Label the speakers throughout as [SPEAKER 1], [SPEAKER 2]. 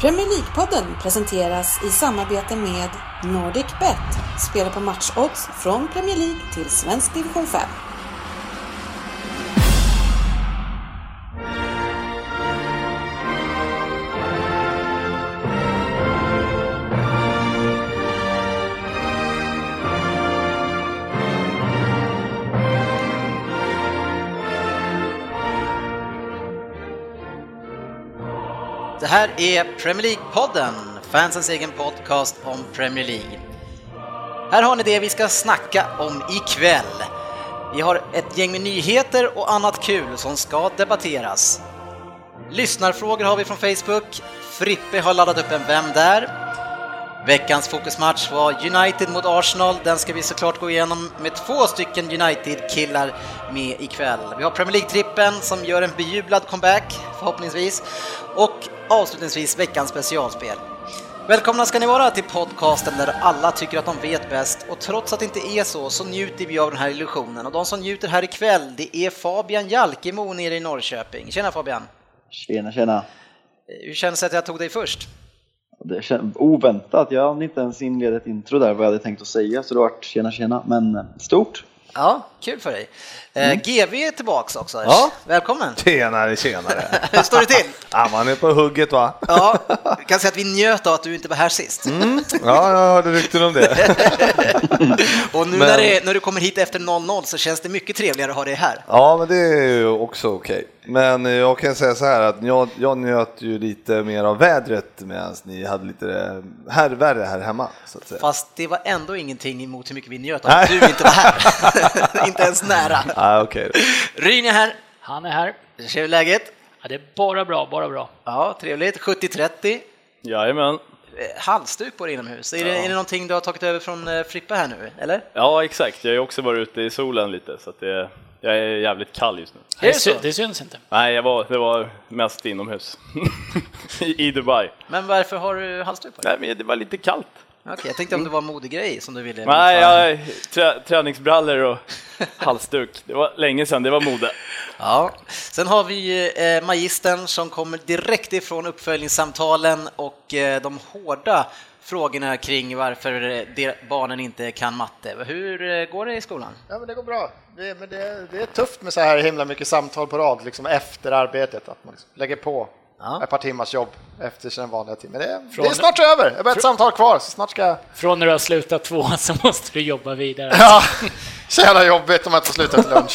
[SPEAKER 1] Premier League-podden presenteras i samarbete med NordicBet. Spela på matchodds från Premier League till svensk division 5.
[SPEAKER 2] Det här är Premier League-podden, fansens egen podcast om Premier League. Här har ni det vi ska snacka om ikväll. Vi har ett gäng med nyheter och annat kul som ska debatteras. Lyssnarfrågor har vi från Facebook. Frippe har laddat upp en Vem där? Veckans fokusmatch var United mot Arsenal. Den ska vi såklart gå igenom med två stycken United-killar med ikväll. Vi har Premier League-trippen som gör en bejublad comeback, förhoppningsvis. Och avslutningsvis veckans specialspel. Välkomna ska ni vara till podcasten där alla tycker att de vet bäst och trots att det inte är så så njuter vi av den här illusionen och de som njuter här ikväll det är Fabian Jalkemo nere i Norrköping. Tjena Fabian! Eh,
[SPEAKER 3] Tjena tjena!
[SPEAKER 2] Hur känns det att jag tog dig först?
[SPEAKER 3] Det känns oväntat, jag hann inte ens inleda ett intro där vad jag hade tänkt att säga så det vart tjena tjena men eh, stort!
[SPEAKER 2] Ja, kul för dig. Mm. GV är tillbaks också.
[SPEAKER 4] Ja.
[SPEAKER 2] Välkommen!
[SPEAKER 4] Tjenare, tjenare!
[SPEAKER 2] Hur står det till?
[SPEAKER 4] ja, man är på hugget va?
[SPEAKER 2] ja, vi kan säga att vi njöt av att du inte var här sist.
[SPEAKER 4] Mm. Ja, jag hörde rykten om det.
[SPEAKER 2] och nu
[SPEAKER 4] Men-
[SPEAKER 2] när, det, när du kommer hit efter 0-0 så känns det mycket trevligare att ha dig här.
[SPEAKER 4] Ja, men det är ju också okej. Men eh, jag kan säga så här att jag, jag njöt ju lite mer av vädret medan ni hade lite härvärre här hemma. Så att säga.
[SPEAKER 2] Fast det var ändå ingenting emot hur mycket vi njöt av att du inte var här. inte ens nära.
[SPEAKER 4] Ja, okej. då.
[SPEAKER 2] Ryn är här.
[SPEAKER 5] Han är här.
[SPEAKER 2] Hur är läget?
[SPEAKER 5] Ja, det är bara bra, bara bra.
[SPEAKER 2] Ja, trevligt. 70-30.
[SPEAKER 6] Jajamän.
[SPEAKER 2] Eh, Halsduk på dig inomhus. Är, det, är det någonting du har tagit över från eh, Frippe här nu, eller?
[SPEAKER 6] Ja, exakt. Jag har ju också varit ute i solen lite, så att det, jag är jävligt kall just nu.
[SPEAKER 2] Är det
[SPEAKER 5] sy-
[SPEAKER 2] så?
[SPEAKER 5] det syns inte.
[SPEAKER 6] Nej, jag var, det var mest inomhus. I, I Dubai.
[SPEAKER 2] Men varför har du halsduk på dig?
[SPEAKER 6] Nej, men det var lite kallt.
[SPEAKER 2] Okej, jag tänkte om det var en modegrej som du ville.
[SPEAKER 6] Nej, jag, trä, träningsbrallor och halsduk. Det var länge sedan, det var mode.
[SPEAKER 2] Ja. Sen har vi eh, magistern som kommer direkt ifrån uppföljningssamtalen och eh, de hårda frågorna kring varför eh, de- barnen inte kan matte. Hur eh, går det i skolan?
[SPEAKER 7] Ja, men det går bra. Det, men det, det är tufft med så här himla mycket samtal på rad liksom efter arbetet, att man liksom lägger på
[SPEAKER 2] Ja.
[SPEAKER 7] ett par timmars jobb efter sina vanliga timmar. Det, det
[SPEAKER 5] Från-
[SPEAKER 7] är snart över, jag har bara ett samtal kvar, så snart ska jag...
[SPEAKER 5] Från när du har slutat tvåan så måste du jobba vidare.
[SPEAKER 7] Ja, så jävla jobbigt om jag inte får sluta till lunch.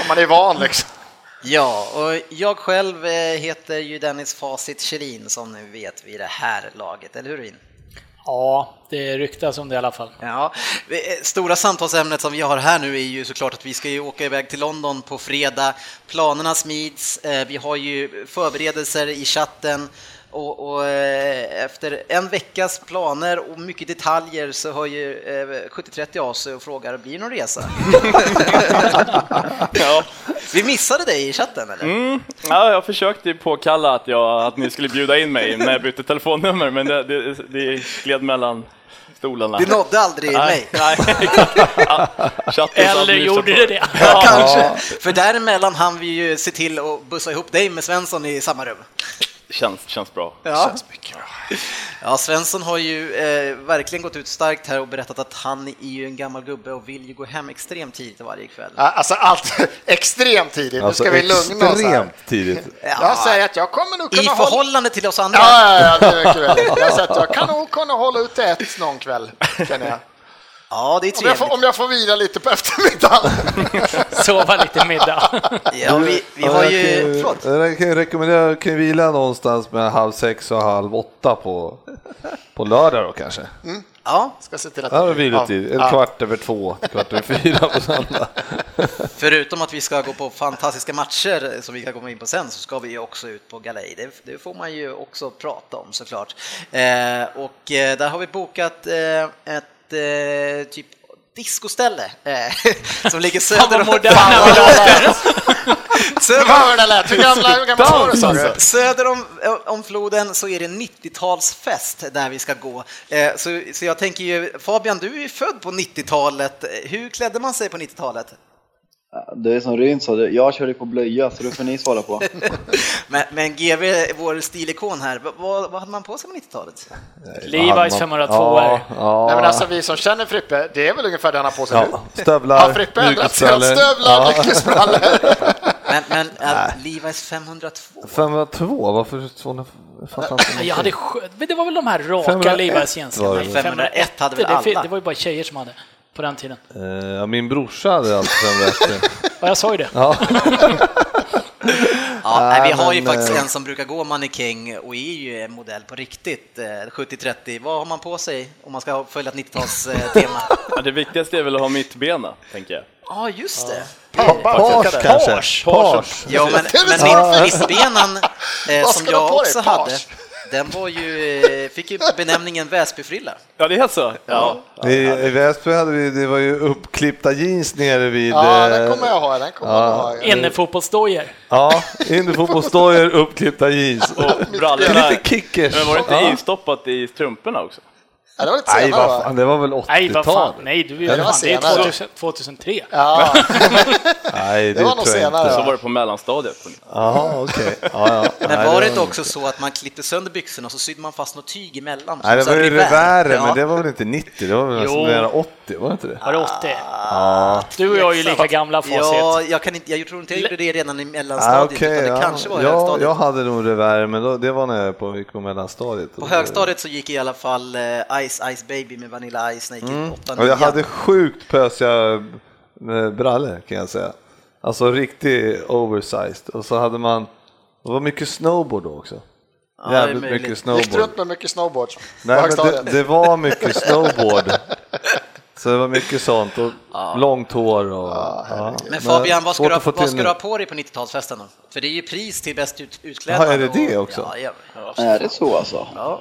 [SPEAKER 7] om man är van liksom.
[SPEAKER 2] Ja, och jag själv eh, heter ju Dennis Facit Kjellin som ni vet vid det här laget, eller hur Rin?
[SPEAKER 5] Ja, det ryktas om det i alla fall.
[SPEAKER 2] Ja, det eh, stora samtalsämnet som vi har här nu är ju såklart att vi ska ju åka iväg till London på fredag. Planerna smids, eh, vi har ju förberedelser i chatten och, och eh, efter en veckas planer och mycket detaljer så hör ju eh, 7030 av sig och frågar blir det någon resa?
[SPEAKER 6] Ja.
[SPEAKER 2] Vi missade dig i chatten eller?
[SPEAKER 6] Mm. Ja, jag försökte ju påkalla att, jag, att ni skulle bjuda in mig när jag bytte telefonnummer, men det, det, det gled mellan stolarna.
[SPEAKER 2] Det nådde aldrig mig.
[SPEAKER 6] Nej, nej, exakt. Ja, chatten satt
[SPEAKER 5] Eller
[SPEAKER 6] nyss
[SPEAKER 5] gjorde
[SPEAKER 6] på.
[SPEAKER 5] det det?
[SPEAKER 2] Ja, kanske. För däremellan hann vi ju se till att bussa ihop dig med Svensson i samma rum.
[SPEAKER 6] Känns, känns bra.
[SPEAKER 2] Ja. Ja, Svensson har ju eh, verkligen gått ut starkt här och berättat att han är ju en gammal gubbe och vill ju gå hem extremt tidigt varje kväll.
[SPEAKER 7] Ja, Alltså allt extremt tidigt,
[SPEAKER 4] Alltså,
[SPEAKER 7] nu ska vi lugna oss här.
[SPEAKER 4] extremt tidigt.
[SPEAKER 7] Jag säger att jag kommer nog
[SPEAKER 2] I
[SPEAKER 7] kunna hålla...
[SPEAKER 2] förhållande till oss andra.
[SPEAKER 7] Ja, ja, ja, det är mycket väl. Jag säger att jag kan nog kunna hålla ut till ett någon kväll, känner jag.
[SPEAKER 2] Ja, det är
[SPEAKER 7] Om jag får,
[SPEAKER 2] trevligt.
[SPEAKER 7] om jag får vila lite på eftermiddagen.
[SPEAKER 5] Sova lite middag.
[SPEAKER 2] Ja, vi, vi
[SPEAKER 4] Ja,
[SPEAKER 2] har
[SPEAKER 4] jag
[SPEAKER 2] ju...
[SPEAKER 4] kan
[SPEAKER 2] Förlåt.
[SPEAKER 4] Jag kan ju rekommendera, jag kan ju vila någonstans mellan halv sex och halv åtta på, på lördag då kanske.
[SPEAKER 7] Mm.
[SPEAKER 2] Ja,
[SPEAKER 7] Ska se till att...
[SPEAKER 4] Där har vi vilotid, en kvart över två, kvart över fyra på söndag.
[SPEAKER 2] förutom att vi ska gå på fantastiska matcher som vi kan komma in på sen så ska vi ju också ut på galej. Det, det får man ju också prata om såklart. Eh, och eh, där har vi bokat eh, ett eh, typ discoställe eh, som ligger
[SPEAKER 5] Fan
[SPEAKER 2] söder
[SPEAKER 5] vad
[SPEAKER 2] om...
[SPEAKER 5] moderna vi låter.
[SPEAKER 7] Det var vad det lät. Hur gamla, hur gamla var du sa du?
[SPEAKER 2] Söder om, om floden så är det 90-talsfest där vi ska gå. Eh, så, så jag tänker ju, Fabian du är ju född på 90-talet, hur klädde man sig på 90-talet?
[SPEAKER 3] Ja, det är som Ryn sa, det- jag kör ju på blöja så det får ni svara på.
[SPEAKER 2] Men, men GV, vår stilikon här, vad, vad, vad hade man på sig på 90-talet?
[SPEAKER 5] Levi's 502
[SPEAKER 4] Ja, ja.
[SPEAKER 7] Nej, men alltså, vi som känner Frippe, det är väl ungefär det han har på sig
[SPEAKER 4] ja.
[SPEAKER 7] nu? Har
[SPEAKER 4] Stövlar,
[SPEAKER 7] Frippe ändrat sig? Han Stövlar, lyckesbrallor!
[SPEAKER 2] Men, men äh, Levi's 502?
[SPEAKER 4] 502, varför 200? Jag fattar inte.
[SPEAKER 5] Jag hade skö- men det var väl de här raka
[SPEAKER 4] 501
[SPEAKER 5] Levi's
[SPEAKER 4] var det
[SPEAKER 5] jänkarna?
[SPEAKER 4] väl?
[SPEAKER 2] 501 hade väl
[SPEAKER 5] det,
[SPEAKER 2] alla?
[SPEAKER 5] det var ju bara tjejer som hade på den tiden.
[SPEAKER 4] Eh, ja, min brorsa hade alltid 501.
[SPEAKER 5] Ja, jag sa ju det.
[SPEAKER 4] Ja.
[SPEAKER 2] Ja, nej, vi
[SPEAKER 4] Nej,
[SPEAKER 2] har ju
[SPEAKER 4] men,
[SPEAKER 2] faktiskt
[SPEAKER 4] eh,
[SPEAKER 2] en som brukar gå mannekäng och är ju en modell på riktigt. eh, 70-30, vad har man på sig om man ska följa ett 90-talstema? Ja,
[SPEAKER 6] Ja, det viktigaste är väl att ha mittbena, tänker jag.
[SPEAKER 2] ah, just det.
[SPEAKER 4] Pars kanske?
[SPEAKER 6] Pars.
[SPEAKER 4] Pars.
[SPEAKER 2] Ja, men,
[SPEAKER 7] Det är väl
[SPEAKER 2] men min
[SPEAKER 7] så
[SPEAKER 2] mittbenan eh,
[SPEAKER 7] Vad
[SPEAKER 2] som
[SPEAKER 7] ska du ha
[SPEAKER 2] jag
[SPEAKER 7] på dig,
[SPEAKER 2] också
[SPEAKER 7] page?
[SPEAKER 2] hade, den var ju, eh, fick ju benämningen Väsbyfrilla.
[SPEAKER 6] Ja, det är så? Ja.
[SPEAKER 4] I, I Väsby hade vi, det var ju uppklippta jeans nere vid...
[SPEAKER 7] Ja,
[SPEAKER 4] eh,
[SPEAKER 7] den kommer jag ha. Den kommer jag ha.
[SPEAKER 5] Innefotbollsdojor.
[SPEAKER 4] Ja, innefotbollsdojor, uppklippta jeans.
[SPEAKER 6] Och brallorna.
[SPEAKER 4] Lite kickers.
[SPEAKER 6] Men var det inte
[SPEAKER 4] Ja.
[SPEAKER 6] instoppat i strumporna också?
[SPEAKER 7] Ja, det var lite
[SPEAKER 4] Nej,
[SPEAKER 7] senare
[SPEAKER 4] vad
[SPEAKER 7] va?
[SPEAKER 4] fan, det var väl
[SPEAKER 5] Nej, vad fan.
[SPEAKER 4] 80-tal?
[SPEAKER 5] Nej, du är
[SPEAKER 7] Den
[SPEAKER 5] ju
[SPEAKER 7] var
[SPEAKER 5] fan. Det är
[SPEAKER 7] senare.
[SPEAKER 5] 2000 2003.
[SPEAKER 7] Ja,
[SPEAKER 4] Nej,
[SPEAKER 7] det var nog
[SPEAKER 4] tror jag
[SPEAKER 7] senare.
[SPEAKER 4] inte.
[SPEAKER 6] Så
[SPEAKER 7] va?
[SPEAKER 6] var det på mellanstadiet.
[SPEAKER 4] Jaha, okej. Ja, ja.
[SPEAKER 2] Men
[SPEAKER 4] Nej,
[SPEAKER 2] var det inte också så att man klippte sönder byxorna och så sydde man fast något tyg emellan?
[SPEAKER 4] Nej, det
[SPEAKER 2] Så här
[SPEAKER 4] var ju
[SPEAKER 2] revär.
[SPEAKER 4] revären,
[SPEAKER 2] Ja.
[SPEAKER 4] men det var väl inte 90? Det var väl
[SPEAKER 5] Jo.
[SPEAKER 4] nästan nära 80, var det inte det?
[SPEAKER 5] Var det 80? Du och jag är ju lika gamla facit.
[SPEAKER 2] Ja, jag, kan inte, jag tror inte jag gjorde det redan i
[SPEAKER 4] Ah,
[SPEAKER 2] mellanstadiet,
[SPEAKER 4] okej,
[SPEAKER 2] utan det
[SPEAKER 4] ja.
[SPEAKER 2] kanske var i
[SPEAKER 4] ja,
[SPEAKER 2] högstadiet.
[SPEAKER 4] jag hade nog revär, men då, det var när jag på, gick på mellanstadiet.
[SPEAKER 2] På högstadiet så gick i alla fall eh, Ice Ice Baby med Vanilla Ice när jag gick i åttan,
[SPEAKER 4] Och Mm. jag
[SPEAKER 2] nian.
[SPEAKER 4] hade sjukt pösiga eh, brallor kan jag säga. Alltså riktigt oversized. Och så hade man, det var mycket snowboard då också.
[SPEAKER 2] Ja, det är
[SPEAKER 4] Jävligt
[SPEAKER 2] möjligt.
[SPEAKER 4] mycket
[SPEAKER 7] Gick du
[SPEAKER 4] snowboard.
[SPEAKER 7] runt med mycket snowboard?
[SPEAKER 4] Nej, men
[SPEAKER 7] Högstadiet?
[SPEAKER 4] det, det var mycket snowboard. Så det var mycket sånt och långt hår och... ja.
[SPEAKER 2] Men Fabian, vad ska,
[SPEAKER 4] svårt
[SPEAKER 2] du ha,
[SPEAKER 4] att få till
[SPEAKER 2] vad ska
[SPEAKER 4] nu.
[SPEAKER 2] du ha på dig på 90-talsfesten då? För det är ju pris till bäst ut, utklädnad.
[SPEAKER 4] Ja, är det det
[SPEAKER 2] och-
[SPEAKER 4] också?
[SPEAKER 2] Ja, ja, ja.
[SPEAKER 3] Är det så alltså?
[SPEAKER 2] ja.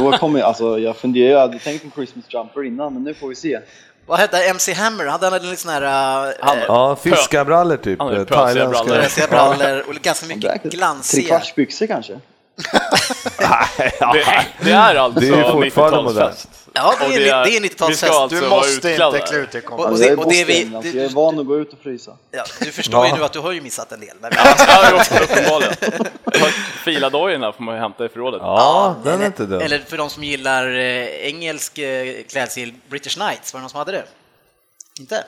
[SPEAKER 3] Då kommer jag, alltså jag funderar, jag hade tänkt en Christmas jumper innan men nu får vi se.
[SPEAKER 2] Vad hette MC Hammer? Hade han en sån här... eh,
[SPEAKER 6] Han-
[SPEAKER 4] Ja, fiskarbrallor typ.
[SPEAKER 6] Ja, det är pösiga
[SPEAKER 4] Thailändska.
[SPEAKER 6] brallor.
[SPEAKER 2] Glansiga brallor och ganska mycket glansiga.
[SPEAKER 3] Trekvartsbyxor kanske?
[SPEAKER 6] Det, det är alltså
[SPEAKER 4] Det är ju fortfarande
[SPEAKER 6] 90-talsfest.
[SPEAKER 2] Ja, det är,
[SPEAKER 6] Och
[SPEAKER 2] det
[SPEAKER 6] det är-
[SPEAKER 2] det är 90-talsfest.
[SPEAKER 6] vi ska alltså-
[SPEAKER 7] Du
[SPEAKER 6] var
[SPEAKER 7] måste inte
[SPEAKER 6] utklädd.
[SPEAKER 7] klä ut dig kompis.
[SPEAKER 2] Och
[SPEAKER 3] Alltså,
[SPEAKER 2] det-
[SPEAKER 3] jag är
[SPEAKER 2] och det är vi-
[SPEAKER 3] botten, alltså,
[SPEAKER 2] det-
[SPEAKER 3] jag är van att gå ut och frysa.
[SPEAKER 2] Ja, du förstår ju
[SPEAKER 4] Ja.
[SPEAKER 2] nu att du har ju missat en del. Men,
[SPEAKER 6] Ja, jo, uppenbarligen. Filadojorna får man ju hämta i förrådet.
[SPEAKER 4] Ja, den är inte dum.
[SPEAKER 2] eller för de som gillar eh, engelsk eh, klädstil, British Knights, var det någon som hade det? Inte?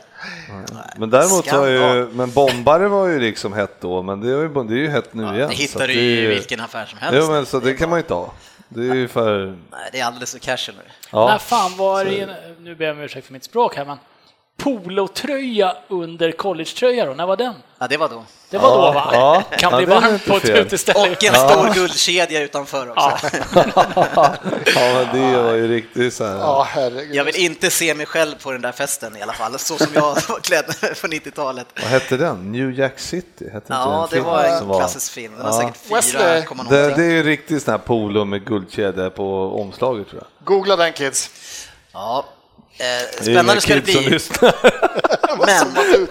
[SPEAKER 4] Men däremot så har ju,
[SPEAKER 2] Skandal.
[SPEAKER 4] men bombare var ju liksom hett då, men det är ju, det är ju hett nu igen.
[SPEAKER 2] det
[SPEAKER 4] så
[SPEAKER 2] hittar
[SPEAKER 4] att
[SPEAKER 2] du ju i
[SPEAKER 4] är-
[SPEAKER 2] vilken affär som helst.
[SPEAKER 4] Jo men så det kan man ju inte ha. Det är ju för,
[SPEAKER 2] Nej, det är alldeles för casual nu.
[SPEAKER 5] När
[SPEAKER 4] ja.
[SPEAKER 5] fan var det, nu ber jag om ursäkt för mitt språk här men, polotröja under collegetröja då, när var den?
[SPEAKER 2] Ja, det var då.
[SPEAKER 5] Det var då va?
[SPEAKER 4] ja.
[SPEAKER 5] Kan
[SPEAKER 4] Ja,
[SPEAKER 5] bli
[SPEAKER 4] det är
[SPEAKER 5] varmt
[SPEAKER 4] inte
[SPEAKER 5] på ett
[SPEAKER 4] fel.
[SPEAKER 5] uteställe.
[SPEAKER 2] Och en stor guldkedja utanför också.
[SPEAKER 4] ja men det var ju riktigt så här.
[SPEAKER 7] Ja, herregud.
[SPEAKER 2] Jag vill inte se mig själv på den där festen i alla fall, så som jag var klädd på 90-talet.
[SPEAKER 4] Vad hette den? New Jack City? Hette inte
[SPEAKER 2] Ja,
[SPEAKER 4] den
[SPEAKER 2] det
[SPEAKER 4] filmen
[SPEAKER 2] var en
[SPEAKER 4] som
[SPEAKER 2] klassisk film. Den har
[SPEAKER 4] Ja.
[SPEAKER 2] säkert
[SPEAKER 7] Wesley.
[SPEAKER 2] fyra, komma
[SPEAKER 4] Det, det
[SPEAKER 2] någonting.
[SPEAKER 4] är ju riktigt sån här polo med guldkedja på omslaget tror jag.
[SPEAKER 7] Googla den kids.
[SPEAKER 2] Ja. Eh,
[SPEAKER 4] Det är inga
[SPEAKER 2] spännande ska det
[SPEAKER 4] kids som
[SPEAKER 2] bli,
[SPEAKER 4] lyssnar.
[SPEAKER 2] men
[SPEAKER 7] Vad ut-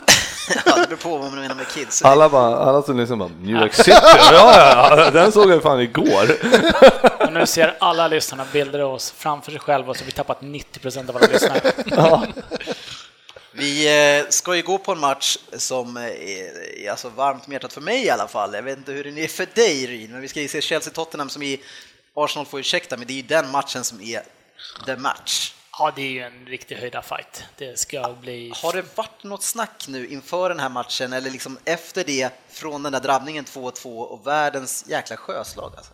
[SPEAKER 2] ja, det beror på vad man menar med kids.
[SPEAKER 4] Alla, bara, alla som lyssnar bara New Jack City, ja, ja, den såg jag fan igår.
[SPEAKER 5] Och nu ser alla lyssnarna bilder av oss framför sig själva så vi tappat 90% av alla lyssnare.
[SPEAKER 2] Vi eh, ska ju gå på en match som eh, är är alltså varmt om hjärtat för mig i alla fall. Jag vet inte hur den är för dig Ryn, men vi ska ju se Chelsea-Tottenham som i Arsenal får ursäkta, men det är ju den matchen som är the match.
[SPEAKER 5] Ja, det är ju en riktig höjda fight. Det ska bli...
[SPEAKER 2] Har det varit något snack nu inför den här matchen eller liksom efter det från den där drabbningen 2-2 och världens jäkla sjöslag? Alltså?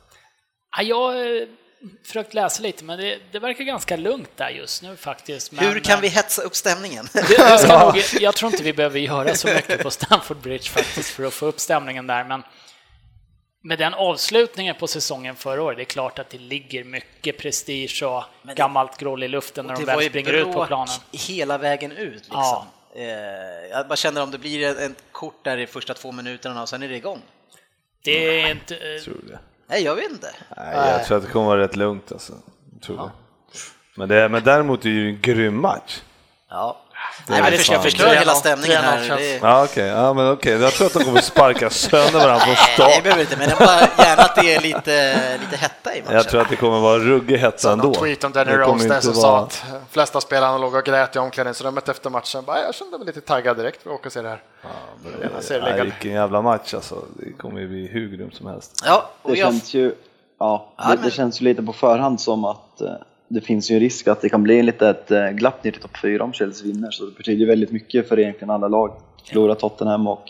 [SPEAKER 5] Ja, jag har försökt läsa lite men det, det verkar ganska lugnt där just nu faktiskt. Men,
[SPEAKER 2] Hur kan vi hetsa upp stämningen?
[SPEAKER 5] Det, det ska nog, jag tror inte vi behöver göra så mycket på Stamford Bridge faktiskt för att få upp stämningen där, men med den avslutningen på säsongen förra året, det är klart att det ligger mycket prestige och
[SPEAKER 2] det-
[SPEAKER 5] gammalt groll i luften när de väl springer ut på planen.
[SPEAKER 2] hela vägen ut. Liksom.
[SPEAKER 5] Ja.
[SPEAKER 2] Eh, jag bara känner om det blir ett- ett kort där i första två minuterna och sen är det igång.
[SPEAKER 5] Det är inte... eh,
[SPEAKER 4] Tror du det?
[SPEAKER 2] Nej, jag vet inte.
[SPEAKER 4] Nej, jag tror att det kommer vara rätt lugnt alltså. Tror jag. Men, det, men däremot är det ju en grym match.
[SPEAKER 2] Ja. Nej, men
[SPEAKER 4] är
[SPEAKER 2] förstör,
[SPEAKER 4] fan-
[SPEAKER 2] förstör hela
[SPEAKER 8] Tre
[SPEAKER 2] stämningen
[SPEAKER 8] noll
[SPEAKER 2] här.
[SPEAKER 8] känns-
[SPEAKER 2] Det,
[SPEAKER 4] Ja, okej. Ja, men okej. Jag tror att de kommer sparka sönder varandra från
[SPEAKER 2] nej, det
[SPEAKER 4] start.
[SPEAKER 2] behöver vi inte, men jag bara gärna att det är lite, lite hetta i matchen.
[SPEAKER 4] Jag tror att det kommer vara ruggig hetta ändå.
[SPEAKER 7] Någon tweet om Danny
[SPEAKER 4] Det kommer
[SPEAKER 7] Rose där
[SPEAKER 4] inte
[SPEAKER 7] som
[SPEAKER 4] vara-
[SPEAKER 7] sa att flesta spelarna låg och grät i omklädningsrummet efter matchen. Bara, jag kände mig lite taggad direkt för att åka och se det här. Jag ser det
[SPEAKER 4] Nej,
[SPEAKER 7] liggande.
[SPEAKER 4] vilken jävla match alltså. Det kommer ju bli hur grymt som helst.
[SPEAKER 2] Ja, och
[SPEAKER 3] Det
[SPEAKER 2] jag,
[SPEAKER 3] känns ju, ja,
[SPEAKER 2] Ja,
[SPEAKER 3] det,
[SPEAKER 2] men-
[SPEAKER 3] det känns ju lite på förhand som att eh, det finns ju en risk att det kan bli lite ett eh, glapp ner till topp 4 om Chelsea vinner. Så det betyder ju väldigt mycket för egentligen alla lag. Förlorar Tottenham och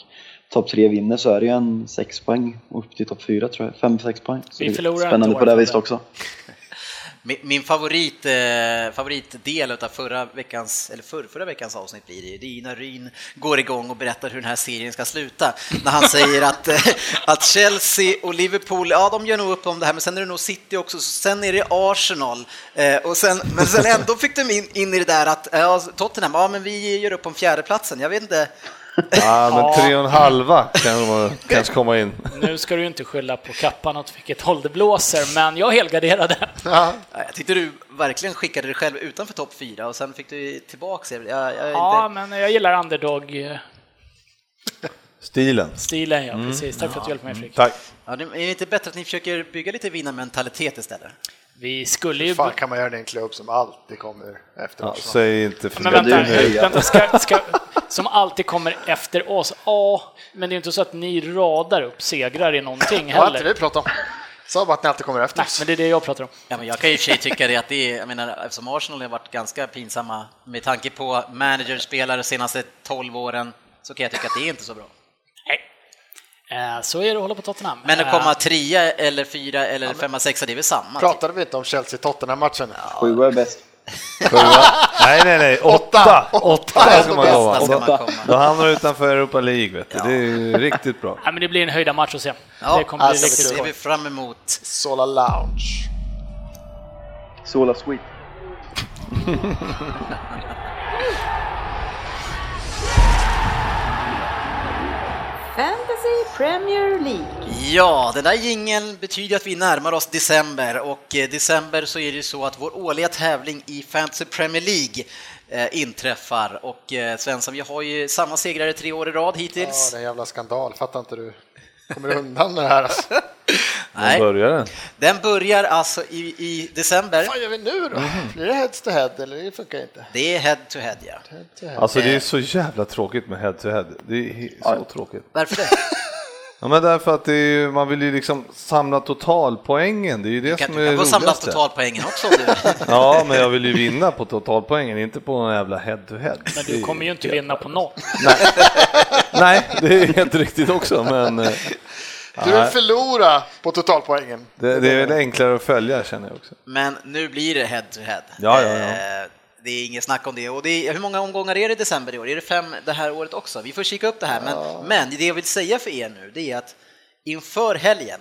[SPEAKER 3] topp 3 vinner så är det ju en 6 poäng upp till topp 4 tror jag. 5-6 poäng. Så
[SPEAKER 5] Vi
[SPEAKER 3] det är
[SPEAKER 5] förlorar
[SPEAKER 3] spännande
[SPEAKER 5] inte
[SPEAKER 3] på det
[SPEAKER 5] året,
[SPEAKER 3] viset
[SPEAKER 5] men-
[SPEAKER 3] också.
[SPEAKER 2] min, min favorit, eh, favoritdel av förra veckans, eller förr, förra veckans avsnitt blir det ju, det är ju när Ryn går igång och berättar hur den här serien ska sluta. När han säger att, eh, att Chelsea och Liverpool, ja de gör nog upp om det här, men sen är det nog City också, så sen är det Arsenal. Eh, och sen, men sen ändå fick de in, in i det där att eh, Tottenham, ja men vi gör upp om fjärdeplatsen, jag vet inte.
[SPEAKER 4] Ja,
[SPEAKER 5] Ja.
[SPEAKER 4] men tre och en halva kan man kanske komma in.
[SPEAKER 5] Nu ska du ju inte skylla på kappan åt vilket håll det blåser, men jag helgarderade.
[SPEAKER 7] Ja,
[SPEAKER 2] Ja, Jag tyckte du verkligen skickade dig själv utanför topp fyra och sen fick du tillbaka det. Jag, jag är
[SPEAKER 5] Ja,
[SPEAKER 2] inte...
[SPEAKER 5] men jag gillar underdog-stilen,
[SPEAKER 4] Stilen.
[SPEAKER 5] ja precis. Tack för att du hjälpte mig Fredrik.
[SPEAKER 4] Tack.
[SPEAKER 2] ja, det- är det inte bättre att ni försöker bygga lite vinnarmentalitet istället?
[SPEAKER 5] Vi skulle ju...
[SPEAKER 7] hur fan kan man göra det i en klubb som alltid kommer efter
[SPEAKER 4] Ja,
[SPEAKER 7] matchen?
[SPEAKER 4] säg inte för
[SPEAKER 5] Men
[SPEAKER 4] mycket
[SPEAKER 5] vänta,
[SPEAKER 4] nu.
[SPEAKER 3] höja?
[SPEAKER 5] vänta ska, ska, som alltid kommer efter oss. Ja, men det är ju inte så att ni radar upp segrar i någonting
[SPEAKER 7] Vad har inte
[SPEAKER 5] heller.
[SPEAKER 7] vi pratat om? Sa bara att ni alltid kommer efter
[SPEAKER 5] Nej,
[SPEAKER 7] oss.
[SPEAKER 5] men det är det jag pratar om.
[SPEAKER 2] Ja, men jag kan ju i och för sig tycka det att det är, jag menar, eftersom Arsenal har varit ganska pinsamma med tanke på managerspelare de senaste 12 åren så kan jag tycka att det är inte så bra.
[SPEAKER 5] Eh, Så är det att hålla på Tottenham.
[SPEAKER 2] Men
[SPEAKER 5] Eh,
[SPEAKER 2] att komma trea eller fyra eller femma, sexa, det är väl samma? typ.
[SPEAKER 7] Pratade vi inte om Chelsea-Tottenham-matchen?
[SPEAKER 3] Sjua är bäst.
[SPEAKER 4] Nej, nej, nej. Åtta!
[SPEAKER 7] Åtta.
[SPEAKER 4] Åtta ska man
[SPEAKER 7] Åtta
[SPEAKER 4] komma.
[SPEAKER 2] ska man
[SPEAKER 4] Då-
[SPEAKER 2] komma.
[SPEAKER 4] Då hamnar du utanför Europa League, vet du. Det är ju riktigt bå
[SPEAKER 5] Ja, men det blir en höjda match att se.
[SPEAKER 2] Ja,
[SPEAKER 5] det kommer bli
[SPEAKER 7] alltså,
[SPEAKER 5] riktigt
[SPEAKER 2] Det ser
[SPEAKER 5] skoj.
[SPEAKER 2] vi fram emot.
[SPEAKER 7] Sola Lounge.
[SPEAKER 3] Sola Sweet.
[SPEAKER 9] Fantasy Premier League.
[SPEAKER 2] Ja, den där jingeln betyder att vi närmar oss december och eh, december så är det ju så att vår årliga tävling i Fantasy Premier League eh, inträffar och eh, Svensson, vi har ju samma segrare tre år i rad
[SPEAKER 7] Ja,
[SPEAKER 2] hittills.
[SPEAKER 7] det är en jävla skandal. Fattar inte du? Kommer du undan med det här? Alltså?
[SPEAKER 4] När
[SPEAKER 2] Nej,
[SPEAKER 4] börjar den?
[SPEAKER 2] den börjar alltså i, i december.
[SPEAKER 7] Vad gör vi nu då? Mm. Blir det heads to head eller det funkar inte?
[SPEAKER 2] Det är head to head ja.
[SPEAKER 7] Head to head.
[SPEAKER 4] Alltså det är så jävla tråkigt med head to head. Det är he- så tråkigt.
[SPEAKER 2] Varför det?
[SPEAKER 4] Ja, men därför att det är, ju- man vill ju liksom samla totalpoängen. Det är ju det
[SPEAKER 2] Du kan,
[SPEAKER 4] som
[SPEAKER 2] du
[SPEAKER 4] är
[SPEAKER 2] kan få samla
[SPEAKER 4] roligast.
[SPEAKER 2] totalpoängen också om du
[SPEAKER 4] Ja, men jag vill ju vinna på totalpoängen, inte på någon jävla head to head.
[SPEAKER 5] Men du kommer ju inte vinna på noll.
[SPEAKER 4] Nej, det är helt riktigt också, men eh,
[SPEAKER 7] Du vill förlora på totalpoängen.
[SPEAKER 4] det, det är väl enklare att följa känner jag också.
[SPEAKER 2] Men nu blir det head to head.
[SPEAKER 4] Ja, ja, ja.
[SPEAKER 2] Eh, Det är inget snack om det. Och det är, hur många omgångar är det i december i år? Är det fem det här året också? Vi får kika upp det här. Men, men det jag vill säga för er nu, det är att inför helgen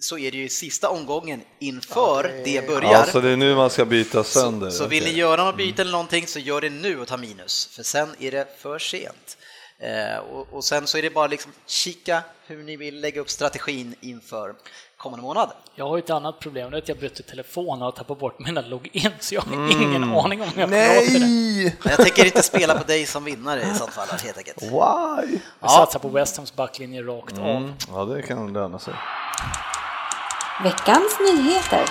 [SPEAKER 2] så är det ju sista omgången inför det börjar.
[SPEAKER 4] Ja, så det är nu man ska byta sönder.
[SPEAKER 2] Så vill ni
[SPEAKER 4] Okej. Mm.
[SPEAKER 2] göra något byte eller någonting så gör det nu och ta minus, för sen är det för sent. Eh, och, och sen så är det bara liksom kika hur ni vill lägga upp strategin inför kommande månad.
[SPEAKER 5] Jag har ju ett annat problem, det är att jag bytte telefon och tappade bort mina login, så jag har
[SPEAKER 2] Mm.
[SPEAKER 5] ingen aning om jag kommer åt det. där.
[SPEAKER 4] Nej!
[SPEAKER 2] Men jag tänker inte spela på dig som vinnare i sånt fall helt enkelt.
[SPEAKER 4] Why?
[SPEAKER 5] Jag satsar på West Hams backlinje rakt av.
[SPEAKER 4] Mm, ja, det kan löna sig.
[SPEAKER 9] Veckans nyheter.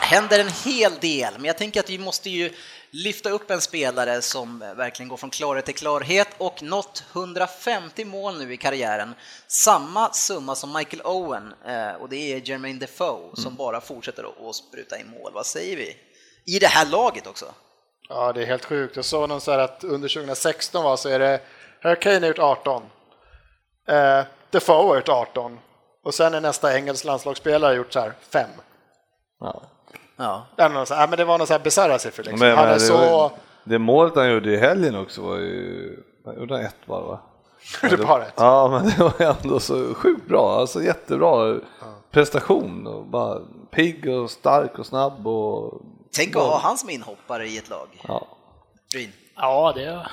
[SPEAKER 2] händer en hel del, men jag tänker att vi måste ju lyfta upp en spelare som verkligen går från klarhet till klarhet och nått 150 mål nu i karriären. Samma summa som Michael Owen eh, och det är Jermaine Defoe som bara fortsätter att- att spruta in mål. Vad säger vi? I det här laget också.
[SPEAKER 7] Ja, det är helt sjukt. Jag såg någon så här att under 2016 var så är det Hurricane har gjort 18. Eh, Defoe har gjort 18. Och sen är nästa engelsk landslagsspelare gjort så här 5.
[SPEAKER 4] Ja.
[SPEAKER 2] Ja.
[SPEAKER 7] Det, är någon så här, ja, men det var någon så här bisarra siffror liksom.
[SPEAKER 4] Men,
[SPEAKER 7] han
[SPEAKER 4] men,
[SPEAKER 7] är
[SPEAKER 4] det,
[SPEAKER 7] så...
[SPEAKER 4] var- det målet han gjorde i helgen också var ju... Han gjorde ett bara va?
[SPEAKER 7] Gjorde bara ett.
[SPEAKER 4] Ja, men det var ändå så sjukt bra. Alltså jättebra prestation. Och bara pigg och stark och snabb och...
[SPEAKER 2] Tänk att ha han som inhoppare i ett lag.
[SPEAKER 4] Ja.
[SPEAKER 2] Bryn.
[SPEAKER 5] Ja, det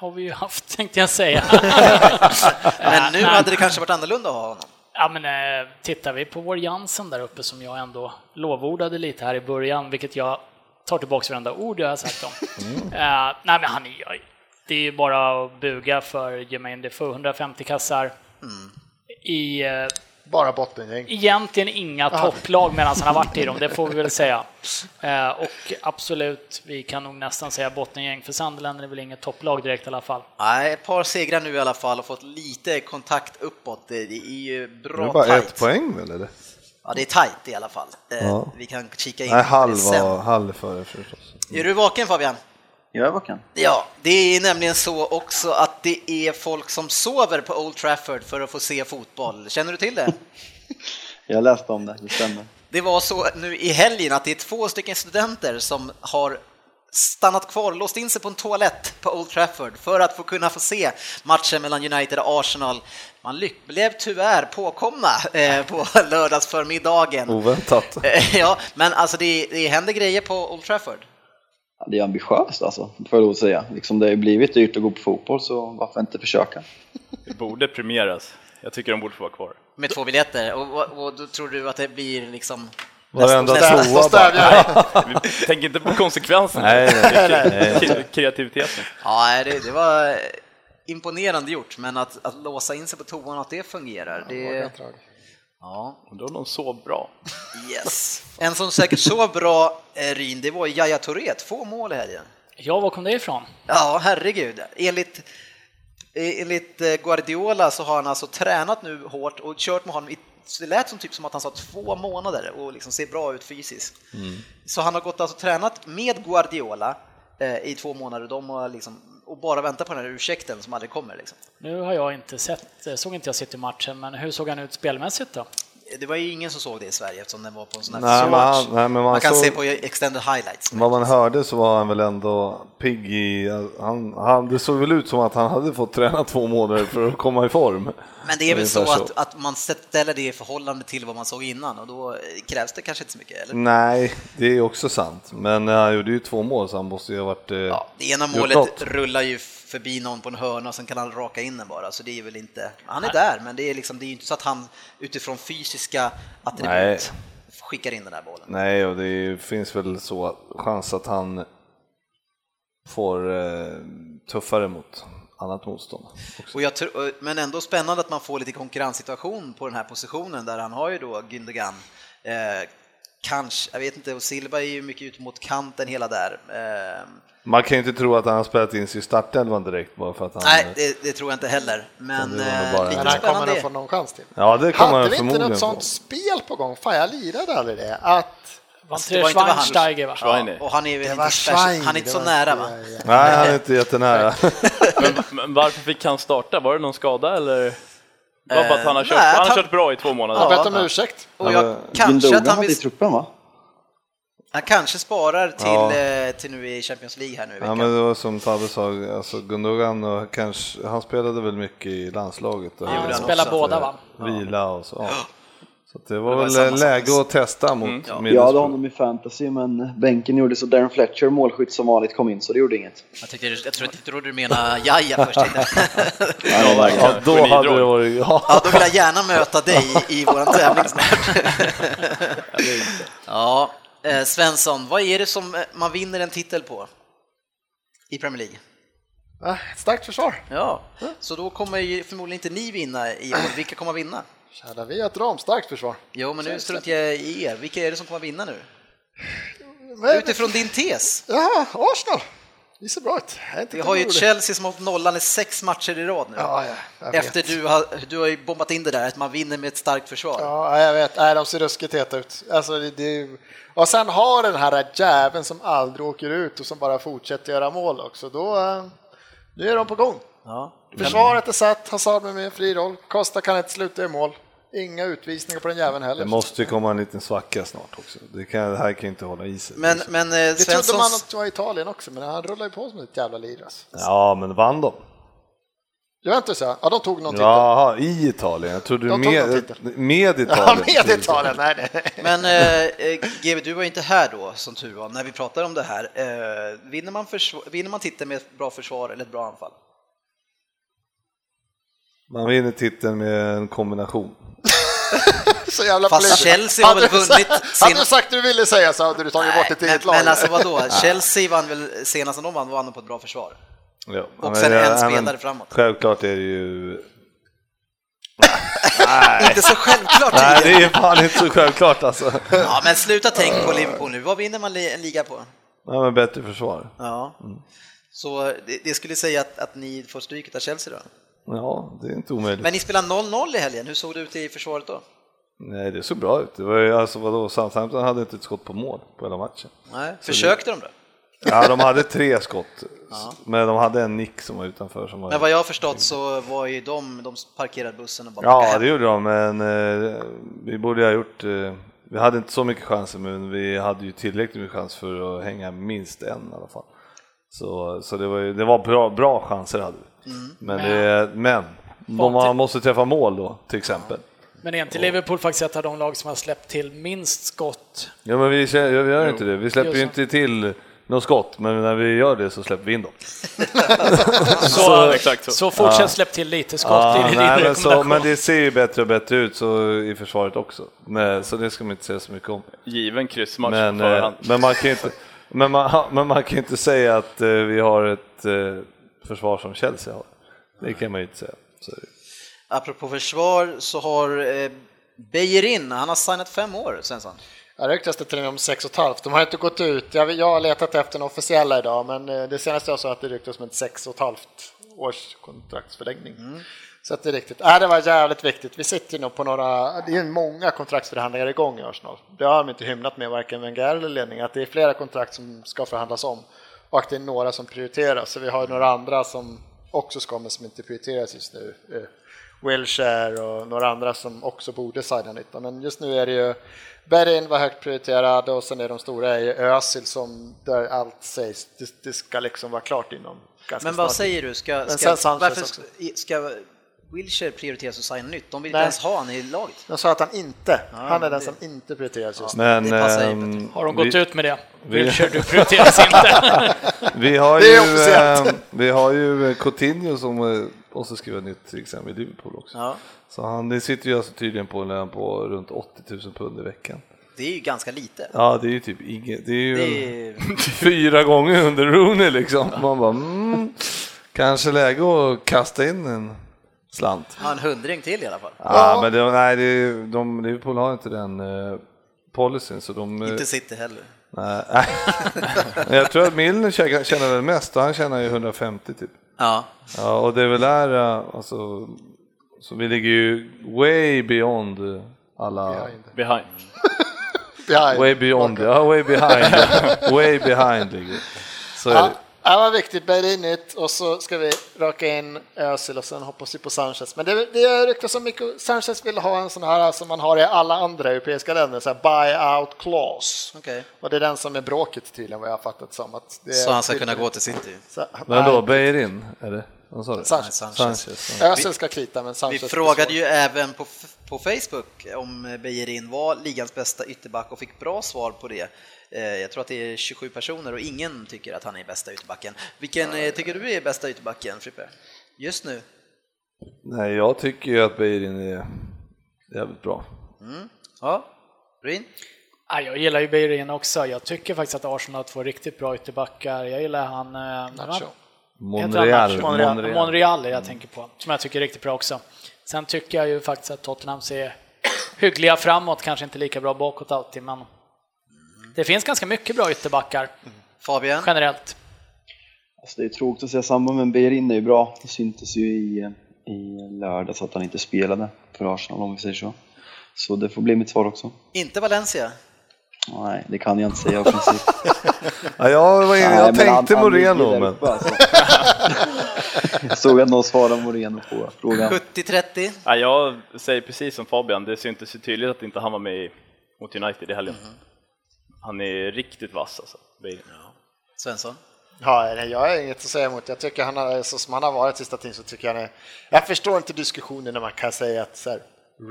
[SPEAKER 5] har vi ju haft tänkte jag säga.
[SPEAKER 2] Men nu
[SPEAKER 5] nej.
[SPEAKER 2] hade det kanske varit annorlunda att ha honom.
[SPEAKER 5] Ja, men eh, tittar vi på vår Jansen där uppe som jag ändå lovordade lite här i början, vilket jag tar tillbaka varenda ord jag har sagt om. Eh, nej, men han är ju... Det är ju bara att buga för Jermaine Defoe, 150 kassar. I eh,
[SPEAKER 7] Bara bottengäng.
[SPEAKER 5] egentligen inga topplag medan han har varit i dem, det får vi väl säga. Eh, och absolut, vi kan nog nästan säga bottengäng, för Sunderland är väl inget topplag direkt i alla fall.
[SPEAKER 2] Nej, ett par segrar nu i alla fall och fått lite kontakt uppåt. Det, det är ju
[SPEAKER 4] Det är
[SPEAKER 2] bra
[SPEAKER 4] bara
[SPEAKER 2] tajt.
[SPEAKER 4] ett poäng väl eller?
[SPEAKER 2] Ja, det är tajt i alla fall. Eh,
[SPEAKER 4] Ja.
[SPEAKER 2] Vi kan kika in
[SPEAKER 4] Nej,
[SPEAKER 2] på det
[SPEAKER 4] halv
[SPEAKER 2] sen.
[SPEAKER 4] var, halv före förstås.
[SPEAKER 2] Är du vaken Fabian?
[SPEAKER 3] Gör jag vad jag kan.
[SPEAKER 2] Ja, det är nämligen så också att det är folk som sover på Old Trafford för att få se fotboll. Känner du till det?
[SPEAKER 3] Jag läste om det, det stämmer.
[SPEAKER 2] Det var så nu i helgen att det är två stycken studenter som har stannat kvar, låst in sig på en toalett på Old Trafford för att få kunna få se matchen mellan United och Arsenal. Man lyck- blev tyvärr påkomna eh, på lördagsförmiddagen.
[SPEAKER 4] Oh. Oväntat.
[SPEAKER 2] Eh, Ja, men alltså det, det händer grejer på Old Trafford.
[SPEAKER 3] Ja, det är ambitiöst alltså, får jag lov att säga. Liksom det har ju blivit dyrt att gå på fotboll så varför inte försöka?
[SPEAKER 6] Det borde premieras. Jag tycker de borde få vara kvar.
[SPEAKER 2] Med två biljetter och, och, och då tror du att det blir liksom...
[SPEAKER 4] Varenda
[SPEAKER 2] nästa-
[SPEAKER 4] tvåa
[SPEAKER 7] Så
[SPEAKER 4] bara.
[SPEAKER 7] stävjar jag.
[SPEAKER 6] Vi tänker inte på konsekvenserna.
[SPEAKER 4] Nej, nej, nej.
[SPEAKER 6] Kre- Kreativiteten.
[SPEAKER 2] Ja, nej, det, det var imponerande gjort, men att, att låsa in sig på toan och att det fungerar, det... Ja,
[SPEAKER 6] Undrar om de sov bra.
[SPEAKER 2] yes. En som säkert så bra, eh, Ryn, det var Yahya Touré, två mål i helgen.
[SPEAKER 5] Ja, var kom det ifrån?
[SPEAKER 2] Ja, herregud. Enligt, eh, enligt eh, Guardiola så har han alltså tränat nu hårt och kört med honom i så det lät som typ som att han sa två månader och liksom ser bra ut fysiskt.
[SPEAKER 4] Mm.
[SPEAKER 2] Så han har gått alltså och tränat med Guardiola eh, i två månader de har liksom, och bara väntat på den här ursäkten som aldrig kommer. Liksom.
[SPEAKER 5] Nu har jag inte sett, eh, såg inte jag City-matchen, men hur såg han ut spelmässigt då?
[SPEAKER 2] Det var ju ingen som såg det i Sverige eftersom den var på en sån här
[SPEAKER 4] Nej,
[SPEAKER 2] fysisk
[SPEAKER 4] men han-
[SPEAKER 2] match.
[SPEAKER 4] nej, men man
[SPEAKER 2] man kan
[SPEAKER 4] såg-
[SPEAKER 2] se på extended highlights. liksom.
[SPEAKER 4] Vad man hörde så var han väl ändå pigg i... Han, han, det såg väl ut som att han hade fått träna två månader för att komma i form.
[SPEAKER 2] Men det är väl så,
[SPEAKER 4] Ungefär
[SPEAKER 2] Att, att man ställer det i förhållande till vad man såg innan och då eh, krävs det kanske inte så mycket. Eller?
[SPEAKER 4] Nej, det är också sant. Men eh, han gjorde ju två mål så han måste ju ha varit... eh,
[SPEAKER 2] Ja, det ena
[SPEAKER 4] gjort
[SPEAKER 2] målet
[SPEAKER 4] något.
[SPEAKER 2] rullar ju förbi någon på en hörna och sen kan han raka in den bara, så det är väl inte... Han är där, men det är, liksom, det är ju inte så att han utifrån fysiska attribut skickar in den här bollen.
[SPEAKER 4] Nej, och det finns väl så att- chans att han får eh, tuffare mot annat motstånd.
[SPEAKER 2] Och jag tror, och- men ändå spännande att man får lite konkurrenssituation på den här positionen där han har ju då Gündogan, eh, kanske, jag vet inte, och Silva är ju mycket ut mot kanten hela där. Eh,
[SPEAKER 4] Man kan ju inte tro att han har spelat in sin startelvan direkt bara för att han...
[SPEAKER 2] nej, det, det tror jag inte heller,
[SPEAKER 4] Mm.
[SPEAKER 2] men
[SPEAKER 4] det var nog
[SPEAKER 2] eh,
[SPEAKER 4] bara-
[SPEAKER 2] lite
[SPEAKER 7] Men han kommer
[SPEAKER 2] spännande.
[SPEAKER 7] nog få någon chans till.
[SPEAKER 4] Ja, det kommer
[SPEAKER 7] Hade
[SPEAKER 4] han
[SPEAKER 7] vi inte
[SPEAKER 4] förmodligen
[SPEAKER 7] något
[SPEAKER 4] få.
[SPEAKER 7] sånt spel på gång? Fan, jag lirade aldrig det. Att
[SPEAKER 5] Var
[SPEAKER 2] Alltså,
[SPEAKER 5] inte
[SPEAKER 2] det
[SPEAKER 5] det
[SPEAKER 2] var inte vad han-
[SPEAKER 5] Schweinsteiger va?
[SPEAKER 6] Schweini.
[SPEAKER 2] Och han är väl
[SPEAKER 7] det
[SPEAKER 2] inte,
[SPEAKER 7] var
[SPEAKER 2] special,
[SPEAKER 7] Schwein.
[SPEAKER 2] han är inte så
[SPEAKER 7] det var
[SPEAKER 2] nära va?
[SPEAKER 7] inte-
[SPEAKER 4] Nej, han är inte jättenära.
[SPEAKER 6] Men, men varför fick han starta? Var det någon skada eller? Det var bara att han har
[SPEAKER 2] Eh,
[SPEAKER 6] kört,
[SPEAKER 2] nej,
[SPEAKER 6] han har
[SPEAKER 2] han-
[SPEAKER 6] kört bra i två
[SPEAKER 7] Jag
[SPEAKER 6] månader.
[SPEAKER 7] har bett om ursäkt.
[SPEAKER 2] Och jag,
[SPEAKER 4] Alltså,
[SPEAKER 2] kanske
[SPEAKER 3] Gündogan
[SPEAKER 2] att han,
[SPEAKER 3] hade i
[SPEAKER 2] vill,
[SPEAKER 3] truppen va?
[SPEAKER 2] han kanske sparar
[SPEAKER 4] Ja.
[SPEAKER 2] till, eh, till nu i Champions League här nu i
[SPEAKER 4] Ja
[SPEAKER 2] veckan.
[SPEAKER 4] men det var som Fabbe sa, alltså Gundogan och kanske, han spelade väl mycket i landslaget och
[SPEAKER 2] gjorde
[SPEAKER 5] Han
[SPEAKER 2] han
[SPEAKER 5] spelar
[SPEAKER 2] också.
[SPEAKER 5] båda va?
[SPEAKER 4] vila och så. Ja. Så att det var,
[SPEAKER 2] Det var samma
[SPEAKER 4] väl
[SPEAKER 2] sak.
[SPEAKER 4] läge att testa mot mm.
[SPEAKER 3] Jag hade honom i fantasy men bänken gjorde så Darren Fletcher, målskytt som vanligt, kom in så det gjorde inget.
[SPEAKER 2] Jag, tyckte, jag tror- jag trodde du menade Jaja först.
[SPEAKER 3] Nej, nej, nej.
[SPEAKER 4] Ja, då hade det varit, ja.
[SPEAKER 2] Ja, då vill jag gärna möta dig i våran tävling snart. ja, eh, Svensson, vad är det som eh, man vinner en titel på i Premier League?
[SPEAKER 7] Ah, ett Starkt försvar.
[SPEAKER 2] Ja, så då kommer ju förmodligen inte ni vinna i år. Vilka kommer vinna?
[SPEAKER 7] Kära, vi har ett ramstarkt försvar.
[SPEAKER 2] Jo, men nu struntar jag i er. Vilka är det som kommer vinna nu?
[SPEAKER 7] Men,
[SPEAKER 2] Utifrån din tes.
[SPEAKER 7] ja, Arsenal. Vi ser bra ut. Jag är inte
[SPEAKER 2] Vi har ju ett
[SPEAKER 7] orolig.
[SPEAKER 2] Chelsea som har fått nollan i sex matcher i rad nu.
[SPEAKER 7] Ja, ja, jag vet.
[SPEAKER 2] Efter du har, du har ju bombat in det där att man vinner med ett starkt försvar.
[SPEAKER 7] Ja, jag vet. Nej, de ser ruskigt heta ut. Alltså, det, det, är ju- och sen har den här jäveln som aldrig åker ut och som bara fortsätter göra mål också. Då, eh, nu är de på gång.
[SPEAKER 2] Ja.
[SPEAKER 7] Försvaret är satt, Hazard med en fri roll. Costa kan inte sluta i mål. Inga utvisningar på den jäveln heller.
[SPEAKER 4] Det måste ju komma en liten svacka snart också. Det, kan, det här kan ju inte hålla i sig.
[SPEAKER 2] Men, men eh,
[SPEAKER 7] det trodde man
[SPEAKER 2] Svenssons...
[SPEAKER 7] att det var Italien också, men han rullar ju på som ett jävla lir. Alltså.
[SPEAKER 4] Ja men vann de?
[SPEAKER 7] Juventus ja, ja, de tog någon titel. Ja,
[SPEAKER 4] Jaha, i Italien? Jag trodde
[SPEAKER 7] De tog någon
[SPEAKER 4] med,
[SPEAKER 7] titel.
[SPEAKER 4] med
[SPEAKER 7] ja
[SPEAKER 4] Italien.
[SPEAKER 7] med Italien. Nej, nej.
[SPEAKER 2] Men eh, eh, GB, du var ju inte här då, som tur var, när vi pratade om det här. Eh, vinner, man försv- vinner man titeln med ett bra försvar eller ett bra anfall?
[SPEAKER 4] Man vinner titeln med en kombination.
[SPEAKER 7] Så jävla
[SPEAKER 2] Fast
[SPEAKER 7] politiskt.
[SPEAKER 2] Chelsea har väl
[SPEAKER 7] Hade du
[SPEAKER 2] vunnit
[SPEAKER 7] sagt-
[SPEAKER 2] sin-
[SPEAKER 7] Hade du sagt du ville säga så hade du tagit bort ett
[SPEAKER 2] men,
[SPEAKER 7] eget lag.
[SPEAKER 2] men alltså vadå, Chelsea vann väl senast när de vann, vann de på ett bra försvar.
[SPEAKER 4] Ja,
[SPEAKER 2] Och sen
[SPEAKER 4] ja,
[SPEAKER 2] en
[SPEAKER 4] men
[SPEAKER 2] spelare framåt.
[SPEAKER 4] Självklart är det ju...
[SPEAKER 2] Inte så självklart
[SPEAKER 4] Nej, det
[SPEAKER 2] tydligen.
[SPEAKER 4] är fan inte så självklart alltså.
[SPEAKER 2] Ja, men sluta tänk på Liverpool nu, vad vinner man li- en liga på?
[SPEAKER 4] Nej, men bättre försvar.
[SPEAKER 2] Ja. Så eh, det, det skulle säga att, att ni får stryket av Chelsea då?
[SPEAKER 4] Ja, det är inte omöjligt.
[SPEAKER 2] Men ni spelar 0-0 i helgen, hur såg det ut i försvaret då?
[SPEAKER 4] Nej, det såg bra ut. Det var ju alltså vadå, Southampton hade inte ett skott på mål på hela matchen.
[SPEAKER 2] Nej. Försökte de då?
[SPEAKER 4] Ja, de hade tre skott, men de hade en nick som var utanför som var...
[SPEAKER 2] Men vad jag har förstått så var ju de, de parkerade bussen och bara åkte
[SPEAKER 4] Ja,
[SPEAKER 2] hem.
[SPEAKER 4] det gjorde de, men eh, vi borde ha gjort... Eh, vi hade inte så mycket chanser, men vi hade ju tillräckligt med chans för att hänga minst en i alla fall. Så, så det var, ju, det var bra, bra chanser hade vi.
[SPEAKER 2] Mm.
[SPEAKER 4] Men, det, men de, man måste träffa mål då, till exempel.
[SPEAKER 5] Men är inte Liverpool faktiskt ett av de lag som har släppt till minst skott?
[SPEAKER 4] Ja, men vi, kä- ja, vi gör inte det. Vi släpper ju
[SPEAKER 5] Just
[SPEAKER 4] inte till något skott, men när vi gör det så släpper vi in dem.
[SPEAKER 6] Så, exakt så.
[SPEAKER 5] Så fortsätt släpp till lite skott,
[SPEAKER 4] Ja,
[SPEAKER 5] det är din
[SPEAKER 4] Ah, nej, men, så,
[SPEAKER 5] rekommendation.
[SPEAKER 4] men det ser ju bättre och bättre ut så, i försvaret också. Men, så det ska man inte säga så mycket om.
[SPEAKER 6] Given kryssmatch
[SPEAKER 4] Men,
[SPEAKER 6] på
[SPEAKER 4] eh,
[SPEAKER 6] förhand.
[SPEAKER 4] men, man, kan ju inte, men, man, men man kan ju inte säga att eh, vi har ett eh, försvar som Chelsea har. Det kan man ju inte säga. Så,
[SPEAKER 2] Apropå försvar så har eh, Bejerin, han har signat fem år, Svensson.
[SPEAKER 7] Jag ryktas till och med om sex och ett halvt. De har inte gått ut. Jag, jag har letat efter den officiella idag, men eh, det senaste jag sa att det ryktas om ett sex och ett halvt års kontraktsförlängning. Så att det är riktigt. Äh, det var jävligt viktigt. Vi sitter ju nog på några, det är många kontraktsförhandlingar igång i Arsenal. Det har de inte hymlat med, varken Wenger eller ledningen, att det är flera kontrakt som ska förhandlas om och att det är några som prioriteras. Så vi har ju några andra som också ska, men som inte prioriteras just nu. Eh, Wilshire och några andra som också borde signa nytt. Men just nu är det ju Berlin var högt prioriterad och sen är de stora är ju Özil som där allt sägs, det, det ska liksom vara klart inom ganska
[SPEAKER 2] Men vad
[SPEAKER 7] snart.
[SPEAKER 2] säger du, ska,
[SPEAKER 7] Men
[SPEAKER 2] ska,
[SPEAKER 7] sen Sanchez
[SPEAKER 2] varför
[SPEAKER 7] också.
[SPEAKER 2] ska- ska Wilshire prioriteras och signa nytt? De vill inte
[SPEAKER 7] Nej.
[SPEAKER 2] ens ha han i laget.
[SPEAKER 7] De sa att han inte, han är den
[SPEAKER 2] det-
[SPEAKER 7] som inte prioriteras just nu.
[SPEAKER 4] men,
[SPEAKER 2] det passar ju
[SPEAKER 4] ehm,
[SPEAKER 5] Har de gått
[SPEAKER 4] vi,
[SPEAKER 5] ut med det?
[SPEAKER 4] vi-
[SPEAKER 5] Wiltshire, du prioriteras inte.
[SPEAKER 4] Vi har,
[SPEAKER 7] Det är
[SPEAKER 4] ju,
[SPEAKER 7] officiellt.
[SPEAKER 4] eh, vi har ju eh, Coutinho som eh, måste skriva nytt till exempel i Liverpool också.
[SPEAKER 2] Ja.
[SPEAKER 4] Så han det sitter ju alltså tydligen på en lön på runt 80 000 pund i veckan.
[SPEAKER 2] Det är ju ganska lite.
[SPEAKER 4] Ja, det är ju typ inget. Det är ju
[SPEAKER 2] Det
[SPEAKER 4] en-
[SPEAKER 2] är,
[SPEAKER 4] fyra gånger under Rooney liksom. Man bara, mm, kanske läge att kasta in en slant.
[SPEAKER 2] har en hundring till i alla fall.
[SPEAKER 4] Ja, men det, nej, det, är- de, Liverpool har inte den eh, policyn så de... eh,
[SPEAKER 2] Inte City heller.
[SPEAKER 4] nej, nej. Men Jag tror att Milner tjänar tjänar väl mest och han tjänar ju 150 typ.
[SPEAKER 2] Ja.
[SPEAKER 4] Ja, och det är väl där, eh, alltså, så vi ligger ju way beyond alla...
[SPEAKER 6] Behind.
[SPEAKER 7] Ja,
[SPEAKER 4] Way beyond, ja, way behind. way behind ligger vi. Så är
[SPEAKER 7] ja,
[SPEAKER 4] det.
[SPEAKER 7] ja, vad viktigt, Berlin nytt och så ska vi raka in Özil och sen hoppas vi på Sanchez. Men det, det ryktas som mycket, Sanchez vill ha en sån här som man har i alla andra europeiska länder, så här buy-out clause.
[SPEAKER 2] Okej.
[SPEAKER 7] Och det är den som är bråket tydligen vad jag har fattat som. Att det typ-
[SPEAKER 2] Så han ska kunna gå till City.
[SPEAKER 7] Så-
[SPEAKER 4] Men då,
[SPEAKER 7] nej,
[SPEAKER 4] Beirin, är det? Vad sa du?
[SPEAKER 7] Sanchez.
[SPEAKER 4] Sanchez. ja.
[SPEAKER 7] Özil Alltså, ska krita men
[SPEAKER 2] Vi
[SPEAKER 7] Sanchez...
[SPEAKER 2] frågade ju även på, f- på Facebook om Bejerin var ligans bästa ytterback och fick bra svar på det. Eh, Jag tror att det är 27 personer och ingen tycker att han är bästa ytterbacken. Vilken eh, tycker du är bästa ytterbacken, Frippe? Just nu?
[SPEAKER 4] Nej, jag tycker ju att Beirin är jävligt bra.
[SPEAKER 2] Ja, Ruin?
[SPEAKER 5] Ja, jag gillar ju Beirin också. Jag tycker faktiskt att Arsenal har två riktigt bra ytterbackar. Jag gillar han... eh,
[SPEAKER 7] Nacho.
[SPEAKER 5] Heter han
[SPEAKER 4] Monreal.
[SPEAKER 5] Nacho?
[SPEAKER 4] Monreal. Mm.
[SPEAKER 5] Monreal. är det jag tänker på, som jag tycker är riktigt bra också. Sen tycker jag ju faktiskt att Tottenham ser hyggliga framåt, kanske inte lika bra bakåt alltid, men det finns ganska mycket bra ytterbackar
[SPEAKER 2] Fabian?
[SPEAKER 5] generellt.
[SPEAKER 3] Alltså det är tråkigt att säga samma, men Berin är ju bra. Det syntes ju i, i lördags att han inte spelade för Arsenal om vi säger så. Så det får bli mitt svar också.
[SPEAKER 2] Inte Valencia?
[SPEAKER 3] Nej, det kan jag inte säga i princip.
[SPEAKER 4] Ja, jag var inne,
[SPEAKER 3] Nej,
[SPEAKER 4] jag
[SPEAKER 3] men han-
[SPEAKER 4] tänkte
[SPEAKER 3] han ligger
[SPEAKER 4] Moreno,
[SPEAKER 3] där
[SPEAKER 4] men...
[SPEAKER 3] uppe, alltså. Jag alltså. såg att någon svarade Moreno på frågan.
[SPEAKER 2] 70-30?
[SPEAKER 6] Ja, jag säger precis som Fabian, det syntes ju tydligt att inte han var med i- mot United i helgen. Han är riktigt vass alltså. Beirin.
[SPEAKER 2] Svensson?
[SPEAKER 7] Ja, nej, jag har inget att säga emot. Jag tycker han har, så som han har varit sista tiden så tycker jag han är... Jag förstår inte diskussionen när man kan säga att så här,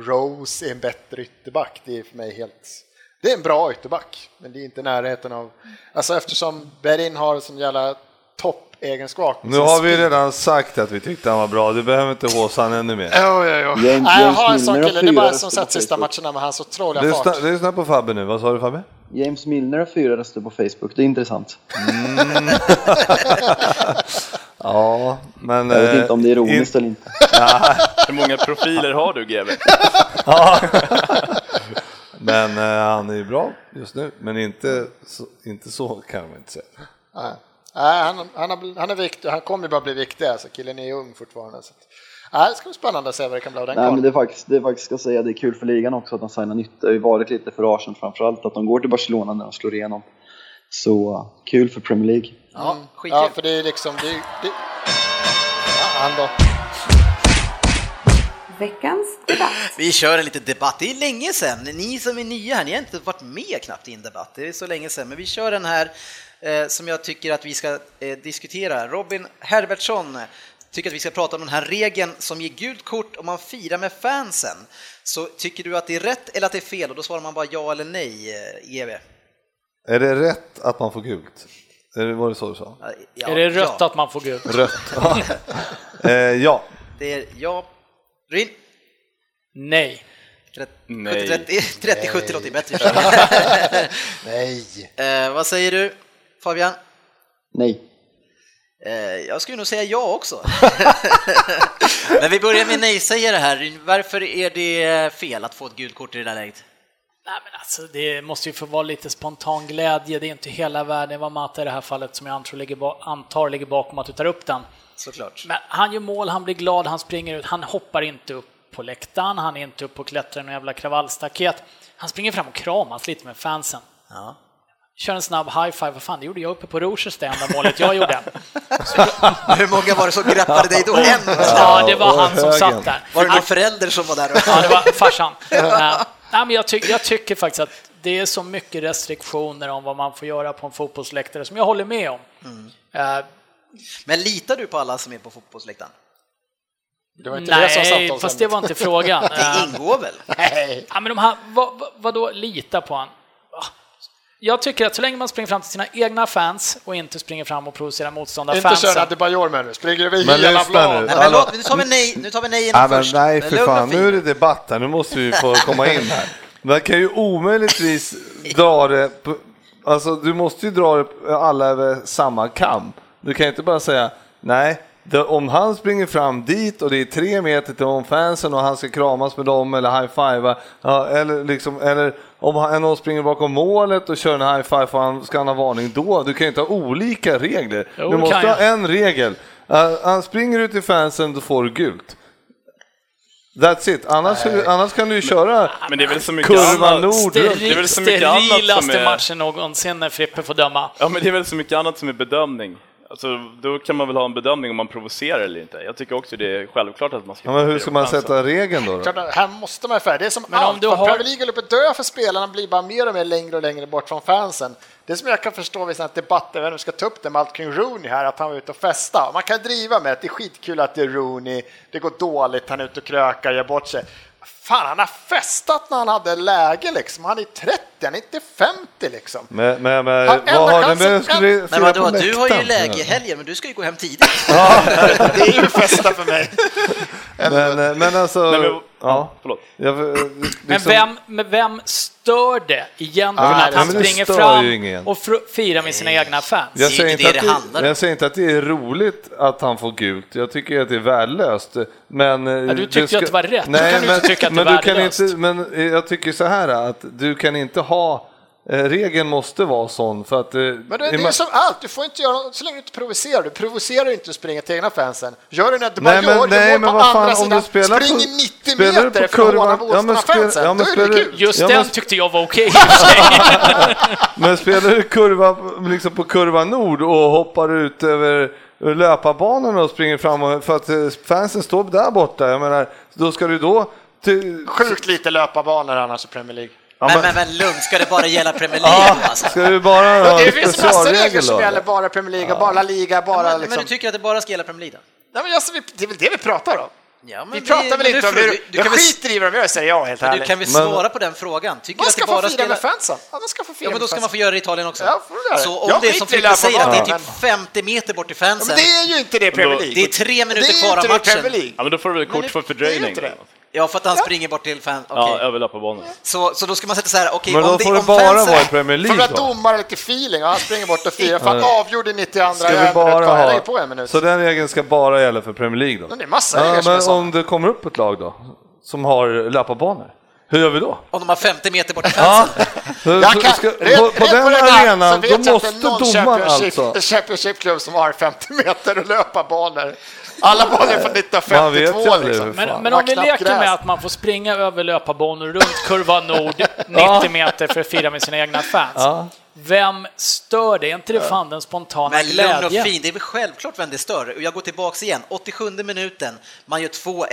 [SPEAKER 7] Rose är en bättre ytterback. Det är för mig helt... Det är en bra ytterback, men det är inte i närheten av... Alltså eftersom Berin har en sån jävla topp egenskap.
[SPEAKER 4] Nu har vi redan sagt att vi tyckte han var bra, du behöver inte håsa han ännu mer.
[SPEAKER 7] Jo, jo, jo.
[SPEAKER 3] James-
[SPEAKER 7] Nej, jag har en
[SPEAKER 3] James
[SPEAKER 7] sån
[SPEAKER 3] Milner
[SPEAKER 7] kille.
[SPEAKER 3] har
[SPEAKER 7] Det är bara
[SPEAKER 3] fyra
[SPEAKER 7] som
[SPEAKER 3] röster på
[SPEAKER 7] sett sista
[SPEAKER 3] Facebook.
[SPEAKER 7] matcherna med hans otroliga
[SPEAKER 4] Lyssna,
[SPEAKER 7] fart.
[SPEAKER 4] lyssna på Fabbe nu, vad sa du Fabbe?
[SPEAKER 3] James Milner har fyra röster på Facebook, det är intressant.
[SPEAKER 4] Ja, men...
[SPEAKER 3] Jag vet
[SPEAKER 4] eh,
[SPEAKER 3] inte om det är ironiskt eller inte.
[SPEAKER 6] Hur många profiler har du GB?
[SPEAKER 4] Men eh, han är ju bra just nu, men inte så, inte så kan man inte säga.
[SPEAKER 7] Nej. Nej, han, han, har, bl- han är viktig. Han kommer ju bara bli viktig. Alltså. Killen är ju ung fortfarande. Så. att- Nej, det ska bli spännande att se vad det kan bli av den
[SPEAKER 3] Nej, men
[SPEAKER 7] karln.
[SPEAKER 3] det är faktiskt, det är faktiskt ska jag säga, det är kul för ligan också att de signar nytt. Det har ju varit lite för Arsenal framförallt att de går till Barcelona när de slår igenom. Så eh, kul för Premier League.
[SPEAKER 2] Ja,
[SPEAKER 7] Ja,
[SPEAKER 2] skitkul.
[SPEAKER 7] för det är liksom... Det, är- det... Fan då.
[SPEAKER 9] Veckans debatt.
[SPEAKER 2] Vi kör en liten debatt. Det är länge sedan. Ni som är nya här, ni har inte varit med knappt i en debatt. Det är så länge sedan. Men vi kör den här eh, som jag tycker att vi ska eh, diskutera. Robin Herbertsson tycker att vi ska prata om den här regeln som ger gult kort om man firar med fansen. Så tycker du att det är rätt eller att det är fel? Och då svarar man bara ja eller nej, eh, EV.
[SPEAKER 4] Är det rätt att man får gult? Är det, var det så du sa?
[SPEAKER 2] Ja,
[SPEAKER 5] är det rött
[SPEAKER 2] Ja.
[SPEAKER 5] att man får gult?
[SPEAKER 4] Rött. Ja. eh, ja.
[SPEAKER 2] Det är ja. Ryn?
[SPEAKER 5] Nej.
[SPEAKER 6] Nej.
[SPEAKER 2] 30-70 låter ju bättre.
[SPEAKER 7] Nej.
[SPEAKER 2] eh, vad säger du Fabian?
[SPEAKER 3] Nej.
[SPEAKER 2] Eh, jag skulle nog säga ja också. Men vi börjar med nej-sägare här. Varför är det fel att få ett gult kort i det där läget?
[SPEAKER 5] Nej, men alltså, det måste ju få vara lite spontan glädje. Det är inte hela världen vad Mata i det här fallet som jag antar ligger, ba- antar ligger bakom att du tar upp den.
[SPEAKER 2] Såklart.
[SPEAKER 5] Men han gör mål, han blir glad, han springer ut, han hoppar inte upp på läktaren, han är inte upp och klättrar i någon jävla kravallstaket. Han springer fram och kramas lite med fansen.
[SPEAKER 2] Ja.
[SPEAKER 5] Kör en snabb high-five, vad fan det gjorde jag uppe på Rogers det enda målet jag gjorde.
[SPEAKER 2] Hur många var det som greppade dig då? En?
[SPEAKER 5] Ja, det var
[SPEAKER 4] och
[SPEAKER 5] han som
[SPEAKER 4] högen.
[SPEAKER 5] satt där.
[SPEAKER 2] Var det någon förälder som var där?
[SPEAKER 5] Ja, det var farsan. Nej, nej, men jag, tyck, jag tycker faktiskt att det är så mycket restriktioner om vad man får göra på en fotbollsläktare som jag håller med om. Eh,
[SPEAKER 2] Men litar du på alla som är på fotbollsläktaren?
[SPEAKER 7] Det var inte det som
[SPEAKER 5] nej,
[SPEAKER 7] samtalsämnet.
[SPEAKER 5] fast det var inte frågan.
[SPEAKER 2] Det
[SPEAKER 5] Eh,
[SPEAKER 2] ingår väl?
[SPEAKER 7] Nej.
[SPEAKER 5] Ja, men de här, vad, vad, vadå lita på han? Va? Jag tycker att så länge man springer fram till sina egna fans och inte springer fram och provocerar
[SPEAKER 7] Inte
[SPEAKER 5] motståndarfansen.
[SPEAKER 7] köra Adebayor med nu. Springer över
[SPEAKER 4] Men
[SPEAKER 7] hela
[SPEAKER 4] lyssna
[SPEAKER 7] plan.
[SPEAKER 4] nu.
[SPEAKER 2] Nej, men låt, nu tar vi nej, nu tar vi nej
[SPEAKER 4] Ja,
[SPEAKER 2] innan
[SPEAKER 4] men
[SPEAKER 2] först.
[SPEAKER 4] nej
[SPEAKER 2] Men
[SPEAKER 4] för
[SPEAKER 2] lugn och
[SPEAKER 4] fan,
[SPEAKER 2] fin.
[SPEAKER 4] nu är det debatt här, nu måste vi få komma in här. Man kan ju omöjligtvis dra det, på, alltså du måste ju dra det på- alla över samma kam. Du kan ju inte bara säga, nej, det, om han springer fram dit och det är tre meter till om fansen och han ska kramas med dem eller high-fivea, ja, eller, liksom, eller om han, någon springer bakom målet och kör en high-five, och han, ska han ha varning då? Du kan ju inte ha olika regler.
[SPEAKER 5] Jo,
[SPEAKER 4] du
[SPEAKER 5] det
[SPEAKER 4] måste ha
[SPEAKER 5] kan jag.
[SPEAKER 4] en regel. Uh, han springer ut till fansen, då får du gult. That's it. Annars, annars kan du ju köra
[SPEAKER 6] Men det är väl så mycket
[SPEAKER 4] kurva
[SPEAKER 6] annat.
[SPEAKER 4] nord runt.
[SPEAKER 6] Det är
[SPEAKER 5] Steril,
[SPEAKER 6] väl så mycket annat som
[SPEAKER 5] sterilaste
[SPEAKER 6] är-
[SPEAKER 5] matchen någonsin när Frippe får döma.
[SPEAKER 6] Ja, men det är väl så mycket annat som är bedömning. Alltså, då kan man väl ha en bedömning om man provocerar eller inte. Jag tycker också det är självklart att man ska...
[SPEAKER 4] Ja, men hur ska man sätta regeln då? då?
[SPEAKER 7] Klart, Här måste man ju för. Det är som
[SPEAKER 5] Men om
[SPEAKER 7] allt.
[SPEAKER 5] du
[SPEAKER 7] Fan,
[SPEAKER 5] har-
[SPEAKER 7] Premier League håller på att dö för spelarna blir bara mer och mer längre och längre bort från fansen. Det som jag kan förstå vid sådana här debatter, jag vet inte om vi ska ta upp det med allt kring Rooney här, att han var ute och festa. Man kan driva med att det är skitkul att det är Rooney, det går dåligt, han är ute och krökar, gör bort sig. Fan, han har festat när han hade läge liksom. Han är 30, han är inte 50 liksom.
[SPEAKER 4] Men, men, men,
[SPEAKER 7] Ja, en
[SPEAKER 4] vad har det
[SPEAKER 7] chans-
[SPEAKER 4] med skulle
[SPEAKER 2] Men
[SPEAKER 4] fira på
[SPEAKER 2] vadå, du har ju
[SPEAKER 4] läktaren?
[SPEAKER 2] läge i helgen, men du ska ju gå hem tidigt.
[SPEAKER 7] Det är ju festa för mig.
[SPEAKER 4] Men, eh, men alltså,
[SPEAKER 6] Nej, men,
[SPEAKER 4] ja.
[SPEAKER 6] ja, förlåt.
[SPEAKER 4] Jag, eh,
[SPEAKER 5] Men
[SPEAKER 4] liksom-
[SPEAKER 5] vem, men vem stör det egentligen
[SPEAKER 4] men-
[SPEAKER 5] att
[SPEAKER 4] ja,
[SPEAKER 5] han
[SPEAKER 4] men det
[SPEAKER 5] springer
[SPEAKER 4] stör
[SPEAKER 5] fram
[SPEAKER 4] ju ingen.
[SPEAKER 5] och fr- firar med sina egna fans?
[SPEAKER 4] Jag
[SPEAKER 2] Det är ju
[SPEAKER 4] säger,
[SPEAKER 2] inte
[SPEAKER 4] inte
[SPEAKER 2] det
[SPEAKER 4] att
[SPEAKER 2] det handlar
[SPEAKER 4] det,
[SPEAKER 2] om.
[SPEAKER 4] jag säger inte att det är roligt att han får gult. Jag tycker att det är värdelöst. Men, ja,
[SPEAKER 5] du tyckte ju att det var rätt. Då
[SPEAKER 4] Nej,
[SPEAKER 5] kan du
[SPEAKER 4] men,
[SPEAKER 5] inte tycka att det
[SPEAKER 4] men
[SPEAKER 5] är
[SPEAKER 4] du kan
[SPEAKER 5] värdelöst.
[SPEAKER 4] inte, Men eh, jag tycker så här att du kan inte ha... eh, Regeln måste vara sån för att... eh,
[SPEAKER 7] Men det, det är ju som allt, du får inte göra något, så länge du inte provocerar. Du provocerar ju inte att springa till egna fansen. Gör det när du bara
[SPEAKER 4] Nej
[SPEAKER 7] nej, gör,
[SPEAKER 4] men, nej,
[SPEAKER 7] du
[SPEAKER 4] men
[SPEAKER 7] mål på
[SPEAKER 4] vad fan
[SPEAKER 7] andra
[SPEAKER 4] om du
[SPEAKER 7] sidan,
[SPEAKER 4] spelar på...
[SPEAKER 7] springer 90
[SPEAKER 4] spelar du på
[SPEAKER 7] meter för att håna
[SPEAKER 4] kurvan- ja, men spela-
[SPEAKER 7] motståndarfansen.
[SPEAKER 4] ja, men
[SPEAKER 7] Då är det
[SPEAKER 4] spelar-
[SPEAKER 7] kul.
[SPEAKER 5] Just
[SPEAKER 4] Ja, men-
[SPEAKER 5] den tyckte jag var okej i och för sig.
[SPEAKER 4] Men spelar du kurva, liksom på kurva nord och hoppar ut över löparbanan och springer fram och, för att eh, fansen står där borta. Jag menar, då ska du då... Till,
[SPEAKER 7] Sjukt lite löparbanor annars i Premier League.
[SPEAKER 4] Ja,
[SPEAKER 2] men,
[SPEAKER 4] men-
[SPEAKER 2] men, men lugn, ska det bara gälla Premier League då, alltså?
[SPEAKER 4] Ska du bara ha
[SPEAKER 7] det
[SPEAKER 4] en
[SPEAKER 7] finns massor regler
[SPEAKER 4] specialregel
[SPEAKER 7] som
[SPEAKER 4] då?
[SPEAKER 7] gäller bara Premier League, och bara La Liga, bara
[SPEAKER 2] Men, men
[SPEAKER 7] liksom.
[SPEAKER 2] du tycker att det bara ska gälla Premier League då?
[SPEAKER 7] Nej, men alltså, vi- det är väl det vi pratar om?
[SPEAKER 2] Ja, men
[SPEAKER 8] Vi pratar väl
[SPEAKER 2] men
[SPEAKER 8] inte om
[SPEAKER 2] får-
[SPEAKER 8] det.
[SPEAKER 2] du, du
[SPEAKER 8] Jag
[SPEAKER 2] kan väl,
[SPEAKER 8] skiter i vad de gör, säger jag helt
[SPEAKER 2] du
[SPEAKER 8] ärligt.
[SPEAKER 2] kan väl
[SPEAKER 4] Men-
[SPEAKER 2] svara på den frågan? Tycker du
[SPEAKER 7] Man
[SPEAKER 2] att
[SPEAKER 7] ska
[SPEAKER 2] det
[SPEAKER 7] få
[SPEAKER 2] bara
[SPEAKER 7] fira
[SPEAKER 2] spelar...
[SPEAKER 7] med fansen. Ja, man ska få fira
[SPEAKER 2] Ja, men då
[SPEAKER 7] med
[SPEAKER 2] ska
[SPEAKER 7] fansen.
[SPEAKER 2] man få göra det i Italien också.
[SPEAKER 7] Ja, får du göra det.
[SPEAKER 2] Så om
[SPEAKER 8] Jag
[SPEAKER 2] det är
[SPEAKER 8] skiter
[SPEAKER 2] som
[SPEAKER 8] i
[SPEAKER 2] Frippe
[SPEAKER 8] Lampard,
[SPEAKER 2] säger, att det är
[SPEAKER 8] men-
[SPEAKER 2] typ 50 meter bort till
[SPEAKER 8] Ja,
[SPEAKER 2] fansen.
[SPEAKER 8] men det är ju inte det i Premier League.
[SPEAKER 2] Det är tre
[SPEAKER 8] Det
[SPEAKER 2] minuter
[SPEAKER 8] är
[SPEAKER 2] kvar av
[SPEAKER 8] inte det i Premier
[SPEAKER 2] matchen.
[SPEAKER 8] League.
[SPEAKER 6] Ja, men då får du väl kort för
[SPEAKER 7] det är ju
[SPEAKER 6] fördröjning.
[SPEAKER 7] inte det.
[SPEAKER 2] Ja, för att han springer bort till fan.
[SPEAKER 6] Ja,
[SPEAKER 2] Okej.
[SPEAKER 6] överlappa bollen.
[SPEAKER 2] Så, så då ska man sätta så här, okej,
[SPEAKER 4] Men
[SPEAKER 2] om
[SPEAKER 4] då
[SPEAKER 2] det
[SPEAKER 4] får det
[SPEAKER 2] om
[SPEAKER 4] bara
[SPEAKER 2] fansen...
[SPEAKER 4] vara i Premier
[SPEAKER 7] För
[SPEAKER 4] League
[SPEAKER 7] att
[SPEAKER 4] då.
[SPEAKER 7] domaren har lite feeling och han springer bort och firar för han avgjorde i 92 andra
[SPEAKER 4] Ska vi bara
[SPEAKER 7] Jag lägger på en
[SPEAKER 4] ha...
[SPEAKER 7] minut.
[SPEAKER 4] Så den regeln ska bara gälla för Premier League då?
[SPEAKER 7] Men det är massa regler
[SPEAKER 4] ja,
[SPEAKER 7] som är
[SPEAKER 4] men
[SPEAKER 7] sådana.
[SPEAKER 4] om det kommer upp ett lag då, som har lappabanor, hur gör vi då?
[SPEAKER 2] Om de har 50 meter bort till
[SPEAKER 4] Ja,
[SPEAKER 2] fansen.
[SPEAKER 4] så-
[SPEAKER 7] Jag
[SPEAKER 4] så
[SPEAKER 7] kan,
[SPEAKER 4] ska,
[SPEAKER 7] red-
[SPEAKER 4] på, på
[SPEAKER 7] red
[SPEAKER 4] den
[SPEAKER 7] det här, så
[SPEAKER 4] arenan,
[SPEAKER 7] vet
[SPEAKER 4] då
[SPEAKER 7] jag att det är
[SPEAKER 4] måste
[SPEAKER 7] någon
[SPEAKER 4] domaren
[SPEAKER 7] Championship-
[SPEAKER 4] alltså...
[SPEAKER 7] Championship-klubb som har 50 meter och löparbanor. Alla banor från 1952
[SPEAKER 4] Man vet ju aldrig
[SPEAKER 7] liksom.
[SPEAKER 4] hur
[SPEAKER 5] Men,
[SPEAKER 4] Fan.
[SPEAKER 5] men om vi
[SPEAKER 7] Knappt
[SPEAKER 5] leker
[SPEAKER 7] gräs.
[SPEAKER 5] med att man får springa över löparbanor runt kurva nord 90 meter för att fira med sina egna fans. Vem stör det? Är inte det fan den spontana
[SPEAKER 2] Men lugn och
[SPEAKER 5] glädjen?
[SPEAKER 2] fin, det är väl självklart vem det stör. Och Jag går tillbaks igen, 87 minuten, man gör 2-1,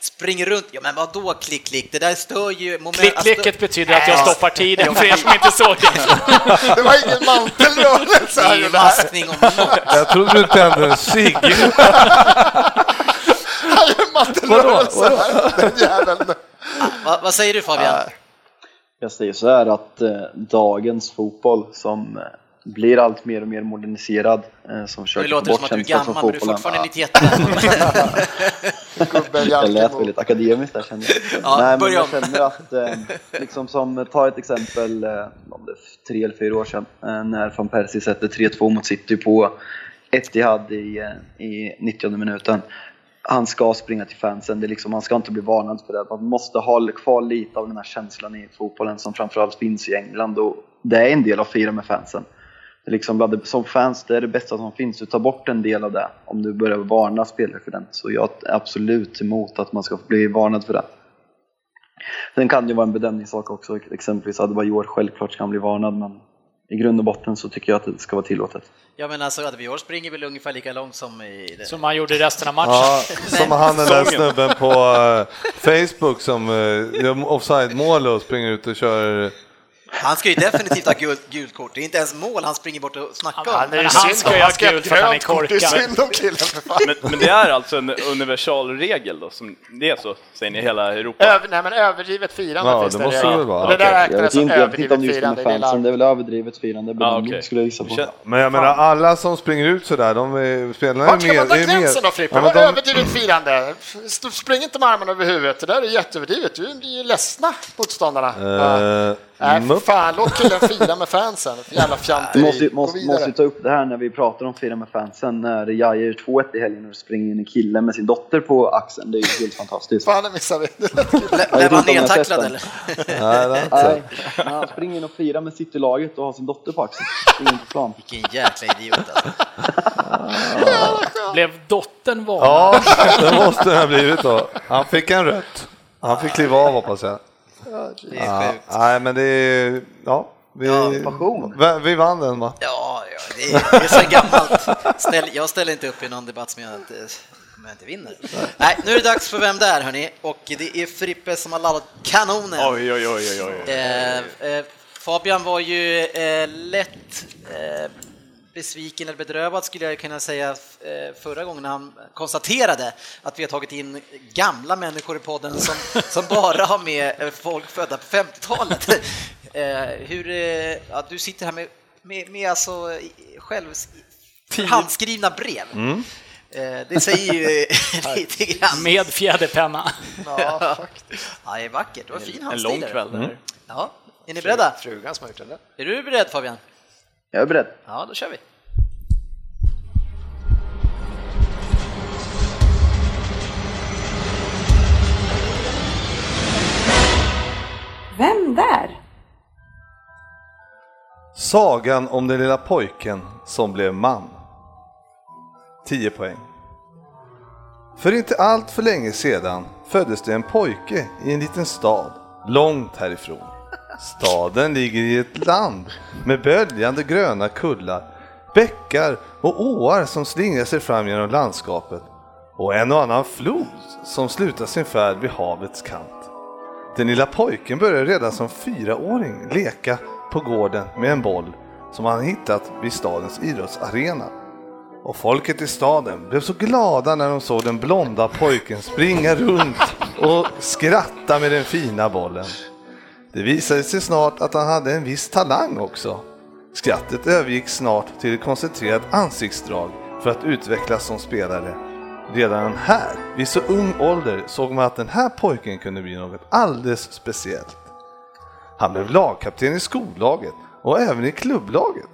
[SPEAKER 2] springer runt. Ja, men vadå klick, klick? Det där stör ju... Moment...
[SPEAKER 5] Klick-klicket
[SPEAKER 2] alltså-
[SPEAKER 5] betyder att jag
[SPEAKER 2] Ja.
[SPEAKER 5] stoppar tiden för er som inte såg det.
[SPEAKER 7] Det var ingen
[SPEAKER 2] Det
[SPEAKER 7] mantelrörelse
[SPEAKER 2] är
[SPEAKER 7] här
[SPEAKER 2] ju
[SPEAKER 7] gjorde här.
[SPEAKER 2] maskning Alltså, och mått.
[SPEAKER 4] Jag trodde du tände en cigg.
[SPEAKER 7] Han gjorde mantelrörelse här, den jäveln.
[SPEAKER 2] Va, vad säger du Fabian?
[SPEAKER 3] Jag säger så här att eh, dagens fotboll som eh, blir allt mer och mer moderniserad eh, som
[SPEAKER 2] Nu
[SPEAKER 3] försöker få
[SPEAKER 2] låter det som
[SPEAKER 3] bort
[SPEAKER 2] att du är
[SPEAKER 3] känslan
[SPEAKER 2] gammal, men
[SPEAKER 3] från
[SPEAKER 2] du är
[SPEAKER 3] fotbollen.
[SPEAKER 2] fortfarande lite jätte.
[SPEAKER 7] Gubben
[SPEAKER 3] Det lät
[SPEAKER 7] Jalkemo.
[SPEAKER 3] väldigt akademiskt där känner jag.
[SPEAKER 2] Ja,
[SPEAKER 3] Nej, men
[SPEAKER 2] börja
[SPEAKER 3] jag
[SPEAKER 2] om.
[SPEAKER 3] känner att, eh, liksom som, ta ett exempel, eh, om det är tre eller fyra år sedan, eh, när van Persie sätter 3-2 mot City på Etihad i, eh, i 90 minuten. Han ska springa till fansen, det är liksom, han ska inte bli varnad för det. Man måste ha kvar lite av den här känslan i fotbollen som framförallt finns i England och det är en del av att fira med fansen. Det är liksom, bland det- som fans, det är det bästa som finns. Du tar bort en del av det om du börjar varna spelare för den. Så jag är absolut emot att man ska bli varnad för det. Sen kan det ju vara en bedömningssak också. Exempelvis Adebayor, självklart ska han bli varnad men i grund och botten så tycker jag att det ska vara tillåtet.
[SPEAKER 2] Ja men alltså Adebayor springer väl ungefär lika långt som i... Det.
[SPEAKER 5] Som man gjorde resten av matchen.
[SPEAKER 4] Ja, som han den där snubben på eh, Facebook som eh, gör offside-mål och springer ut och kör...
[SPEAKER 2] Han ska ju definitivt ha gult, gult kort, det är inte ens mål han springer bort och snackar om.
[SPEAKER 5] Han,
[SPEAKER 7] Det är
[SPEAKER 5] men han
[SPEAKER 7] synd om
[SPEAKER 5] ska ju ha
[SPEAKER 7] han ska ha
[SPEAKER 5] gult för att han är
[SPEAKER 7] grönt kort. Det är
[SPEAKER 5] korkad.
[SPEAKER 7] synd om killen för fan.
[SPEAKER 6] Men, men det är alltså en universalregel då, som det är så, säger ni, i hela Europa?
[SPEAKER 7] Över, nej men överdrivet firande
[SPEAKER 4] Ja,
[SPEAKER 7] finns
[SPEAKER 4] det
[SPEAKER 7] det
[SPEAKER 4] måste
[SPEAKER 7] redan.
[SPEAKER 4] det väl vara.
[SPEAKER 7] Och Det där
[SPEAKER 6] Okej.
[SPEAKER 3] Jag
[SPEAKER 7] räknas
[SPEAKER 3] vet
[SPEAKER 7] som
[SPEAKER 3] inte, jag vet inte om
[SPEAKER 7] Alltså, överdrivet
[SPEAKER 3] just med
[SPEAKER 7] firande. Det är
[SPEAKER 3] fansen,
[SPEAKER 7] larm.
[SPEAKER 3] det är väl överdrivet firande
[SPEAKER 6] Ja,
[SPEAKER 3] bedömning
[SPEAKER 6] Ah, okej.
[SPEAKER 3] Mm, skulle jag gissa på.
[SPEAKER 6] Kän-
[SPEAKER 4] Men jag menar alla som springer ut sådär, de är, spelarna
[SPEAKER 7] Vart
[SPEAKER 4] är
[SPEAKER 7] ska
[SPEAKER 4] med.
[SPEAKER 7] man dra
[SPEAKER 4] är med-
[SPEAKER 7] gränsen då Frippe?
[SPEAKER 4] Ja, men
[SPEAKER 7] Vad
[SPEAKER 4] de-
[SPEAKER 7] är överdrivet firande? F- Spring inte med armarna över huvudet, det där är jätteöverdrivet. Du är ju ledsna motståndarna. Ja.
[SPEAKER 4] Eh,
[SPEAKER 7] Nej, för
[SPEAKER 4] mupp.
[SPEAKER 7] fan, låt killen fira med fansen. Jävla
[SPEAKER 3] Vi
[SPEAKER 7] fjanteri.
[SPEAKER 3] måste, ju-
[SPEAKER 7] Gå
[SPEAKER 3] måste,
[SPEAKER 7] vidare.
[SPEAKER 3] måste ju ta upp det här när vi pratar om Fira med fansen. När Jaja gör 2-1 i helgen och springer in en kille med sin dotter på axeln. Det är ju helt fantastiskt.
[SPEAKER 7] Fan, det missade vi.
[SPEAKER 2] Ble-
[SPEAKER 3] Jag vet
[SPEAKER 2] Blev han
[SPEAKER 3] inte om jag har sett
[SPEAKER 2] nedtacklad
[SPEAKER 3] den.
[SPEAKER 2] eller?
[SPEAKER 4] Nej, det är
[SPEAKER 3] Nej,
[SPEAKER 4] inte.
[SPEAKER 3] men han springer in och firar med City-laget och har sin dotter på axeln. Springer in på plan.
[SPEAKER 2] Vilken jäkla idiot alltså.
[SPEAKER 5] Blev dottern varnad?
[SPEAKER 4] Ja, det måste det ha blivit då. Han fick en rött. Han fick kliva av hoppas jag.
[SPEAKER 2] Det är sjukt.
[SPEAKER 4] Nej, men det är... Ja, vi,
[SPEAKER 3] passion.
[SPEAKER 4] Va- vi vann den va?
[SPEAKER 2] Ja, ja det, är, det är så gammalt. Ställ, jag ställer inte upp i någon debatt som jag inte, som jag inte vinner. Nej, nu är det dags för Vem där hörni, och det är Frippe som har laddat kanonen.
[SPEAKER 6] Oj, oj, oj, oj, oj.
[SPEAKER 2] Eh, eh, Fabian var ju eh, lätt eh, besviken eller bedrövad skulle jag kunna säga eh, förra gången när han konstaterade att vi har tagit in gamla människor i podden som, som bara har med eh, folk födda på 50-talet. Eh, hur, eh, ja, du sitter här med, med, med alltså eh, själv handskrivna brev.
[SPEAKER 6] Mm.
[SPEAKER 2] Eh, det säger ju lite grann.
[SPEAKER 5] Med fjäderpenna.
[SPEAKER 7] Ja, faktiskt.
[SPEAKER 2] Ja, det är vackert, det var fin
[SPEAKER 6] En lång
[SPEAKER 2] handstil. där.
[SPEAKER 6] kväll det
[SPEAKER 3] Mm.
[SPEAKER 6] här.
[SPEAKER 2] Ja, är ni beredda?
[SPEAKER 7] Frugan som har gjort den där.
[SPEAKER 2] Är du beredd Fabian?
[SPEAKER 3] Jag är beredd.
[SPEAKER 2] Ja, då kör vi.
[SPEAKER 9] Vem där?
[SPEAKER 4] Sagan om den lilla pojken som blev man. 10 poäng. För inte allt för länge sedan föddes det en pojke i en liten stad långt härifrån. Staden ligger i ett land med böljande gröna kullar, bäckar och åar som slingrar sig fram genom landskapet och en och annan flod som slutar sin färd vid havets kant. Den lilla pojken började redan som fyraåring leka på gården med en boll som han hittat vid stadens idrottsarena. och folket i staden blev så glada när de såg den blonda pojken springa runt och skratta med den fina bollen. Det visade sig snart att han hade en viss talang också. Skrattet övergick snart till ett koncentrerat ansiktsdrag för att utvecklas som spelare. Redan här, vid så ung ålder, såg man att den här pojken kunde bli något alldeles speciellt. Han blev lagkapten i skollaget och även i klubblaget.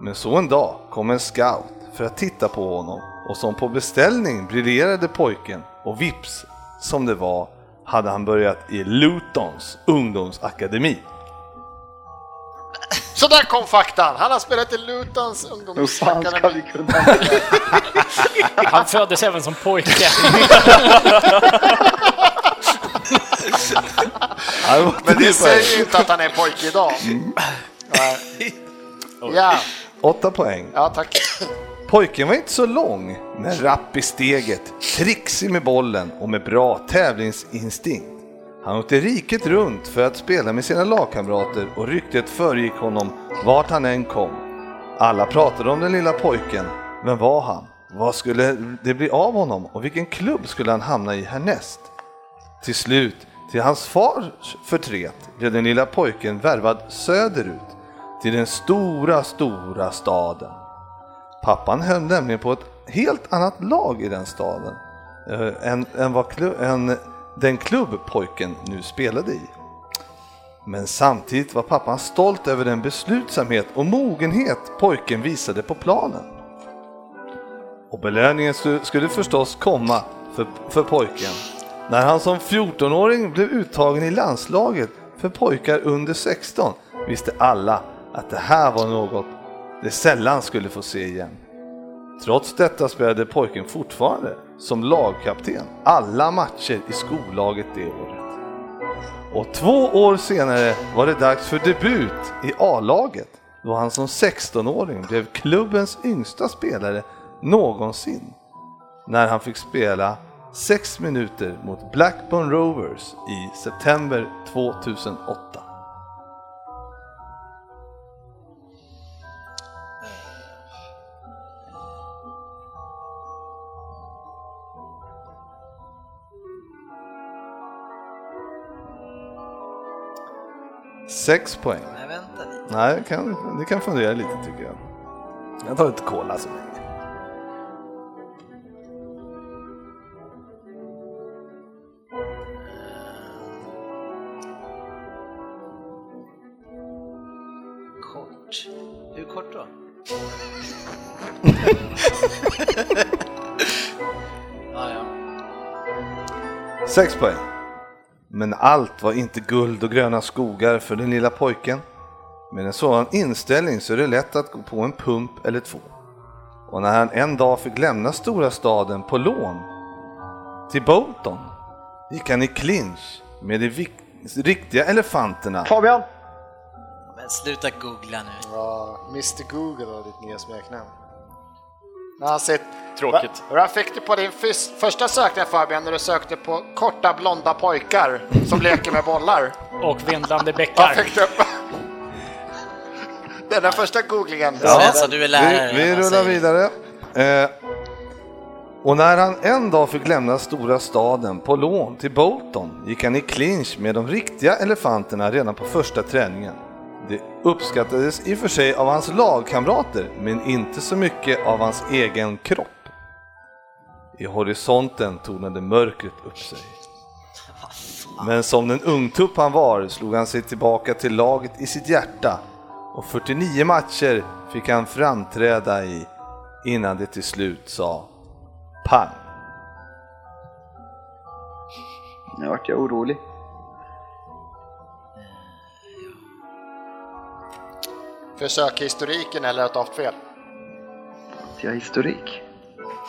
[SPEAKER 4] Men så en dag kom en scout för att titta på honom och som på beställning briljerade pojken och vips, som det var, hade han börjat i Lutons ungdomsakademi.
[SPEAKER 7] Så där kom faktan! Han har spelat i Lutans
[SPEAKER 3] Hur fan ska
[SPEAKER 7] ungdomsakademi.
[SPEAKER 3] vi kunna...
[SPEAKER 5] Han föddes även som pojke.
[SPEAKER 7] Men det säger ju inte att han är pojke idag.
[SPEAKER 3] Mm.
[SPEAKER 7] Nej. Ja,
[SPEAKER 4] Åtta poäng.
[SPEAKER 7] ja tack.
[SPEAKER 4] Pojken var inte så lång, men rapp i steget, trixig med bollen och med bra tävlingsinstinkt. Han åkte riket runt för att spela med sina lagkamrater och ryktet föregick honom vart han än kom. Alla pratade om den lilla pojken. Vem var han? Vad skulle det bli av honom och vilken klubb skulle han hamna i härnäst? Till slut, till hans fars förtret, blev den lilla pojken värvad söderut till den stora, stora staden. Pappan höll nämligen på ett helt annat lag i den staden eh, än, än, vad klu, än den klubb pojken nu spelade i. Men samtidigt var pappan stolt över den beslutsamhet och mogenhet pojken visade på planen. Och belöningen stu- skulle förstås komma för, för pojken när han som 14-åring blev uttagen i landslaget för pojkar under 16 visste alla att det här var något de sällan skulle få se igen. Trots detta spelade pojken fortfarande som lagkapten alla matcher i skollaget det året. Och två år senare var det dags för debut i A-laget då han som 16-åring blev klubbens yngsta spelare någonsin när han fick spela 6 minuter mot Blackburn Rovers i september 2008. Sex poäng.
[SPEAKER 2] Nej, vänta lite.
[SPEAKER 4] Nej, det kan, det kan fundera lite tycker jag. Jag tar lite cola så länge.
[SPEAKER 2] Kort. Hur kort då? ah, ja.
[SPEAKER 4] Sex poäng. Men allt var inte guld och gröna skogar för den lilla pojken. Med en sådan inställning så är det lätt att gå på en pump eller två. Och när han en dag fick lämna stora staden på lån till Bolton gick han i clinch med de vik- riktiga elefanterna.
[SPEAKER 3] Fabian!
[SPEAKER 2] Men sluta googla nu.
[SPEAKER 7] Ja, Mr Google var ditt nya smeknamn. När han sitter...
[SPEAKER 6] Tråkigt.
[SPEAKER 7] Va- Vad fick du på din fys- första sökning Fabian när du sökte på korta blonda pojkar som leker med bollar?
[SPEAKER 5] Och vindlande
[SPEAKER 7] Vad
[SPEAKER 5] bäckar.
[SPEAKER 7] fick du upp? Den där första googlingen.
[SPEAKER 2] Svensson, Alltså, du är lärare.
[SPEAKER 4] Vi, vi
[SPEAKER 2] vad
[SPEAKER 4] rullar
[SPEAKER 2] säger du?
[SPEAKER 4] vidare. Eh, och när han en dag fick lämna stora staden på lån till Bolton gick han i clinch med de riktiga elefanterna redan på första träningen. Det uppskattades i och för sig av hans lagkamrater, men inte så mycket av hans egen kropp. I horisonten tornade mörkret upp sig. Men som den ungtupp han var slog han sig tillbaka till laget i sitt hjärta och 49 matcher fick han framträda i innan det till slut sa pang.
[SPEAKER 3] Nu vart jag orolig.
[SPEAKER 7] Försök historiken eller att du haft fel.
[SPEAKER 3] Jag har historik.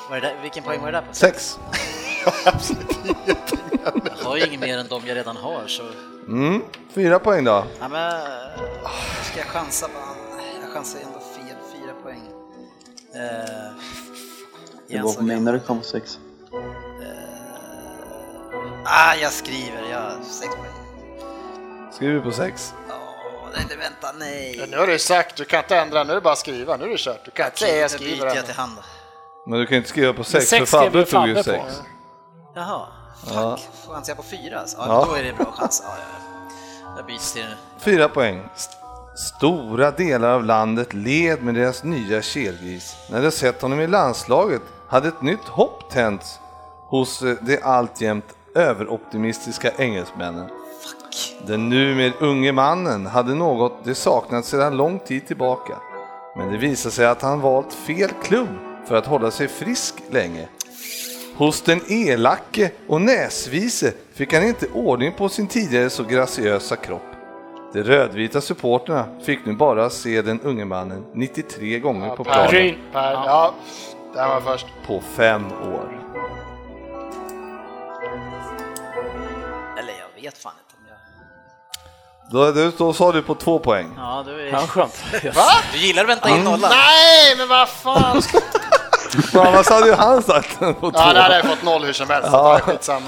[SPEAKER 2] Var det där, vilken poäng var det där på?
[SPEAKER 4] Sex.
[SPEAKER 2] Jag har ju inget mer än de jag redan har så...
[SPEAKER 4] Mm, fyra poäng då.
[SPEAKER 2] Ja, men... eh, Ska jag chansa på... Jag chansar ändå fel. Fyra poäng. Eh,
[SPEAKER 3] Det
[SPEAKER 2] igen
[SPEAKER 3] var
[SPEAKER 2] så-
[SPEAKER 3] på mig när det kom sex.
[SPEAKER 2] Ah, jag skriver. Jag... Sex poäng.
[SPEAKER 4] Skriver på sex.
[SPEAKER 2] Åh, nej, nej, vänta, nej.
[SPEAKER 7] Nu har du sagt, du kan inte ändra, nu är det bara att skriva, nu är det kört. Du kan inte säga jag
[SPEAKER 2] Då byter
[SPEAKER 7] skriver
[SPEAKER 2] jag
[SPEAKER 7] ännu.
[SPEAKER 2] till hand.
[SPEAKER 4] Men du kan ju inte skriva på sex,
[SPEAKER 5] sex
[SPEAKER 4] för
[SPEAKER 5] skrev
[SPEAKER 4] Fabbe
[SPEAKER 5] ju
[SPEAKER 4] tog ju
[SPEAKER 5] Fabbe på.
[SPEAKER 4] sex.
[SPEAKER 2] Jaha, fuck.
[SPEAKER 4] Ja.
[SPEAKER 2] Chansar jag på fyra alltså? Ja,
[SPEAKER 4] Ja.
[SPEAKER 2] då är det bra chans. Ja, ja, ja. Jag byts till...
[SPEAKER 4] Fyra poäng. St- Stora delar av landet led med deras nya kelgris. När de sett honom i landslaget hade ett nytt hopp tänts hos eh, de alltjämt överoptimistiska engelsmännen. Den numer unge mannen hade något de saknat sedan lång tid tillbaka. Men det visade sig att han valt fel klubb för att hålla sig frisk länge. Hos den elake och näsvise fick han inte ordning på sin tidigare så graciösa kropp. De rödvita supporterna fick nu bara se den unge mannen 93 gånger på
[SPEAKER 7] Per,
[SPEAKER 4] planen
[SPEAKER 7] Per, ja, där var först.
[SPEAKER 4] på fem år.
[SPEAKER 2] Eller jag vet fan inte om jag...
[SPEAKER 4] Då, då, då sa du på två poäng.
[SPEAKER 2] Ja, du,
[SPEAKER 6] Han
[SPEAKER 2] är...
[SPEAKER 6] skönt.
[SPEAKER 2] du gillar att vänta
[SPEAKER 4] Mm.
[SPEAKER 2] in nollan.
[SPEAKER 7] Nej, men vad fan!
[SPEAKER 4] För annars hade ju han sagt den på två.
[SPEAKER 7] Ja, där hade jag fått noll hur som helst.
[SPEAKER 4] Ja.
[SPEAKER 7] Ja. Skitsamma.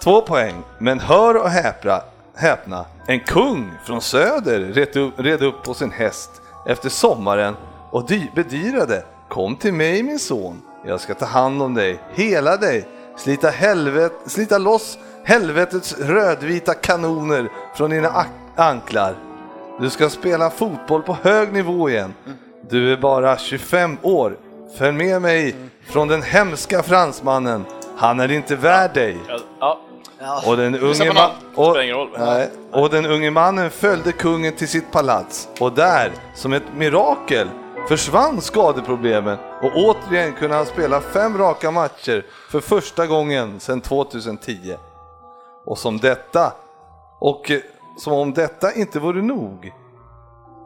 [SPEAKER 4] Två poäng. Men hör och häpna, häpna. En kung från söder red upp, red upp på sin häst efter sommaren och dy, bedyrade. Kom till mig min son. Jag ska ta hand om dig, hela dig, slita, helvet, slita loss helvetets rödvita kanoner från dina ak- anklar. Du ska spela fotboll på hög nivå igen. Du är bara 25 år. Följ med mig från den hemska fransmannen. Han är inte värd dig.
[SPEAKER 6] Ja, ja.
[SPEAKER 4] Och den unge, ma-
[SPEAKER 6] på någon.
[SPEAKER 4] och,
[SPEAKER 6] Spelar ingen roll.
[SPEAKER 4] nej, och den unge mannen följde kungen till sitt palats och där, som ett mirakel, försvann skadeproblemen och återigen kunde han spela fem raka matcher för första gången sedan 2010. Och som detta, och eh, som om detta inte vore nog,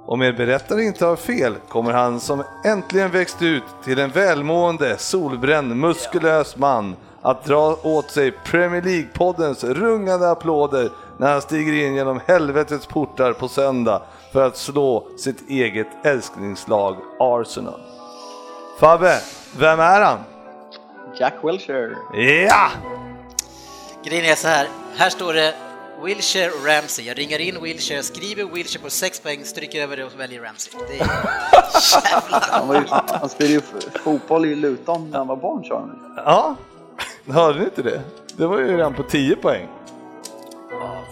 [SPEAKER 4] om er berättare inte har fel kommer han som äntligen växt ut till en välmående, solbränd, muskulös man att dra åt sig Premier League-poddens rungande applåder när han stiger in genom helvetets portar på söndag för att slå sitt eget älsklingslag Arsenal. Fabbe, vem är han?
[SPEAKER 3] Jack Wilshere.
[SPEAKER 4] Ja!
[SPEAKER 2] Grejen är så här, här står det Wilshire och Ramsey. Jag ringar in Wilshire, skriver Wilshire på 6 poäng, stryker över det och väljer Ramsey. Det är...
[SPEAKER 3] Han, var ju, han, han spelade ju f- fotboll i Luton när han var barn sa han.
[SPEAKER 4] Ja, hörde ni inte det? Det var ju redan på 10 poäng.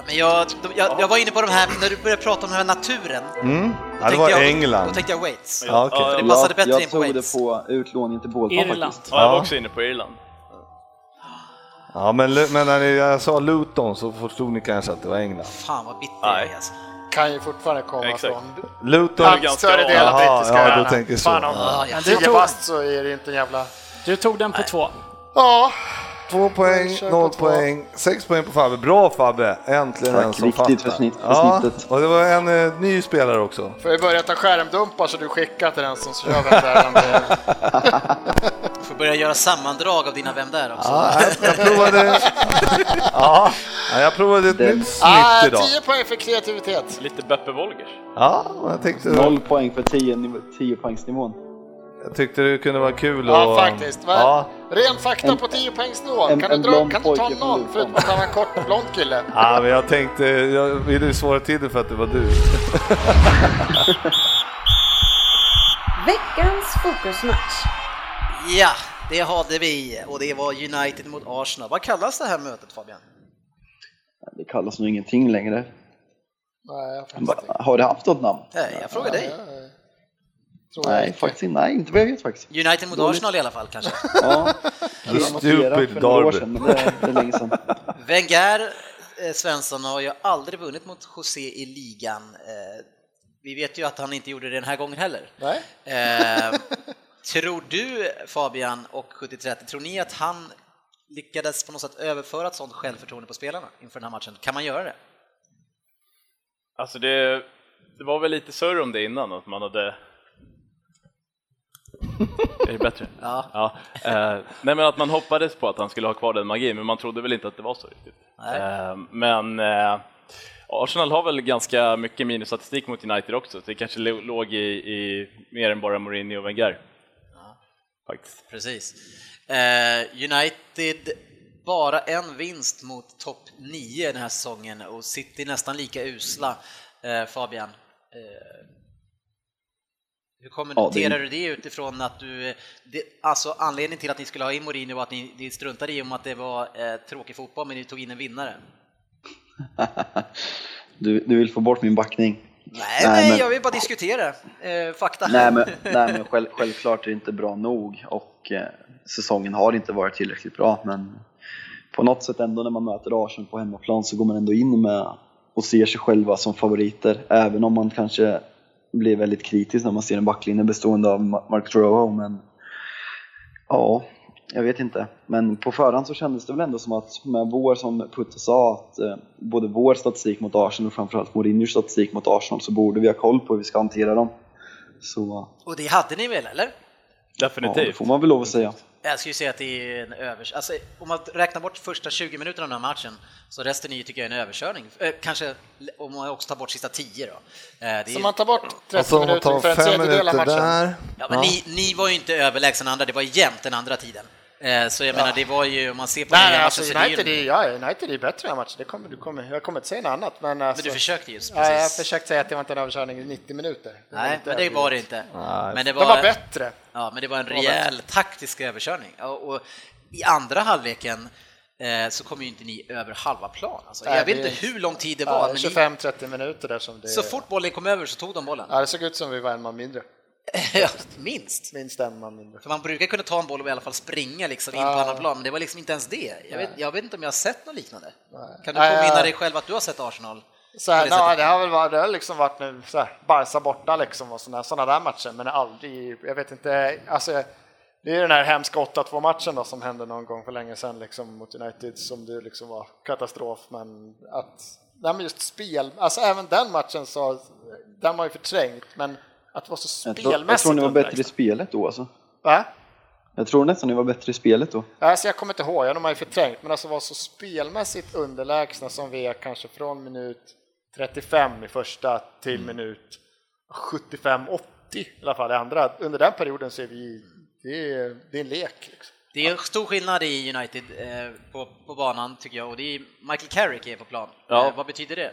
[SPEAKER 2] Men jag, de, jag, jag var inne på de här, när du började prata om den här naturen.
[SPEAKER 4] Mm. Ja, det
[SPEAKER 2] tänkte
[SPEAKER 4] var
[SPEAKER 2] jag,
[SPEAKER 4] England.
[SPEAKER 2] Då tänkte jag Wales.
[SPEAKER 4] Ja, okej.
[SPEAKER 6] Ja,
[SPEAKER 2] Det
[SPEAKER 6] jag-
[SPEAKER 2] passade
[SPEAKER 3] Jag,
[SPEAKER 2] bättre in
[SPEAKER 3] jag
[SPEAKER 2] på
[SPEAKER 3] tog det
[SPEAKER 2] Wales.
[SPEAKER 3] på utlåning till Bålpappa
[SPEAKER 5] Irland.
[SPEAKER 3] faktiskt.
[SPEAKER 6] Ja, jag var
[SPEAKER 4] Ja.
[SPEAKER 6] också inne på Irland.
[SPEAKER 4] Ja, men, men när ni- jag sa Luton så förstod ni kanske att det var England.
[SPEAKER 2] Fan vad bitter jag
[SPEAKER 6] Nej.
[SPEAKER 2] är alltså.
[SPEAKER 7] Kan ju fortfarande komma
[SPEAKER 6] Exakt.
[SPEAKER 7] från
[SPEAKER 4] Luton...
[SPEAKER 6] Ja, ganska-
[SPEAKER 7] större delen av
[SPEAKER 4] Jaha,
[SPEAKER 7] brittiska
[SPEAKER 4] ja, du
[SPEAKER 7] öarna.
[SPEAKER 4] tänker så.
[SPEAKER 7] Fan om
[SPEAKER 2] Ja, ja.
[SPEAKER 7] men
[SPEAKER 5] du
[SPEAKER 7] tio
[SPEAKER 5] tog-
[SPEAKER 7] bast så är det inte en jävla...
[SPEAKER 5] Du tog den på två.
[SPEAKER 7] Ja,
[SPEAKER 4] Två poäng,
[SPEAKER 7] kör på
[SPEAKER 4] noll
[SPEAKER 7] två.
[SPEAKER 4] poäng, sex poäng på Fabbe. Bra Fabbe! Äntligen
[SPEAKER 3] Tack,
[SPEAKER 4] en som
[SPEAKER 3] viktigt för
[SPEAKER 4] fattar.
[SPEAKER 3] snitt- för snittet.
[SPEAKER 4] Ja, och det var en eh, ny spelare också.
[SPEAKER 7] får vi börja ta skärmdumpar så du skickar till den som kör den där.
[SPEAKER 2] Du får börja göra sammandrag av dina Vem där också.
[SPEAKER 4] Ja, jag, jag provade... ja, jag provade ett
[SPEAKER 3] Det-
[SPEAKER 4] nytt snitt
[SPEAKER 7] Ah,
[SPEAKER 4] idag.
[SPEAKER 7] 10 poäng för kreativitet.
[SPEAKER 6] Lite Beppe Wolgers.
[SPEAKER 4] Ja, och jag tänkte,
[SPEAKER 3] Noll poäng för 10 niv- 10 poängsnivån.
[SPEAKER 4] jag tyckte det kunde vara kul
[SPEAKER 7] Ja,
[SPEAKER 4] och,
[SPEAKER 7] faktiskt. Va?
[SPEAKER 4] Ja,
[SPEAKER 7] Ren fakta
[SPEAKER 3] En-
[SPEAKER 7] på 10 poängsnivån.
[SPEAKER 3] en-
[SPEAKER 7] Kan du,
[SPEAKER 3] en
[SPEAKER 7] dra,
[SPEAKER 3] blond
[SPEAKER 7] kan du ta
[SPEAKER 3] pojke från
[SPEAKER 7] noll
[SPEAKER 3] Luton.
[SPEAKER 7] förutom att han var en kort blond kille?
[SPEAKER 4] ja, men jag tänkte... Jag ville ju svåra till det för att det var du.
[SPEAKER 9] Veckans fokusmatch.
[SPEAKER 2] Ja, det hade vi och det var United mot Arsenal. Vad kallas det här mötet Fabian?
[SPEAKER 3] Det kallas nog ingenting längre.
[SPEAKER 7] Nej, jag fattar inte.
[SPEAKER 3] Har det haft något namn?
[SPEAKER 2] Nej, jag frågar dig.
[SPEAKER 7] Tror jag
[SPEAKER 3] Nej,
[SPEAKER 7] inte.
[SPEAKER 3] faktiskt inte. Nej, inte vad jag vet faktiskt.
[SPEAKER 2] United mot Arsenal i alla fall kanske.
[SPEAKER 3] Ja, jag noterade
[SPEAKER 4] stupid
[SPEAKER 3] för några år
[SPEAKER 4] derby.
[SPEAKER 3] sedan, men det, det är länge sedan.
[SPEAKER 2] Wenger, eh, Svensson, har ju aldrig vunnit mot José i ligan. Eh, Vi vet ju att han inte gjorde det den här gången heller.
[SPEAKER 7] Nej.
[SPEAKER 2] Eh, tror du Fabian och 70-30, tror ni att han lyckades på något sätt överföra ett sånt självförtroende på spelarna inför den här matchen? Kan man göra det?
[SPEAKER 6] Alltså det, det var väl lite surr om det innan, att man hade... Är det bättre?
[SPEAKER 2] Ja.
[SPEAKER 6] Ja, eh, nej men att man hoppades på att han skulle ha kvar den magin, men man trodde väl inte att det var så riktigt.
[SPEAKER 2] Nej.
[SPEAKER 6] Eh, men eh, Arsenal har väl ganska mycket minusstatistik mot United också, så det kanske lo- låg i, i mer än bara Mourinho och Wenger. Faktiskt.
[SPEAKER 2] Precis. Eh, United bara en vinst mot topp 9 den här säsongen och City nästan lika usla. Eh, Fabian, eh, Hur kommer
[SPEAKER 3] Ja, det-
[SPEAKER 2] noterar du det utifrån att du, eh, det, alltså anledningen till att ni skulle ha in Mourinho var att ni, ni struntade i om att det var eh, tråkig fotboll men ni tog in en vinnare?
[SPEAKER 3] du, du vill få bort min backning.
[SPEAKER 2] Nej,
[SPEAKER 3] Nej,
[SPEAKER 2] nej,
[SPEAKER 3] men-
[SPEAKER 2] jag vill bara diskutera eh, fakta.
[SPEAKER 3] Nej men, nej, men själv, självklart är det inte bra nog och eh, säsongen har inte varit tillräckligt bra men på något sätt ändå när man möter Arsenal på hemmaplan så går man ändå in med och ser sig själva som favoriter även om man kanske blir väldigt kritisk när man ser en backlinje bestående av Ma- Mark Rowe men ja, jag vet inte. Men på förhand så kändes det väl ändå som att med vår, som Putte sa, att eh, både vår statistik mot Arsenal och framförallt Mourinhos statistik mot Arsenal så borde vi ha koll på hur vi ska hantera dem. Så
[SPEAKER 2] Och det hade ni väl, eller?
[SPEAKER 3] ja, det
[SPEAKER 6] Definitivt.
[SPEAKER 3] får man väl lov att säga.
[SPEAKER 2] Jag skulle säga att det är en övers... Alltså, om man räknar bort första 20 minuterna av den här matchen så resten är ju, tycker jag, en överkörning. Eh, kanske om man också tar bort sista 10 då. Eh, det är...
[SPEAKER 7] Så man tar bort 30
[SPEAKER 4] Och så om man
[SPEAKER 7] minuter
[SPEAKER 4] tar
[SPEAKER 7] för en
[SPEAKER 4] fem
[SPEAKER 7] tredjedel av
[SPEAKER 4] minuter
[SPEAKER 7] matchen.
[SPEAKER 4] där.
[SPEAKER 2] Ja, men Ni, ni var ju inte överlägsna andra, det var jämnt den andra tiden. Eh, så jag menar, det var ju, om man ser på den
[SPEAKER 7] Nej,
[SPEAKER 2] här
[SPEAKER 7] nej,
[SPEAKER 2] matchen
[SPEAKER 7] alltså
[SPEAKER 2] så är det
[SPEAKER 7] United
[SPEAKER 2] ju...
[SPEAKER 7] är, ja, United är bättre i den här matchen. Det kommer, du kommer, jag kommer inte säga något annat. Men, alltså,
[SPEAKER 2] Men du försökte just,
[SPEAKER 7] Ja, jag
[SPEAKER 2] precis.
[SPEAKER 7] försökte säga att det var inte en överkörning i 90 minuter. Det var
[SPEAKER 2] Nej,
[SPEAKER 7] inte
[SPEAKER 2] men det
[SPEAKER 7] överdrivet.
[SPEAKER 2] var det inte.
[SPEAKER 4] Nej.
[SPEAKER 2] Men det
[SPEAKER 7] De var bättre.
[SPEAKER 2] Ja, men det var en rejäl taktisk överkörning. Ja, Och i andra halvleken eh, så kom ju inte ni över halva plan. Alltså,
[SPEAKER 7] Nej,
[SPEAKER 2] jag vet
[SPEAKER 7] det är-
[SPEAKER 2] inte hur lång tid det var,
[SPEAKER 7] Ja,
[SPEAKER 2] men ni,
[SPEAKER 7] 25-30 minuter där som det...
[SPEAKER 2] så fort bollen kom över så tog de bollen.
[SPEAKER 7] Ja, det såg ut som vi var en man mindre.
[SPEAKER 2] Ja, Minst.
[SPEAKER 7] Minst en man mindre.
[SPEAKER 2] För man brukar kunna ta en boll och i alla fall springa liksom in
[SPEAKER 7] Ja.
[SPEAKER 2] på annan plan, men det var liksom inte ens det. Jag vet, jag vet inte om jag har sett något liknande. Kan du
[SPEAKER 7] Nej,
[SPEAKER 2] påminna
[SPEAKER 7] jag-
[SPEAKER 2] dig själv att du har sett Arsenal?
[SPEAKER 7] Så här,
[SPEAKER 2] På det
[SPEAKER 7] ja,
[SPEAKER 2] sättet.
[SPEAKER 7] det har väl varit, det har liksom varit nu så här, Barca borta liksom och sådana såna där matcher, men aldrig, jag vet inte, alltså det är den här hemska 8-2 matchen då som hände någon gång för länge sedan liksom mot United som det liksom var katastrof, men att, nej men just spel, alltså även den matchen så, den var ju förträngt, men att det var så
[SPEAKER 3] Jag
[SPEAKER 7] spelmässigt
[SPEAKER 3] tror, jag tror ni var bättre i
[SPEAKER 7] underlägset.
[SPEAKER 3] spelet då alltså.
[SPEAKER 7] Va?
[SPEAKER 3] Jag tror nästan ni var bättre i spelet då.
[SPEAKER 7] Alltså jag kommer inte ihåg, jag har nog förträngt, men alltså var så spelmässigt underlägsna som vi är kanske från minut 35 i första till minut 75-80 i alla fall i andra. Under den perioden så är vi, det är, det är en lek. Liksom.
[SPEAKER 2] Det är en stor skillnad i United eh, på, på banan tycker jag, och det är Michael Carrick är på plan.
[SPEAKER 6] Ja.
[SPEAKER 2] Eh, vad betyder det?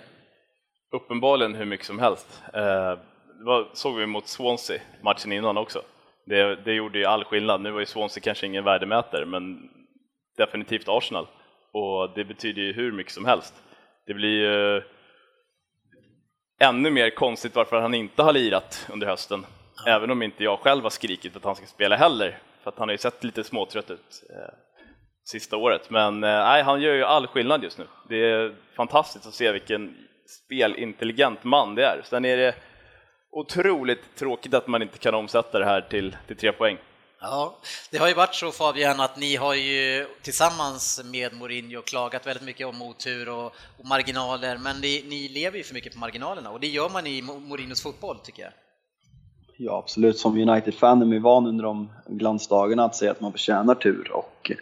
[SPEAKER 6] Uppenbarligen hur mycket som helst. Eh, Det var, såg vi mot Swansea matchen innan också. Det, det gjorde ju all skillnad. Nu var ju Swansea kanske ingen värdemätare, men definitivt Arsenal. Och det betyder ju hur mycket som helst. Det blir ju ännu mer konstigt varför han inte har lirat under hösten. Även om inte jag själv har skrikit att han ska spela heller, för att han har ju sett lite småtrött ut eh, sista året. Men eh, nej, han gör ju all skillnad just nu. Det är fantastiskt att se vilken spelintelligent man det är. Sen är det otroligt tråkigt att man inte kan omsätta det här till, till tre poäng.
[SPEAKER 2] Ja, det har ju varit så Fabian att ni har ju tillsammans med Mourinho klagat väldigt mycket om otur och, och marginaler, men ni, ni lever ju för mycket på marginalerna och det gör man i Mo- Mourinhos fotboll tycker jag.
[SPEAKER 3] Ja absolut, som United-fan är man ju van under de glansdagarna att säga att man förtjänar tur och eh,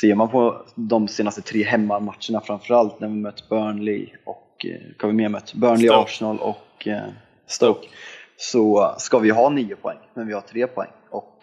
[SPEAKER 3] ser man på de senaste tre hemmamatcherna framförallt när vi mött Burnley och eh, kan vi mer mött Burnley,
[SPEAKER 6] Stoke.
[SPEAKER 3] Arsenal och eh, Stoke så ska vi ha nio poäng, men vi har tre poäng och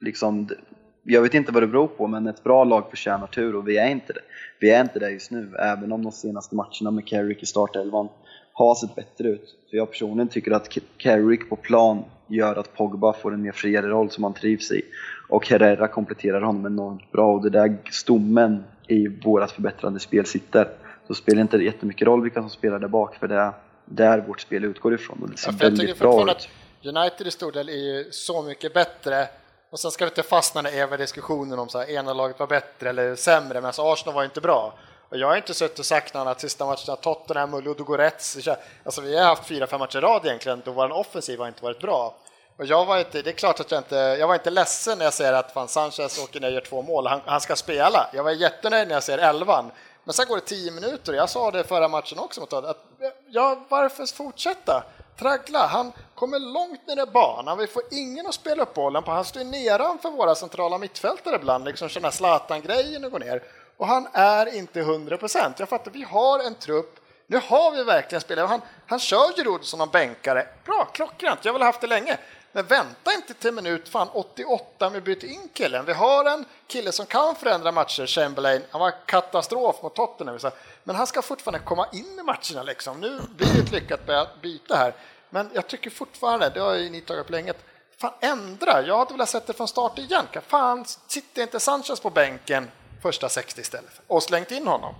[SPEAKER 3] liksom d- jag vet inte vad det beror på men ett bra lag förtjänar tur och vi är inte det. Vi är inte där just nu, även om de senaste matcherna med Carrick i startelvan har sett bättre ut. För jag personligen tycker att K- Carrick på plan gör att Pogba får en mer friare roll som han trivs i. Och Herrera kompletterar honom enormt bra och det där stommen i vårat förbättrande spel sitter. Så spelar inte det jättemycket roll vilka som spelar där bak för det är där vårt spel utgår ifrån och det ser
[SPEAKER 7] Ja, för jag
[SPEAKER 3] liksom
[SPEAKER 7] tycker
[SPEAKER 3] väldigt bra
[SPEAKER 7] fortfarande
[SPEAKER 3] ut.
[SPEAKER 7] att United i stor del är ju så mycket bättre och sen ska vi inte fastna i den eviga diskussionen om så här, ena laget var bättre eller sämre, men alltså Arsenal var ju inte bra. Och jag har inte suttit och sagt något annat sista matcherna, Tottenham och Ludogorets, alltså vi har haft fyra, fem matcher i rad egentligen då vår offensiv har inte varit bra. Och jag var inte, det är klart att jag inte, jag var inte ledsen när jag ser att fan Sanchez åker ner och gör två mål, han, han ska spela. Jag var jättenöjd när jag ser elvan. Men sen går det tio minuter, jag sa det förra matchen också mot Tottenham, att ja, varför fortsätta? traggla. Han kommer långt ner i banan. Vi får ingen att spela upp bollen på. Han står ju nedanför våra centrala mittfältare ibland, liksom sådana Zlatan-grejen och går ner. Och han är inte 100 procent. Jag fattar, vi har en trupp. Nu har vi verkligen spelare. Han, han kör ju Rhodes som någon bänkare. Bra, klockrent. Jag har väl haft det länge. Men vänta inte till minut fan 88 om vi byter in killen. Vi har en kille som kan förändra matcher, Chamberlain. Han var katastrof mot Tottenham. så här. Men han ska fortfarande komma in i matcherna liksom. Nu blir det ett lyckat by- byte här. Men jag tycker fortfarande, det har ju ni tagit upp länge, att fan ändra. Jag hade velat sett det från start igen. Kan Fan, sitter inte Sanchez på bänken första 60 istället? för- Och slängt in honom.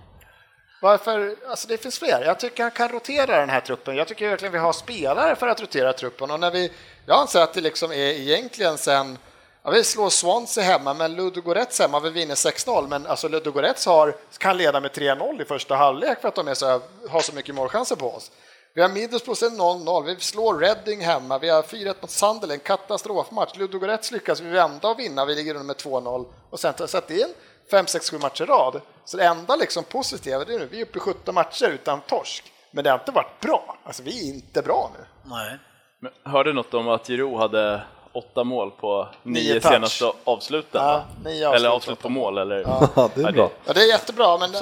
[SPEAKER 7] Varför? Alltså det finns fler. Jag tycker han kan rotera den här truppen. Jag tycker verkligen vi har spelare för att rotera truppen. Och när vi, jag anser att det liksom är egentligen sen, ja, vi slår Swansea hemma, men Ludogorets hemma, vi vinner 6-0, men alltså Ludogorets har, kan leda med 3-0 i första halvlek för att de är så, här- har så mycket målchanser på oss. Vi har Middlesbrough sen 0-0, vi slår Reading hemma, vi har 4-1 mot Sunderland, katastrofmatch. Ludogorets lyckas vi vända och vinna, vi ligger under med 2-0 och sen så att det är en fem sex sju matcher i rad. Så det enda liksom positiva det är nu, vi är uppe i 17 matcher utan torsk. Men det har inte varit bra. Alltså vi är inte bra nu.
[SPEAKER 2] Nej.
[SPEAKER 6] Men hörde något om att Giroud hade åtta mål på
[SPEAKER 7] Nio
[SPEAKER 6] nio
[SPEAKER 7] touch.
[SPEAKER 6] senaste avsluten?
[SPEAKER 7] Ja,
[SPEAKER 6] va?
[SPEAKER 7] nio avslut.
[SPEAKER 6] Eller avslut på mål, eller?
[SPEAKER 4] Ja, det är bra.
[SPEAKER 7] Ja, det är jättebra, men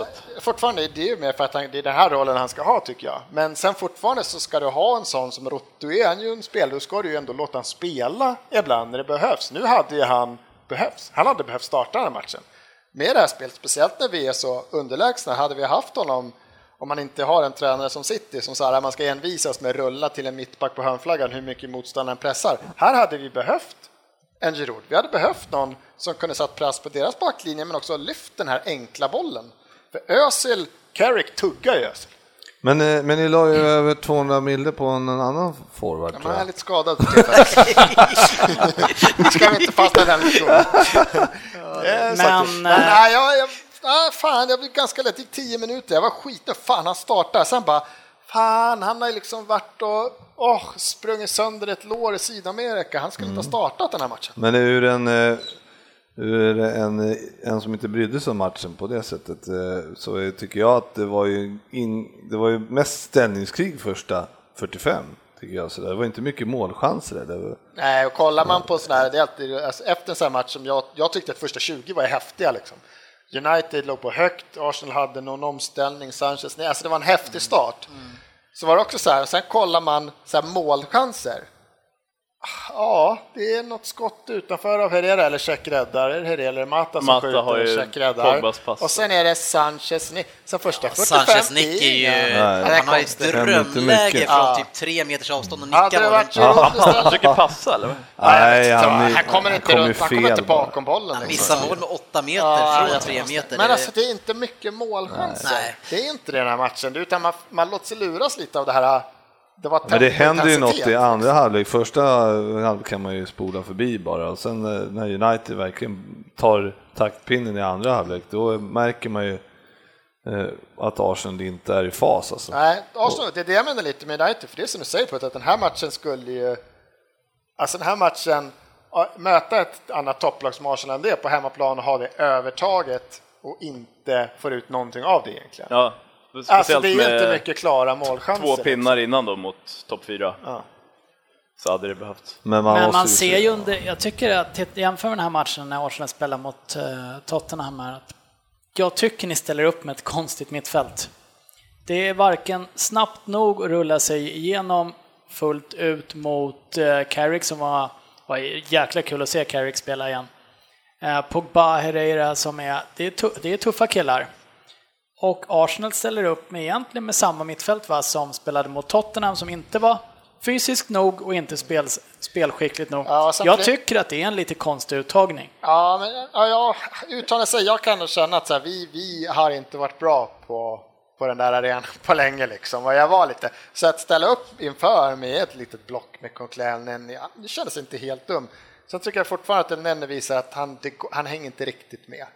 [SPEAKER 7] fortfarande det är ju mer för att han, det är den här rollen han ska ha tycker jag. Men sen fortfarande så ska du ha en sån som Rotto är han ju en spelare, då ska du ju ändå låta han spela ibland när det behövs. Nu hade ju han behövs, han hade behövt starta den här matchen. Med det här spelet, speciellt när vi är så underlägsna, hade vi haft honom om man inte har en tränare som City som så här, man ska envisas med rulla till en mittback på hörnflaggan hur mycket motståndaren pressar. Här hade vi behövt än Giroud. Vi hade behövt någon som kunde satt press på deras backlinje men också lyft den här enkla bollen. För Özil, Carrick tuggar ju Özil.
[SPEAKER 4] Men, eh, men ni la ju över 200 miljoner på en annan forward
[SPEAKER 7] Ja,
[SPEAKER 4] tror
[SPEAKER 7] Man är
[SPEAKER 4] jag.
[SPEAKER 7] lite skadad för tillfället. Ska vi inte fastna i den diskussionen? Eh, faktiskt.
[SPEAKER 1] eh,
[SPEAKER 7] Men, nej, jag, jag, ah, fan, jag blev ganska lätt, det gick tio minuter, jag var skitnödig, fan han startar, sen bara, fan han har ju liksom varit och åh, sprungit sönder ett lår i Sydamerika, han skulle inte ha startat den här matchen.
[SPEAKER 4] Men ur en, eh, ur en, eh, en som inte brydde sig om matchen på det sättet eh, så eh, tycker jag att det var ju, in, det var ju mest ställningskrig första 45. Tycker jag, så där. Det var inte mycket målchanser. där. Det var-
[SPEAKER 7] Nej, och kollar man på sådana här, det är alltid, alltså, efter en sån här match som jag, jag tyckte att första 20 var häftiga liksom. United låg på högt, Arsenal hade någon omställning, Sanchez, nej, alltså det var en
[SPEAKER 2] Mm.
[SPEAKER 7] häftig start. Så var det också så här, sen kollar man så här, målchanser. Ja, det är något skott utanför av Herrera eller Check räddar, är det Herrera eller Mata som
[SPEAKER 6] Mata
[SPEAKER 7] skjuter
[SPEAKER 6] har ju
[SPEAKER 7] och Check räddar.
[SPEAKER 6] Pogbas pass.
[SPEAKER 7] Och sen är det Sanchez, nick. sen första 45
[SPEAKER 2] Sanchez nick är
[SPEAKER 7] inga-
[SPEAKER 2] ju... Han
[SPEAKER 4] Nej.
[SPEAKER 2] har ju ett
[SPEAKER 7] konstigt.
[SPEAKER 4] Händer inte
[SPEAKER 2] drömläge
[SPEAKER 4] mycket.
[SPEAKER 2] från
[SPEAKER 7] Ja.
[SPEAKER 2] typ tre meters avstånd och
[SPEAKER 7] Hade
[SPEAKER 2] nickar
[SPEAKER 7] det
[SPEAKER 2] bollen.
[SPEAKER 7] varit Giroud istället?
[SPEAKER 6] Han försöker passa, eller? vad?
[SPEAKER 4] Nej,
[SPEAKER 7] han,
[SPEAKER 4] han är-
[SPEAKER 7] han kommer
[SPEAKER 4] han
[SPEAKER 7] inte,
[SPEAKER 4] kommer
[SPEAKER 7] runt, han kommer
[SPEAKER 4] fel
[SPEAKER 7] inte
[SPEAKER 4] bara.
[SPEAKER 7] bakom bollen.
[SPEAKER 2] Han
[SPEAKER 7] liksom.
[SPEAKER 2] missar mål med åtta meter
[SPEAKER 7] Ja,
[SPEAKER 2] från
[SPEAKER 7] jag
[SPEAKER 2] tre
[SPEAKER 7] vet.
[SPEAKER 2] meter.
[SPEAKER 7] Men
[SPEAKER 2] Det-
[SPEAKER 7] alltså det är inte mycket målchanser.
[SPEAKER 2] Nej.
[SPEAKER 7] Det är inte det i den här matchen, utan man, man låter sig luras lite av det här. Det var
[SPEAKER 4] Men det händer ju något
[SPEAKER 7] intensitet.
[SPEAKER 4] i andra halvlek. Första halvlek kan man ju spola förbi bara. Och sen eh, när United verkligen tar taktpinnen i andra halvlek, då märker man ju eh, att Arsenal inte är i fas. Alltså.
[SPEAKER 7] Nej, Arsenal, det är det jag menar lite med United, för det är som du säger på att den här matchen skulle ju... Alltså den här matchen, ja, möta ett annat topplag som Arsenal än det på hemmaplan och ha det övertaget och inte få ut någonting av det egentligen.
[SPEAKER 6] Ja,
[SPEAKER 7] alltså
[SPEAKER 6] speciellt
[SPEAKER 7] det är ju inte
[SPEAKER 6] med
[SPEAKER 7] mycket klara målchanser. liksom.
[SPEAKER 6] två pinnar innan då mot topp fyra.
[SPEAKER 7] Ja.
[SPEAKER 6] Så hade det behövts.
[SPEAKER 4] Men man,
[SPEAKER 5] Men
[SPEAKER 4] måste
[SPEAKER 5] man
[SPEAKER 4] ju
[SPEAKER 5] ser
[SPEAKER 4] se-
[SPEAKER 5] ju under, jag tycker att titt- jämför med den här matchen när Arsenal spelar mot eh, Tottenham här, att jag tycker ni ställer upp med ett konstigt mittfält. Det är varken snabbt nog att rulla sig igenom fullt ut mot eh, Carrick som var, var jäkla kul att se Carrick spela igen. Eh, Pogba, Herrera som är, det är, tu, det är tuffa killar. Och Arsenal ställer upp med egentligen med samma mittfält va, som spelade mot Tottenham som inte var fysiskt nog och inte spel, spelskickligt nog.
[SPEAKER 7] Ja, samtidigt-
[SPEAKER 5] Jag tycker att det är en lite konstig uttagning.
[SPEAKER 7] Ja, men ja, jag uttalar sig. Jag kan nog känna att så här, vi, vi har inte varit bra på, på den där arenan på länge liksom. Och jag var lite så att ställa upp inför med ett litet block med Conklänen, ja, det kändes inte helt dum. Sen tycker jag fortfarande att Elneny visar att han, det, går- han hänger inte riktigt med.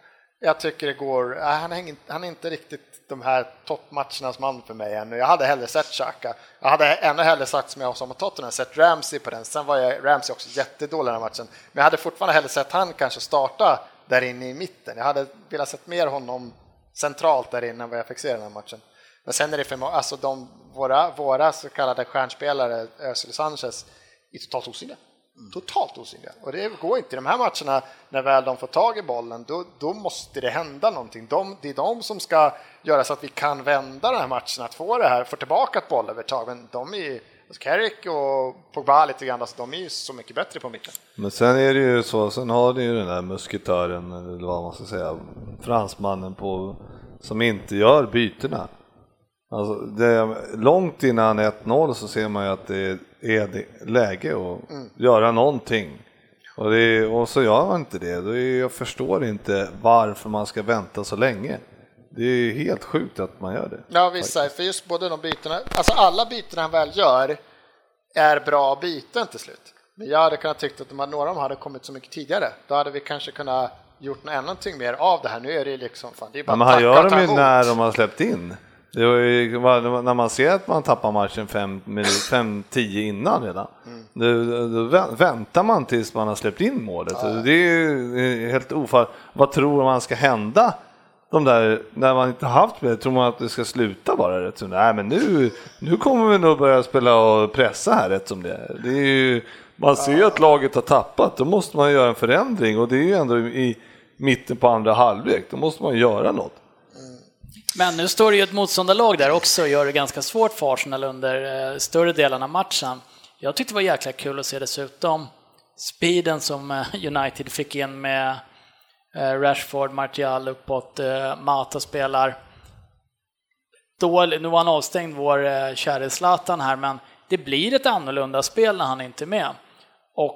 [SPEAKER 7] Jag tycker det går, ja, han, hänger, inte- han är inte riktigt de här toppmatchernas man för mig ännu. Jag hade hellre sett Xhaka. Jag hade ännu hellre sagt som jag sa mot Tottenham, sett Ramsey på den. Sen var jag, Ramsey också jättedålig den här matchen. Men jag hade fortfarande hellre sett han kanske starta där inne i mitten. Jag hade velat sett mer honom centralt där inne än vad jag fick se den här matchen. Men sen är det för många, alltså de, våra, våra så kallade stjärnspelare, Özil och Sanchez, är totalt osynliga. Totalt osynliga. Och det går inte i de här matcherna, när väl de får tag i bollen, då, då måste det hända någonting. De, det är de som ska göra så att vi kan vända den här matchen, att få det här, få tillbaka ett bollövertag. Men de är ju, alltså Carrick och Pogba lite grann, alltså de är ju så mycket bättre på mitten.
[SPEAKER 4] Men sen är det ju så, sen har ni ju den där musketören, eller vad man ska säga, fransmannen på, som inte gör bytena. Alltså, det, långt innan 1-0 så ser man ju att det är är det läge att göra någonting. Och, det, och så gör man inte det. Då är, jag förstår inte varför man ska vänta så länge. Det är ju helt sjukt att man gör det.
[SPEAKER 7] Ja visst, för just både de bytena, alltså alla byten han väl gör är bra byten till slut. Men jag hade kunnat tyckt att de här, några av dem hade kommit så mycket tidigare. Då hade vi kanske kunnat gjort något- någonting mer av det här. Nu är det ju liksom, fan, det är bara
[SPEAKER 4] Ja, men han
[SPEAKER 7] tacka
[SPEAKER 4] gör
[SPEAKER 7] och ta
[SPEAKER 4] dem ju
[SPEAKER 7] emot.
[SPEAKER 4] när de har släppt in. Det var ju, när man ser att man tappar matchen 5-10 innan redan, då, då vä- väntar man tills man har släppt in målet. Det är ju helt ofall. Vad tror man ska hända? De där, när man inte har haft det, tror man att det ska sluta bara rätt som det är. Nej, men nu, nu kommer vi nog börja spela och pressa här rätt som det är. Det är ju, man ser ju att laget har tappat, då måste man göra en förändring och det är ju ändå i mitten på andra halvlek, då måste man göra något.
[SPEAKER 5] Men nu står det ju ett motståndarlag där också och gör det ganska svårt för Arsenal under eh, större delen av matchen. Jag tyckte det var jäkla kul att se dessutom speeden som eh, United fick in med eh, Rashford, Martial uppåt, eh, Mata spelar. Dålig, nu var han avstängd, vår eh, käre Zlatan här, men det blir ett annorlunda spel när han inte är med. Och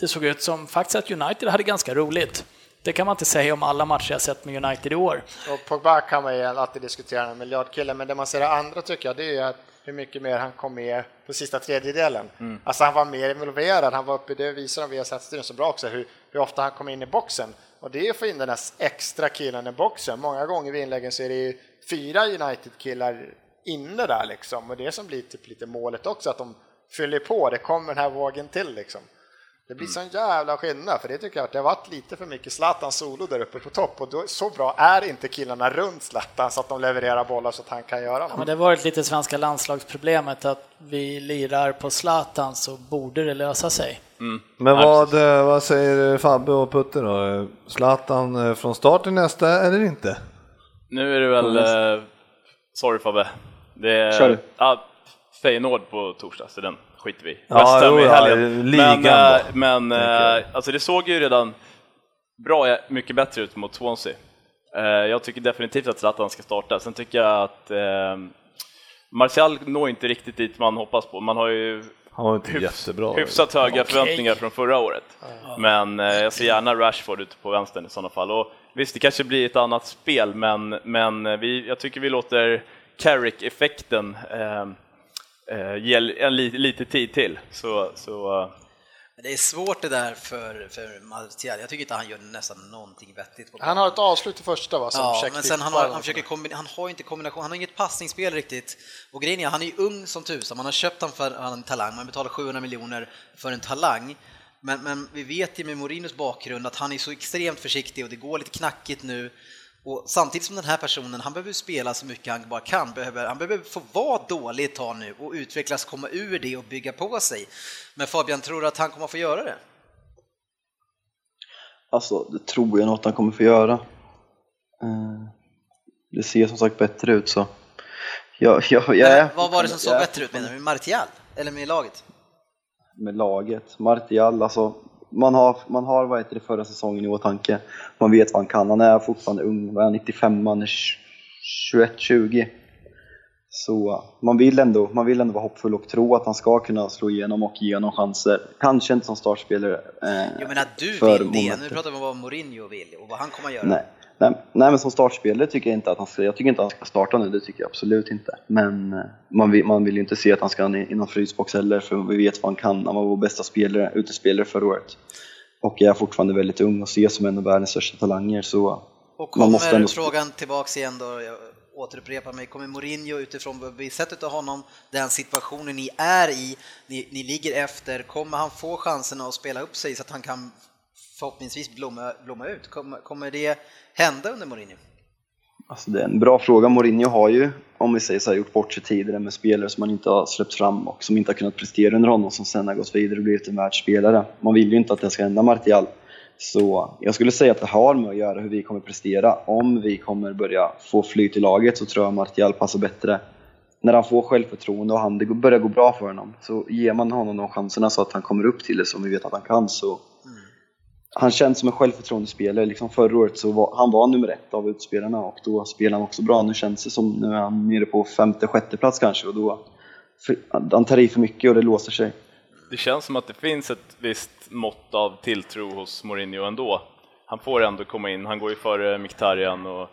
[SPEAKER 5] det såg ut som faktiskt att United hade ganska roligt. Det kan man inte säga om alla matcher jag sett med United i år.
[SPEAKER 7] Och Pogba kan man ju alltid diskutera, en miljardkille, men det man ser det andra tycker jag, det är ju att hur mycket mer han kom med på sista tredjedelen. Alltså han var mer involverad, han var uppe, det visar de vi har sett studion så bra också, hur, hur ofta han kom in i boxen. Och det är att få in den där extra killen i boxen. Många gånger vid inläggen så är det ju fyra United-killar inne där liksom, och det är som blir typ lite målet också, att de fyller på, det kommer den här vågen till liksom. Det
[SPEAKER 2] Mm.
[SPEAKER 7] blir sån jävla skillnad, för det tycker jag att det har varit lite för mycket Zlatan solo där uppe på topp och då, så bra är inte killarna runt Zlatan så att de levererar bollar så att han kan göra
[SPEAKER 5] Ja, men
[SPEAKER 7] dem.
[SPEAKER 5] det har varit lite svenska landslagsproblemet att vi lirar på Zlatan så borde det lösa sig.
[SPEAKER 4] Men
[SPEAKER 6] Ja,
[SPEAKER 4] vad, eh, vad säger Fabbe och Putte då? Eh, Zlatan eh, från start i nästa eller inte?
[SPEAKER 6] Nu är det väl... Eh, sorry Fabbe. Det är,
[SPEAKER 3] Kör du.
[SPEAKER 6] Ja, Feyenoord på torsdag, så den skiter vi i.
[SPEAKER 4] Ja,
[SPEAKER 6] West Ham
[SPEAKER 4] jo,
[SPEAKER 6] i
[SPEAKER 4] ja,
[SPEAKER 6] helgen.
[SPEAKER 4] ligan
[SPEAKER 6] men eh,
[SPEAKER 4] då,
[SPEAKER 6] men
[SPEAKER 4] tänker
[SPEAKER 6] eh, alltså det såg ju redan bra, eh, mycket bättre ut mot Swansea. Eh, jag tycker definitivt att Zlatan ska starta. Sen tycker jag att eh, Martial når inte riktigt dit man hoppas på. Man har ju
[SPEAKER 4] Han var inte
[SPEAKER 6] Hyfs-
[SPEAKER 4] jättebra.
[SPEAKER 6] Hyfsat höga förväntningar från förra året. Men eh, jag ser gärna Rashford ute på vänstern i sådana fall. Och visst, det kanske blir ett annat spel, men, men eh, vi, jag tycker vi låter Carrick-effekten eh, eh, ge en li, lite tid till. Så, så eh,
[SPEAKER 2] Men Det är svårt det där för, för Martial. Jag tycker inte han gör nästan någonting vettigt. På
[SPEAKER 7] Han har ett avslut i första va? Som
[SPEAKER 2] Ja,
[SPEAKER 7] check
[SPEAKER 2] men
[SPEAKER 7] till
[SPEAKER 2] sen han har,
[SPEAKER 7] Bayern.
[SPEAKER 2] han, försöker kombin- han har ju inte kombination, han har inget passningsspel riktigt. Och grejen är, han är ju ung som tusan, man har köpt han för han är en talang, man betalar 700 miljoner för en talang. Men, men vi vet ju med Morinos bakgrund att han är så extremt försiktig och det går lite knackigt nu. Och samtidigt som den här personen, han behöver spela så mycket han bara kan, behöver, han behöver få vara dålig ett tag nu och utvecklas, komma ur det och bygga på sig. Men Fabian, tror du att han kommer få göra det?
[SPEAKER 3] Alltså, det tror jag nog att han kommer få göra. Eh, Det ser som sagt bättre ut så. Jag, jag, jag är
[SPEAKER 2] Vad var det som såg
[SPEAKER 3] jag är
[SPEAKER 2] bättre ut menar du? Med Martial? Eller med laget?
[SPEAKER 3] med laget. Martial, alltså man har, man har vad heter det, förra säsongen i åtanke. Man vet vad han kan. Han är fortfarande ung. Han är 95, han är 21-20. Så man vill, ändå, man vill ändå vara hoppfull och tro att han ska kunna slå igenom och ge honom chanser. Kanske inte som startspelare. Eh,
[SPEAKER 2] Jag menar du
[SPEAKER 3] för
[SPEAKER 2] vill det, nu
[SPEAKER 3] momentet.
[SPEAKER 2] pratar vi om vad Mourinho vill och vad han kommer att göra.
[SPEAKER 3] Nej. Nej, nej, men som startspelare tycker jag inte att han ska, jag tycker inte att han ska starta nu, det tycker jag absolut inte. Men eh, man vill, man vill ju inte se att han ska in i någon frysbox heller, för vi vet vad han kan. Han var vår bästa spelare, utespelare förra året. Och jag är fortfarande väldigt ung och ses som en av världens största talanger, så
[SPEAKER 2] Och
[SPEAKER 3] Man måste
[SPEAKER 2] kommer
[SPEAKER 3] ändå-
[SPEAKER 2] frågan tillbaks igen då, jag återupprepar mig, kommer Mourinho utifrån vad vi sett utav honom, den situationen ni är i, ni, ni ligger efter, kommer han få chansen att spela upp sig så att han kan förhoppningsvis blomma, blomma ut? Kommer, kommer det hända under Mourinho?
[SPEAKER 3] Alltså det är en bra fråga. Mourinho har ju, om vi säger så här, gjort bort sig tidigare med spelare som man inte har släppt fram och som inte har kunnat prestera under honom som sen har gått vidare och blivit en världsspelare. Man vill ju inte att det ska hända Martial. Så jag skulle säga att det har med att göra hur vi kommer prestera. Om vi kommer börja få flyt i laget så tror jag Martial passar bättre. När han får självförtroende och han, det börjar gå bra för honom så ger man honom de chanserna så att han kommer upp till det som vi vet att han kan så han känns som en självförtroendespelare. Liksom förra året så var han var nummer ett av utspelarna och då spelade han också bra. Nu känns det som nu är han nere på femte, sjätte plats kanske och då För, han tar i för mycket och det låser sig.
[SPEAKER 6] Det känns som att det finns ett visst mått av tilltro hos Mourinho ändå. Han får ändå komma in, han går ju före Mkhitaryan och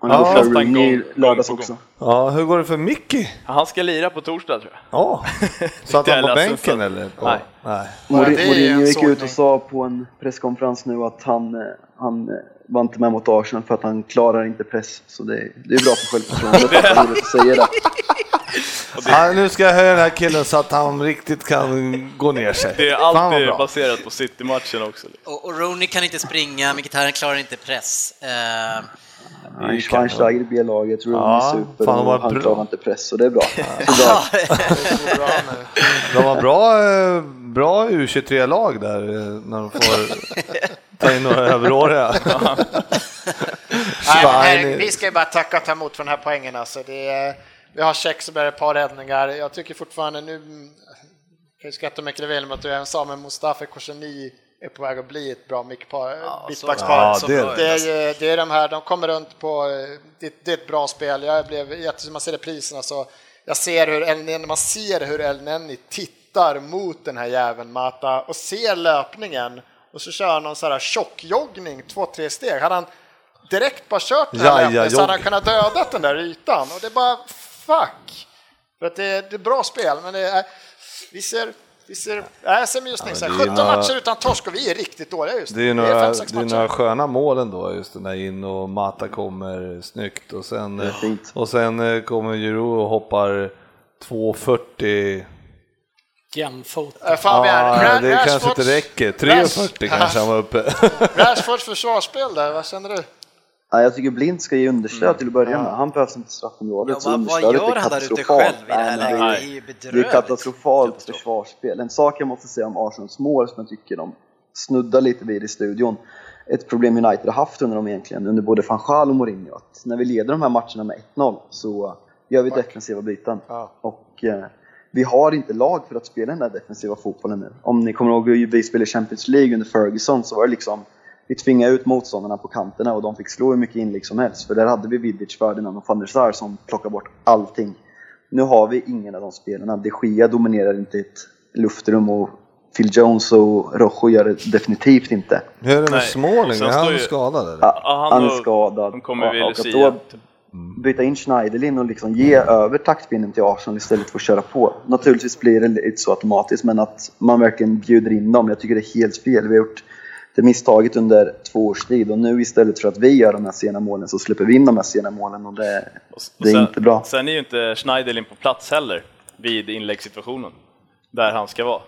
[SPEAKER 3] Han
[SPEAKER 4] Ja,
[SPEAKER 3] går
[SPEAKER 6] nästan
[SPEAKER 3] för Rooney
[SPEAKER 6] gång-
[SPEAKER 3] lördags
[SPEAKER 6] gång på
[SPEAKER 3] också.
[SPEAKER 4] Ja, hur går det för Mickey?
[SPEAKER 6] han ska lira på torsdag tror jag.
[SPEAKER 4] Ja, satt han på
[SPEAKER 6] Jävla
[SPEAKER 4] bänken
[SPEAKER 6] sussar.
[SPEAKER 4] eller?
[SPEAKER 6] Nej.
[SPEAKER 4] Nej.
[SPEAKER 7] Ja, det är
[SPEAKER 3] Mourin-
[SPEAKER 7] ju en
[SPEAKER 3] Mourinho gick
[SPEAKER 7] sågning.
[SPEAKER 3] ut och sa på en presskonferens nu att han, eh, han eh, var inte med mot Arsenal för att han klarar inte press. Så det, det är bra för självförtroendet att han går ut och säger det.
[SPEAKER 4] Ja, nu ska jag höja den här killen så att han riktigt kan gå ner sig.
[SPEAKER 6] Det är
[SPEAKER 4] Fan, vad
[SPEAKER 6] alltid
[SPEAKER 4] bra.
[SPEAKER 6] baserat på City-matchen också.
[SPEAKER 2] Och, och Rooney kan inte springa, Mkhitaryan klarar inte press. Eh,
[SPEAKER 3] Schweinsteiger i B-laget, Rooney
[SPEAKER 4] Ja,
[SPEAKER 3] super
[SPEAKER 4] fan, vad
[SPEAKER 3] och han
[SPEAKER 4] bra.
[SPEAKER 3] klarar inte press. Så det är bra. Så bra.
[SPEAKER 4] De har bra, eh, bra U23-lag där eh, när de får ta in några överåriga.
[SPEAKER 7] Nej, men
[SPEAKER 4] Schwein-
[SPEAKER 7] herregud, vi ska ju bara tacka och ta emot för den här poängen. Alltså. Det är, vi har check så blir det ett par räddningar. Jag tycker fortfarande nu, jag kan ju skratta hur mycket du vill, men att du även sa men Mustafa Koshani är på väg att bli ett bra mittpar, mittbackspar.
[SPEAKER 4] Ja,
[SPEAKER 2] så
[SPEAKER 4] det är
[SPEAKER 2] bra
[SPEAKER 7] Det är,
[SPEAKER 2] alltså.
[SPEAKER 7] ju, det är de här, de kommer runt på, eh, det, det är ett bra spel. Jag blev jätte, man ser det priserna så, jag ser hur El Neni, man ser hur El Neni tittar mot den här jäveln Mata och ser löpningen och så kör han någon sån här tjockjoggning, två, tre steg. Hade han direkt bara kört den här
[SPEAKER 4] Jaja,
[SPEAKER 7] löpningen så hade han
[SPEAKER 4] jogg.
[SPEAKER 7] kunnat döda den där ytan och det är bara fuck. För att det, det är bra spel men det är, vi ser vi ser, nej, jag ser med just nu, så här,
[SPEAKER 4] det är
[SPEAKER 7] 17
[SPEAKER 4] några-
[SPEAKER 7] matcher utan torsk och vi är riktigt dåliga just
[SPEAKER 4] Det är,
[SPEAKER 7] nu.
[SPEAKER 4] några, det,
[SPEAKER 7] fem-sex
[SPEAKER 4] är några sköna mål ändå, just den där in och Mata kommer snyggt och sen,
[SPEAKER 3] är fint.
[SPEAKER 4] och sen eh, kommer Jiro och hoppar 2.40.
[SPEAKER 5] Jämfota.
[SPEAKER 7] Eh, Fabian,
[SPEAKER 4] Ah,
[SPEAKER 7] Ra-
[SPEAKER 4] det kanske
[SPEAKER 7] Rashfords-
[SPEAKER 4] inte räcker,
[SPEAKER 7] Rash-
[SPEAKER 4] 3.40 kanske han var uppe.
[SPEAKER 7] Rashfords försvarsspel där, vad känner du?
[SPEAKER 3] Nej, jag tycker Blind ska ge understöd till att börja med. Han behövs inte i straffområdet.
[SPEAKER 2] Ja,
[SPEAKER 3] så
[SPEAKER 2] vad- vad
[SPEAKER 3] understödet
[SPEAKER 2] gör
[SPEAKER 3] är
[SPEAKER 2] han där ute
[SPEAKER 3] katastrofalt.
[SPEAKER 2] själv i typ, det här
[SPEAKER 3] Nej, men
[SPEAKER 2] läget?
[SPEAKER 3] är-
[SPEAKER 2] Det är ju
[SPEAKER 3] Det
[SPEAKER 2] bedrövligt.
[SPEAKER 3] är katastrofalt
[SPEAKER 2] Katastrof.
[SPEAKER 3] försvarsspel. En sak jag måste säga om Arsenals mål som jag tycker de snuddar lite vid i studion. Ett problem United har haft under dem egentligen, under både van Gaal och Mourinho. Att när vi leder de här matcherna med 1-0 så gör vi defensiva byten.
[SPEAKER 7] Ja.
[SPEAKER 3] Och eh, vi har inte lag för att spela den där defensiva fotbollen nu. Om ni kommer ihåg hur vi spelade Champions League under Ferguson så var det liksom vi tvingade ut motståndarna på kanterna och de fick slå hur mycket inlägg som helst. För där hade vi Vidic, Ferdinand och van der Sar som plockade bort allting. Nu har vi ingen av de spelarna. De Gea dominerar inte ett luftrum och Phil Jones och Rojo gör det definitivt inte.
[SPEAKER 4] Hur är det med
[SPEAKER 6] Nej, och
[SPEAKER 4] Smalling?
[SPEAKER 6] sen
[SPEAKER 4] Är
[SPEAKER 6] står
[SPEAKER 4] han
[SPEAKER 6] ju-
[SPEAKER 4] skadad eller?
[SPEAKER 6] Ja,
[SPEAKER 3] han är
[SPEAKER 6] och-
[SPEAKER 3] skadad.
[SPEAKER 6] De kommer vid
[SPEAKER 3] Ja, och att
[SPEAKER 6] Lucia.
[SPEAKER 3] då byta in Schneiderlin och liksom ge över taktpinnen till Arsenal istället för att köra på. Naturligtvis blir det lite så automatiskt men att man verkligen bjuder in dem. Jag tycker det är helt fel. Vi har gjort det misstaget under två års tid och nu istället för att vi gör de här sena målen så släpper vi in de här sena målen och det,
[SPEAKER 6] Och s- och
[SPEAKER 3] det är inte bra.
[SPEAKER 6] Sen är ju inte Schneiderlin på plats heller vid inläggssituationen, där han ska vara.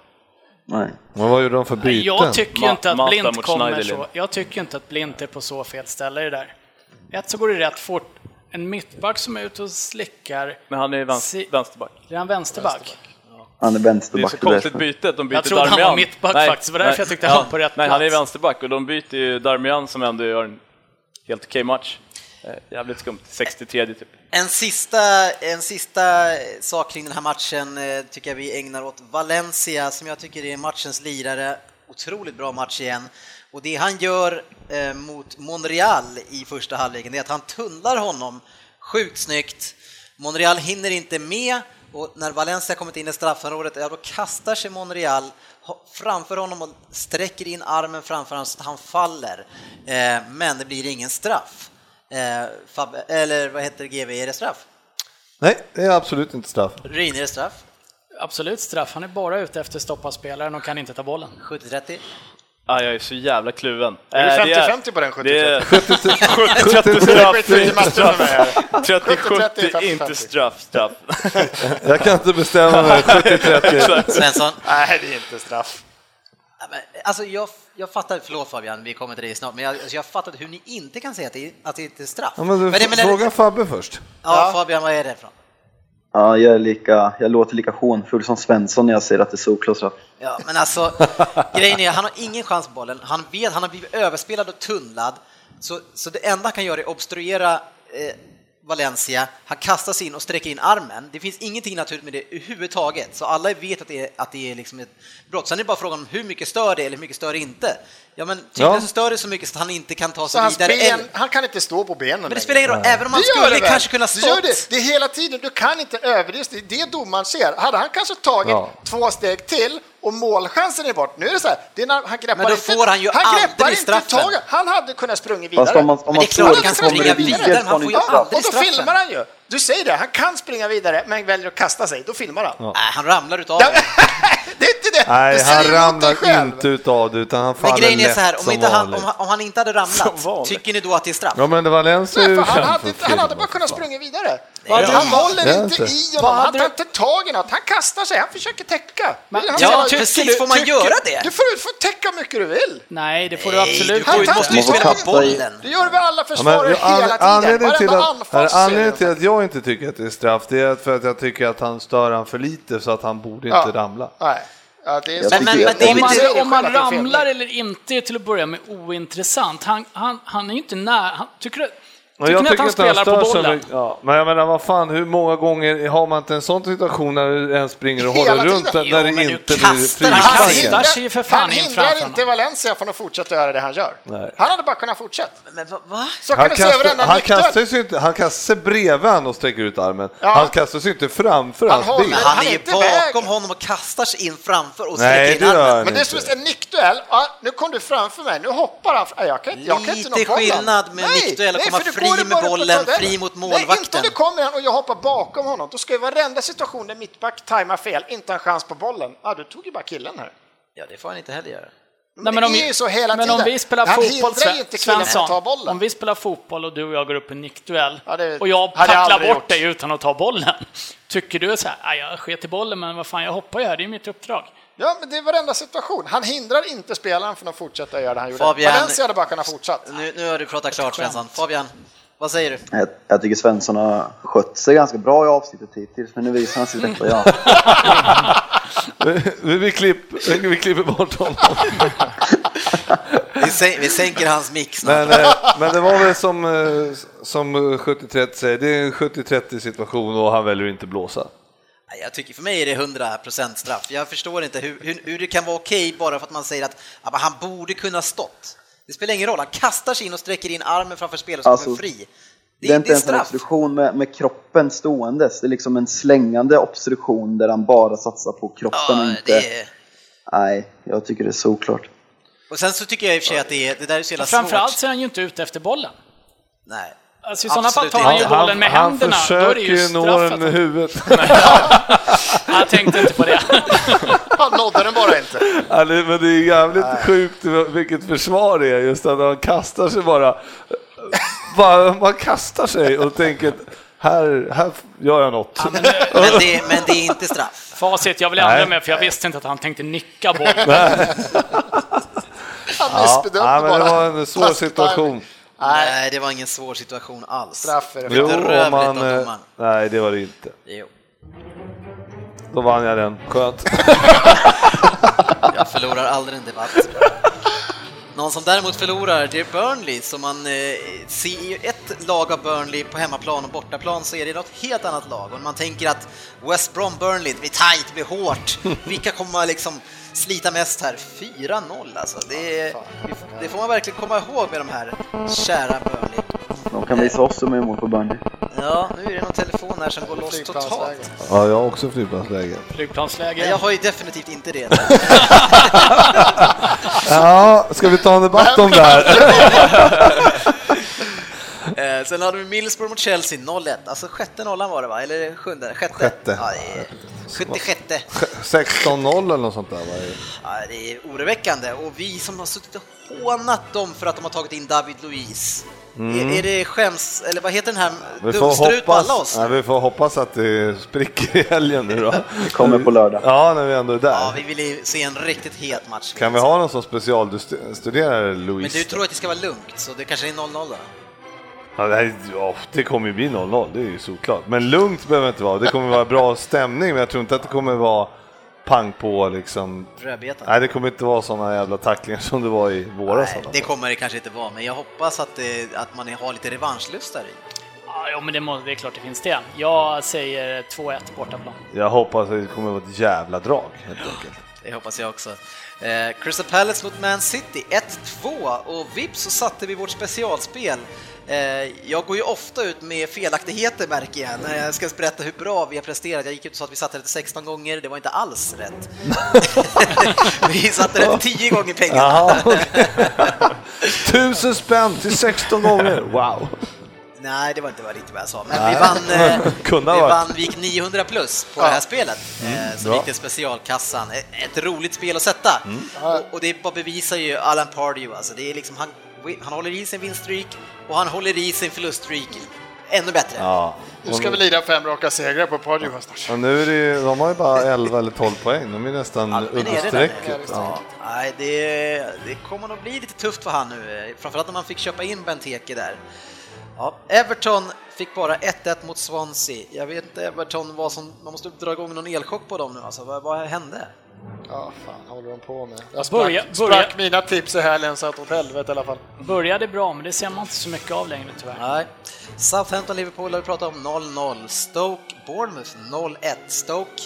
[SPEAKER 3] Nej.
[SPEAKER 4] Men vad gjorde de för byten?
[SPEAKER 5] Jag tycker ju
[SPEAKER 6] Ma-
[SPEAKER 5] inte att
[SPEAKER 6] Mata
[SPEAKER 5] Blind
[SPEAKER 6] mot
[SPEAKER 5] kommer
[SPEAKER 6] Schneiderlin.
[SPEAKER 5] så. Jag tycker ju inte att Blind är på så fel ställe i det där. Ett så går det rätt fort. En mittback som är ute och slickar.
[SPEAKER 6] Men han är ju
[SPEAKER 5] Si-
[SPEAKER 6] vänster, vänsterback.
[SPEAKER 5] Det är en vänsterback.
[SPEAKER 3] Han är
[SPEAKER 6] Det är
[SPEAKER 3] vänsterback.
[SPEAKER 6] så
[SPEAKER 3] och
[SPEAKER 6] konstigt
[SPEAKER 3] därför-
[SPEAKER 6] byte att de byter
[SPEAKER 5] Jag trodde han var
[SPEAKER 6] Darmian.
[SPEAKER 5] mittback faktiskt, det var därför jag tyckte han var på rätt
[SPEAKER 6] Nej, han är
[SPEAKER 5] plats.
[SPEAKER 6] vänsterback och de byter ju Darmian som ändå gör en helt okej match. Eh, Jävligt skumt, 63 typ.
[SPEAKER 2] En sista, en sista sak kring den här matchen eh, tycker jag vi ägnar åt Valencia som jag tycker är matchens lirare. Otroligt bra match igen. Och det han gör eh, mot Monreal i första halvleken det är att han tunnlar honom sjukt snyggt. Monreal hinner inte med och när Valencia kommit in i straffområdet, ja då kastar sig Monreal ho- framför honom och sträcker in armen framför honom så att han faller. Eh, men det blir ingen straff. Eh, Fab, eller vad heter det, GV, är det straff?
[SPEAKER 4] Nej, det är absolut inte straff.
[SPEAKER 2] Ryn, är det straff?
[SPEAKER 5] Absolut straff, han är bara ute efter att stoppa spelaren och kan inte ta bollen.
[SPEAKER 2] 70-30?
[SPEAKER 6] Ah, jag är så jävla kluven.
[SPEAKER 7] Är det
[SPEAKER 6] Eh,
[SPEAKER 7] 50-50 på den 70-30?
[SPEAKER 6] Det är
[SPEAKER 4] 70
[SPEAKER 6] straff,
[SPEAKER 7] Det är skit i matchen för mig här.
[SPEAKER 6] 30-70,
[SPEAKER 7] 50-50.
[SPEAKER 6] inte straff, straff.
[SPEAKER 4] Jag kan inte bestämma mig, 70-30.
[SPEAKER 2] Svensson?
[SPEAKER 7] Nej, det är inte straff.
[SPEAKER 2] Ja, men, Alltså jag, jag fattar, förlåt Fabian, vi kommer till dig snart, men jag, alltså, jag fattar hur ni inte kan säga att det, att det inte är straff.
[SPEAKER 4] Ja, men du,
[SPEAKER 2] det- det-
[SPEAKER 4] fråga Fabbe först.
[SPEAKER 2] ja, Fabian, vad är det från?
[SPEAKER 3] Ja, jag, är lika, jag låter lika hånfull som Svensson när jag säger att det är solklar straff.
[SPEAKER 2] Ja, men alltså, grejen är, han har ingen chans på bollen. Han vet, han har blivit överspelad och tunnlad. Så, så det enda han kan göra är att obstruera eh, Valencia, han kastar sig in och sträcker in armen. Det finns ingenting naturligt med det överhuvudtaget, så alla vet att det är, att det är liksom ett brott. Sen är det bara frågan om hur mycket stör det eller hur mycket stör det inte. Ja, men tydligen
[SPEAKER 4] Ja.
[SPEAKER 2] så stör det så mycket så att han inte kan ta
[SPEAKER 7] Så
[SPEAKER 2] sig
[SPEAKER 7] hans
[SPEAKER 2] vidare.
[SPEAKER 7] ben,
[SPEAKER 2] eller-
[SPEAKER 7] han kan inte stå på benen
[SPEAKER 2] Men det spelar ingen roll, även om han
[SPEAKER 7] Det gör
[SPEAKER 2] skulle
[SPEAKER 7] det väl?
[SPEAKER 2] kanske kunna
[SPEAKER 7] Det gör det.
[SPEAKER 2] stått.
[SPEAKER 7] det är hela tiden, du kan inte överdriva. Det är det domaren ser. Hade han kanske tagit
[SPEAKER 4] Ja.
[SPEAKER 7] två steg till och målchansen är bort. Nu är det så här, det är när han greppar
[SPEAKER 2] Men då
[SPEAKER 7] inte,
[SPEAKER 2] får han ju
[SPEAKER 7] han greppar
[SPEAKER 2] aldrig
[SPEAKER 7] inte
[SPEAKER 2] straffen.
[SPEAKER 7] taget. Han hade kunnat sprungit vidare.
[SPEAKER 3] Fast om man, om
[SPEAKER 2] det
[SPEAKER 3] man
[SPEAKER 2] är klart
[SPEAKER 3] står
[SPEAKER 2] han
[SPEAKER 3] så
[SPEAKER 2] kan
[SPEAKER 3] kommer det
[SPEAKER 2] springa vidare,
[SPEAKER 3] ligga
[SPEAKER 2] men han
[SPEAKER 3] från
[SPEAKER 2] får ju
[SPEAKER 3] inte
[SPEAKER 7] ja,
[SPEAKER 3] straff.
[SPEAKER 7] liksom och då
[SPEAKER 2] straffen.
[SPEAKER 7] filmar han ju. Du säger det, han kan springa vidare men väljer att kasta sig. Då filmar han.
[SPEAKER 2] Nej, han ramlar utav det.
[SPEAKER 7] Det är inte det.
[SPEAKER 4] Nej,
[SPEAKER 7] det
[SPEAKER 4] han
[SPEAKER 7] säger ju åt dig
[SPEAKER 4] ramlar
[SPEAKER 7] själv.
[SPEAKER 4] inte utav det utan han
[SPEAKER 2] Men
[SPEAKER 4] faller
[SPEAKER 2] grejen är
[SPEAKER 4] lätt
[SPEAKER 2] så här, om,
[SPEAKER 4] som
[SPEAKER 2] inte han,
[SPEAKER 4] vanligt.
[SPEAKER 2] om, han, om han inte hade ramlat,
[SPEAKER 6] vanligt.
[SPEAKER 2] tycker ni då att det är straff?
[SPEAKER 4] Ja men det var Lenzo är
[SPEAKER 7] Nej,
[SPEAKER 4] ju
[SPEAKER 7] för han,
[SPEAKER 4] känd
[SPEAKER 7] hade,
[SPEAKER 4] för
[SPEAKER 7] inte- han hade
[SPEAKER 4] film,
[SPEAKER 7] bara
[SPEAKER 4] vad
[SPEAKER 7] kunnat
[SPEAKER 4] fan.
[SPEAKER 7] springa vidare.
[SPEAKER 2] hade
[SPEAKER 7] han
[SPEAKER 2] du-
[SPEAKER 4] Det är
[SPEAKER 7] håller inte
[SPEAKER 4] inte.
[SPEAKER 7] i honom, han
[SPEAKER 5] hade
[SPEAKER 7] tar
[SPEAKER 5] du-
[SPEAKER 7] inte tag i något, han kastar sig, han försöker täcka. Det är det han
[SPEAKER 5] Ja,
[SPEAKER 7] säger.
[SPEAKER 5] tycker
[SPEAKER 2] precis, får man
[SPEAKER 5] tycker-
[SPEAKER 2] göra det?
[SPEAKER 7] Du får, du får täcka hur mycket du vill.
[SPEAKER 5] Nej, det får du
[SPEAKER 2] Nej,
[SPEAKER 5] absolut
[SPEAKER 2] du får ju-
[SPEAKER 5] inte.
[SPEAKER 7] Han
[SPEAKER 2] måste ju
[SPEAKER 7] tar-
[SPEAKER 2] spela
[SPEAKER 7] han-
[SPEAKER 2] på bollen.
[SPEAKER 7] Det gör vi alla
[SPEAKER 4] Ja, men,
[SPEAKER 7] försvarare
[SPEAKER 4] an-
[SPEAKER 7] hela tiden.
[SPEAKER 4] anledningen, till
[SPEAKER 7] Varenda
[SPEAKER 4] att,
[SPEAKER 7] anfall
[SPEAKER 4] här,
[SPEAKER 7] så är
[SPEAKER 4] anledningen till
[SPEAKER 7] det.
[SPEAKER 4] att jag inte tycker att det är straff det är att för att jag tycker att han stör han för lite så att han borde
[SPEAKER 7] Ja.
[SPEAKER 4] inte ramla.
[SPEAKER 7] Nej. Ja, det är
[SPEAKER 3] Jag
[SPEAKER 7] så-
[SPEAKER 2] Men, men, men det är
[SPEAKER 5] Om
[SPEAKER 2] väl
[SPEAKER 5] man,
[SPEAKER 2] inte...
[SPEAKER 7] det är
[SPEAKER 5] om man
[SPEAKER 7] själva att det är fel.
[SPEAKER 5] ramlar eller inte är till att börja med ointressant. Han, han, han är ju inte nära. Han, tycker du,
[SPEAKER 4] Men
[SPEAKER 5] tycker ni att han
[SPEAKER 4] inte
[SPEAKER 5] spelar på
[SPEAKER 4] stör så
[SPEAKER 5] bollen?
[SPEAKER 4] mycket- ja, men jag menar, vad fan, hur många gånger har man inte en sån situation när du ens springer och håller
[SPEAKER 7] Hela tiden.
[SPEAKER 4] runt där,
[SPEAKER 2] Jo,
[SPEAKER 4] där det
[SPEAKER 2] men du
[SPEAKER 4] inte
[SPEAKER 2] kastar
[SPEAKER 4] blir
[SPEAKER 2] han
[SPEAKER 5] Han
[SPEAKER 4] frisparken?
[SPEAKER 5] kastar sig ju för
[SPEAKER 7] Han
[SPEAKER 5] fan in
[SPEAKER 7] hindrar
[SPEAKER 5] framför
[SPEAKER 7] inte
[SPEAKER 5] honom.
[SPEAKER 7] Valencia från att fortsätta göra det han gör.
[SPEAKER 4] Nej.
[SPEAKER 7] Han hade bara kunnat fortsätta.
[SPEAKER 2] Men va- va?
[SPEAKER 7] Så kan
[SPEAKER 4] Han
[SPEAKER 7] du säga
[SPEAKER 4] kastar,
[SPEAKER 7] varenda
[SPEAKER 4] han,
[SPEAKER 7] nykter.
[SPEAKER 4] kastar sig inte, han kastar sig bredvid han och sträcker ut armen.
[SPEAKER 7] Ja.
[SPEAKER 4] Han kastar sig inte framför
[SPEAKER 7] Han
[SPEAKER 4] hans
[SPEAKER 7] håller-
[SPEAKER 4] bil.
[SPEAKER 2] Men
[SPEAKER 7] han
[SPEAKER 2] han är
[SPEAKER 7] är
[SPEAKER 2] ju
[SPEAKER 7] inte vägen.
[SPEAKER 2] bakom honom och kastar sig in framför och
[SPEAKER 4] Nej,
[SPEAKER 2] sträcker
[SPEAKER 4] det
[SPEAKER 2] in
[SPEAKER 4] gör
[SPEAKER 2] armen.
[SPEAKER 4] han
[SPEAKER 7] Men det är
[SPEAKER 4] inte.
[SPEAKER 7] som en nickduell. Ja, nu kom du framför mig, nu hoppar han. Ja, Jag kan inte, jag kan inte nå
[SPEAKER 2] Lite
[SPEAKER 7] bollen.
[SPEAKER 2] skillnad med
[SPEAKER 7] Nej,
[SPEAKER 2] nickduell, att
[SPEAKER 7] nej,
[SPEAKER 2] komma
[SPEAKER 7] för du
[SPEAKER 2] fri
[SPEAKER 7] går ju
[SPEAKER 2] med
[SPEAKER 7] bara upp och
[SPEAKER 2] bollen,
[SPEAKER 7] tar den.
[SPEAKER 2] fri mot
[SPEAKER 7] Nej, inte
[SPEAKER 2] målvakten.
[SPEAKER 7] om du kommer igen och jag hoppar bakom honom. Då ska ju varenda situation där mittback tajmar fel, inte en chans på bollen. Ja, du tog ju bara killen här.
[SPEAKER 2] Ja, det får han inte heller göra.
[SPEAKER 5] Nej,
[SPEAKER 7] det är ju så hela
[SPEAKER 5] men
[SPEAKER 7] tiden.
[SPEAKER 5] om vi spelar
[SPEAKER 7] han
[SPEAKER 5] fotboll,
[SPEAKER 7] hindrar ju inte killen från att ta
[SPEAKER 5] Svensson, om
[SPEAKER 7] bollen.
[SPEAKER 5] vi spelar fotboll och du och jag går upp i en nickduell
[SPEAKER 7] Ja, det
[SPEAKER 5] och jag
[SPEAKER 7] hade jag
[SPEAKER 5] tacklar
[SPEAKER 7] aldrig
[SPEAKER 5] bort
[SPEAKER 7] gjort.
[SPEAKER 5] dig utan att ta bollen. Tycker du så här, "Ah, jag sket i bollen men vad fan jag hoppar ju här, det är ju mitt uppdrag.
[SPEAKER 7] Ja, men det är varenda situation. Han hindrar inte spelaren från att fortsätta göra det han gjorde.
[SPEAKER 2] Fabian-
[SPEAKER 7] Valencia hade bara kunnat fortsatt.
[SPEAKER 2] Nu, nu har du pratat klart, Svensson. Fabian, vad säger du?
[SPEAKER 3] Jag, jag tycker Svensson har skött sig ganska bra i avsnittet hittills, men nu visar han
[SPEAKER 2] Mm.
[SPEAKER 3] sitt rätta jag.
[SPEAKER 4] vi, vi, klipp, vi klipper bort honom.
[SPEAKER 2] Vi, sän- vi sänker hans mix snart.
[SPEAKER 4] Men, eh, men det var väl som, eh, som 70-30 säger, det är en 70-30 situation och han väljer att inte blåsa.
[SPEAKER 2] Nej, Jag tycker, för mig är det 100% straff. Jag förstår inte hur, hur, hur det kan vara okej bara för att man säger att ja, men han borde kunna stått. Det spelar ingen roll, han kastar sig in och sträcker in armen framför spelaren som
[SPEAKER 3] Alltså,
[SPEAKER 2] kommer fri. Det,
[SPEAKER 3] Det är
[SPEAKER 2] är
[SPEAKER 3] inte
[SPEAKER 2] det är
[SPEAKER 3] ens en
[SPEAKER 2] straff.
[SPEAKER 3] obstruktion med, med kroppen ståendes. Det är liksom en slängande obstruktion där han bara satsar på kroppen och
[SPEAKER 2] Ja,
[SPEAKER 3] inte...
[SPEAKER 2] det är...
[SPEAKER 3] Nej, jag tycker det är såklart.
[SPEAKER 2] Och sen så tycker jag i och för sig att det, är, det där är så jävla
[SPEAKER 5] Framförallt
[SPEAKER 2] svårt.
[SPEAKER 5] så är han ju inte ute efter bollen.
[SPEAKER 2] Nej.
[SPEAKER 5] Alltså, I sådana fall
[SPEAKER 2] Absolut
[SPEAKER 5] tar han ju
[SPEAKER 2] inte.
[SPEAKER 5] bollen med
[SPEAKER 4] han
[SPEAKER 5] händerna, då är det
[SPEAKER 4] försöker
[SPEAKER 5] ju
[SPEAKER 4] ju nå den med
[SPEAKER 5] straffat.
[SPEAKER 4] huvudet.
[SPEAKER 5] Jag tänkte inte på det.
[SPEAKER 7] Han nådde den bara inte.
[SPEAKER 4] Ja, det- men det är jävligt sjukt vilket försvar det är just att han kastar sig bara. bara man kastar sig och tänker att här, här gör jag något.
[SPEAKER 5] Men, eh,
[SPEAKER 2] Men det, men det är inte straff.
[SPEAKER 5] Facit, jag vill ändra mig för jag visste inte att han tänkte nicka bollen.
[SPEAKER 7] Han
[SPEAKER 4] Ja,
[SPEAKER 7] missbedömde
[SPEAKER 4] ja, men
[SPEAKER 7] bara.
[SPEAKER 4] det var en svår
[SPEAKER 7] Taskig
[SPEAKER 4] situation.
[SPEAKER 7] timing.
[SPEAKER 2] Nej. det var ingen svår situation alls.
[SPEAKER 7] Straff är det.
[SPEAKER 4] Jo,
[SPEAKER 2] Bedrövligt
[SPEAKER 4] om man,
[SPEAKER 2] av
[SPEAKER 4] eh,
[SPEAKER 2] domaren.
[SPEAKER 4] nej, det var det inte.
[SPEAKER 2] Jo,
[SPEAKER 4] Då vann jag den. Skönt.
[SPEAKER 2] jag förlorar aldrig en debatt. Någon som däremot förlorar, det är Burnley. Så man eh, ser ju ett lag av Burnley på hemmaplan och bortaplan så är det något helt annat lag. Och man tänker att West Brom Burnley, det blir tajt, det blir hårt. Vilka kommer liksom slita mest här? 4-0 alltså. Det, är- det får man verkligen komma ihåg med de här kära Burnley.
[SPEAKER 3] De kan visa oss som är emot på Burnley.
[SPEAKER 2] Ja, nu är det någon telefon här som går loss totalt.
[SPEAKER 7] Flygplansläge.
[SPEAKER 4] Ja, jag har också flygplansläge.
[SPEAKER 2] Nej,
[SPEAKER 5] Flygplansläge.
[SPEAKER 2] Jag har ju definitivt inte det.
[SPEAKER 4] Ja, ska vi ta en debatt om det här?
[SPEAKER 2] Eh, Sen hade vi Middlesbrough mot Chelsea 0-1. Alltså sjätte nollan var det va? Eller sjunde? Sjätte?
[SPEAKER 4] Sjätte.
[SPEAKER 2] Ja, det är- 76.
[SPEAKER 4] 16-0 eller något sånt där. var det.
[SPEAKER 2] Ja, det är oroväckande och vi som har suttit och hånat dem för att de har tagit in David Luiz. Är, är det skäms... Eller vad heter den här
[SPEAKER 4] Mm. Vi får,
[SPEAKER 2] dumstrut på alla
[SPEAKER 4] hoppas,
[SPEAKER 2] oss?
[SPEAKER 4] nej, vi får hoppas att det spricker i helgen nu då.
[SPEAKER 3] Det kommer på lördag.
[SPEAKER 4] Ja, när vi ändå är där.
[SPEAKER 2] Ja, vi vill ju se en riktigt het match.
[SPEAKER 4] Kan vi ha någon som specialstuderar
[SPEAKER 2] Men
[SPEAKER 4] Louise?
[SPEAKER 2] du tror att det ska vara lugnt, så det kanske är 0-0 då?
[SPEAKER 4] ja, det, här, ja, det kommer ju bli 0-0, det är ju såklart. Men lugnt behöver det inte vara. Det kommer vara bra stämning, men jag tror inte att det kommer vara pang på liksom.
[SPEAKER 2] Rödbetan.
[SPEAKER 4] Nej, det kommer inte vara sådana jävla tacklingar som det var i våras. i alla
[SPEAKER 2] det
[SPEAKER 4] fall.
[SPEAKER 2] kommer det kanske inte vara, men jag hoppas att, det, att man har lite revanschlust där i.
[SPEAKER 5] Ja, ja, men det, må, det är klart det finns det. Jag säger 2-1 bortaplan.
[SPEAKER 4] Jag hoppas att det kommer att vara ett jävla drag helt enkelt.
[SPEAKER 2] Det hoppas jag också. Eh, Crystal Palace mot Man City 1-2 och vips så satte vi vårt specialspel. Eh, jag går ju ofta ut med felaktigheter märker jag när jag ska berätta hur bra vi har presterat. Jag gick ut och sa att vi satte det 16 gånger, det var inte alls rätt. vi satte det 10 gånger pengarna.
[SPEAKER 4] Jaha, okej. Tusen spänn till 16 gånger, wow!
[SPEAKER 2] Nej, det var inte riktigt vad jag sa, men vi vann, eh,
[SPEAKER 4] Kunde ha
[SPEAKER 2] vi
[SPEAKER 4] varit.
[SPEAKER 2] vann vi gick 900 plus på det här spelet. eh, så
[SPEAKER 4] Mm. bra. Mm.
[SPEAKER 2] gick det specialkassan. E- Ett roligt spel att sätta. Och, och det bara bevisar ju Alan Pardew, alltså. det är liksom, han, han håller i sin vinststreak och han håller i sin förluststreak ännu bättre.
[SPEAKER 4] Ja.
[SPEAKER 7] Nu ska vi lida fem raka segrar på Pardew här snart.
[SPEAKER 4] Och nu är det ju, de har ju bara 11 eller 12 poäng, de är nästan
[SPEAKER 2] men är det
[SPEAKER 4] under
[SPEAKER 2] där?
[SPEAKER 4] strecket. Ja.
[SPEAKER 2] Nej, det, det kommer nog bli lite tufft för han nu, eh, framförallt när man fick köpa in Benteke där. Ja, Everton fick bara 1-1 mot Swansea. Jag vet inte Everton vad som, man måste dra igång någon elchock på dem nu alltså, vad, vad hände?
[SPEAKER 7] Ja, fan håller de på med? Jag sprack,
[SPEAKER 5] Börja-
[SPEAKER 7] sprack
[SPEAKER 5] börja-
[SPEAKER 7] mina tips i helgen så att åt helvete i alla fall.
[SPEAKER 5] Började bra, men det ser man inte så mycket av längre tyvärr.
[SPEAKER 2] Nej. Southampton-Liverpool har vi pratat om 0-0. Stoke-Bournemouth 0-1. Stoke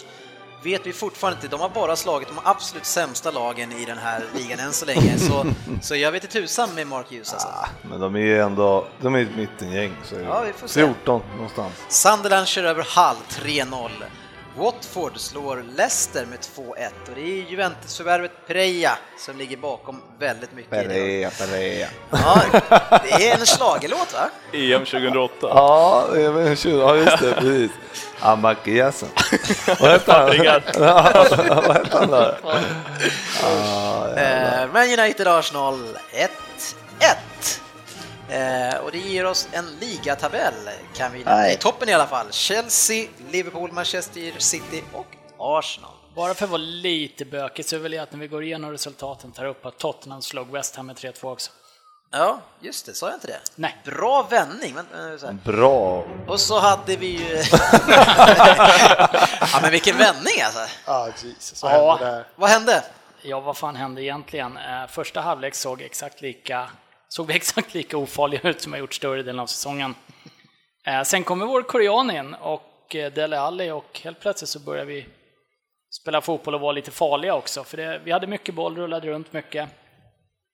[SPEAKER 2] vet vi fortfarande inte, de har bara slagit de absolut sämsta lagen i den här ligan än så länge, så, så jag vet inte tusan med Mark Hughes alltså.
[SPEAKER 4] Men de är ju ändå, de är ju ett mittengäng, så är det.
[SPEAKER 2] Ja, vi får se.
[SPEAKER 4] 14 någonstans.
[SPEAKER 2] Sunderland kör över Hull 3-0. Watford slår Leicester med 2-1 och det är Juventus-förvärvet Preja som ligger bakom väldigt mycket. i det.
[SPEAKER 4] Perea.
[SPEAKER 2] Ja, det är en schlagerlåt va?
[SPEAKER 6] EM 2008.
[SPEAKER 4] Ja, det är väl en tjugo- ja, just det, precis. Amakiasen. Vad hette han?
[SPEAKER 6] Fabregat.
[SPEAKER 4] Ja, Vad hette han då? Ja, ja.
[SPEAKER 2] Eh, Man United-Arsenal 1-1. Eh, och det ger oss en ligatabell, kan vi
[SPEAKER 3] Nej.
[SPEAKER 2] i toppen i alla fall. Chelsea, Liverpool, Manchester City och Arsenal.
[SPEAKER 5] Bara för att vara lite bökigt så vill jag att när vi går igenom resultaten tar upp att Tottenham slog West Ham med 3-2 också.
[SPEAKER 2] Ja, just det, sa jag inte det?
[SPEAKER 5] Nej.
[SPEAKER 2] Bra vändning! Men, eh, så här.
[SPEAKER 4] Bra.
[SPEAKER 2] Och så hade vi ju... ja, men vilken vändning alltså!
[SPEAKER 7] Ah, Jesus, vad
[SPEAKER 5] Ja.
[SPEAKER 7] hände där?
[SPEAKER 2] Vad hände?
[SPEAKER 5] Ja, vad fan hände egentligen? Eh, Första halvlek såg exakt lika, såg vi exakt lika ofarliga ut som har gjort större delen av säsongen. Eh, Sen kommer vår korean in och eh, Dele Alli och helt plötsligt så börjar vi spela fotboll och vara lite farliga också. För det, vi hade mycket boll, rullade runt mycket.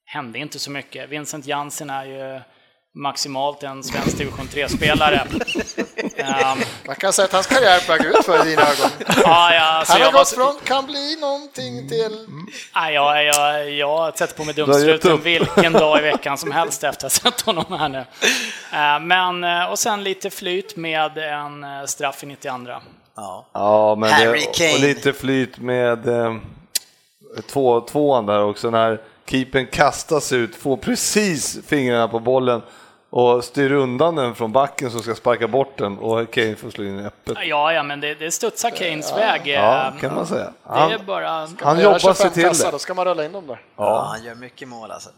[SPEAKER 5] Hände inte så mycket. Vincent Jansen är ju maximalt en svensk division 3-spelare. Ehm,
[SPEAKER 7] Man kan säga att hans karriär är på väg ut för i dina ögon.
[SPEAKER 5] ja, ja, alltså
[SPEAKER 7] Han
[SPEAKER 5] jag
[SPEAKER 7] har
[SPEAKER 5] var
[SPEAKER 7] gått
[SPEAKER 5] så-
[SPEAKER 7] från kan bli någonting till...
[SPEAKER 5] Nej, jag, jag, jag sätter på mig
[SPEAKER 4] har gett
[SPEAKER 5] dumstruten
[SPEAKER 4] upp.
[SPEAKER 5] vilken dag i veckan som helst efter att ha sett honom här nu. Eh, Men, eh, och sen lite flyt med en eh, straff i 92.
[SPEAKER 2] Ja.
[SPEAKER 4] Ja, men
[SPEAKER 2] Harry
[SPEAKER 4] det, och
[SPEAKER 2] Kane.
[SPEAKER 4] lite flyt med eh, två, tvåan där också när keepern kastas ut, får precis fingrarna på bollen och styr undan den från backen som ska sparka bort den och Kane får slå in öppet.
[SPEAKER 5] Ja, ja, men det, det studsar Keynes väg. eh,
[SPEAKER 4] Ja, kan man säga.
[SPEAKER 5] Det är
[SPEAKER 4] Han,
[SPEAKER 5] bara...
[SPEAKER 4] han
[SPEAKER 7] Göra
[SPEAKER 4] jobbar sig
[SPEAKER 7] 25
[SPEAKER 4] till
[SPEAKER 7] kassar,
[SPEAKER 4] det.
[SPEAKER 7] Då ska man rulla in dem där.
[SPEAKER 2] Ja, han gör mycket mål alltså.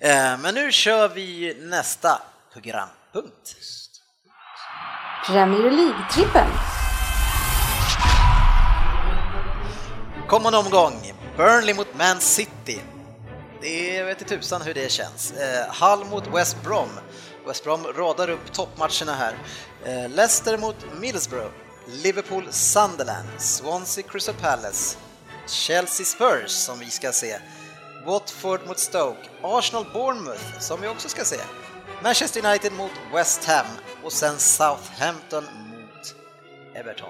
[SPEAKER 2] Eh, Men nu kör vi nästa programpunkt.
[SPEAKER 9] Premier League-trippen.
[SPEAKER 2] Kom en omgång, Burnley mot Man City. Det vet i tusan hur det känns. Eh, Hull mot West Brom. West Brom radar upp toppmatcherna här. Eh, Leicester mot Middlesbrough. Liverpool Sunderland. Swansea Crystal Palace. Chelsea Spurs som vi ska se. Watford mot Stoke. Arsenal Bournemouth som vi också ska se. Manchester United mot West Ham och sen Southampton mot Everton.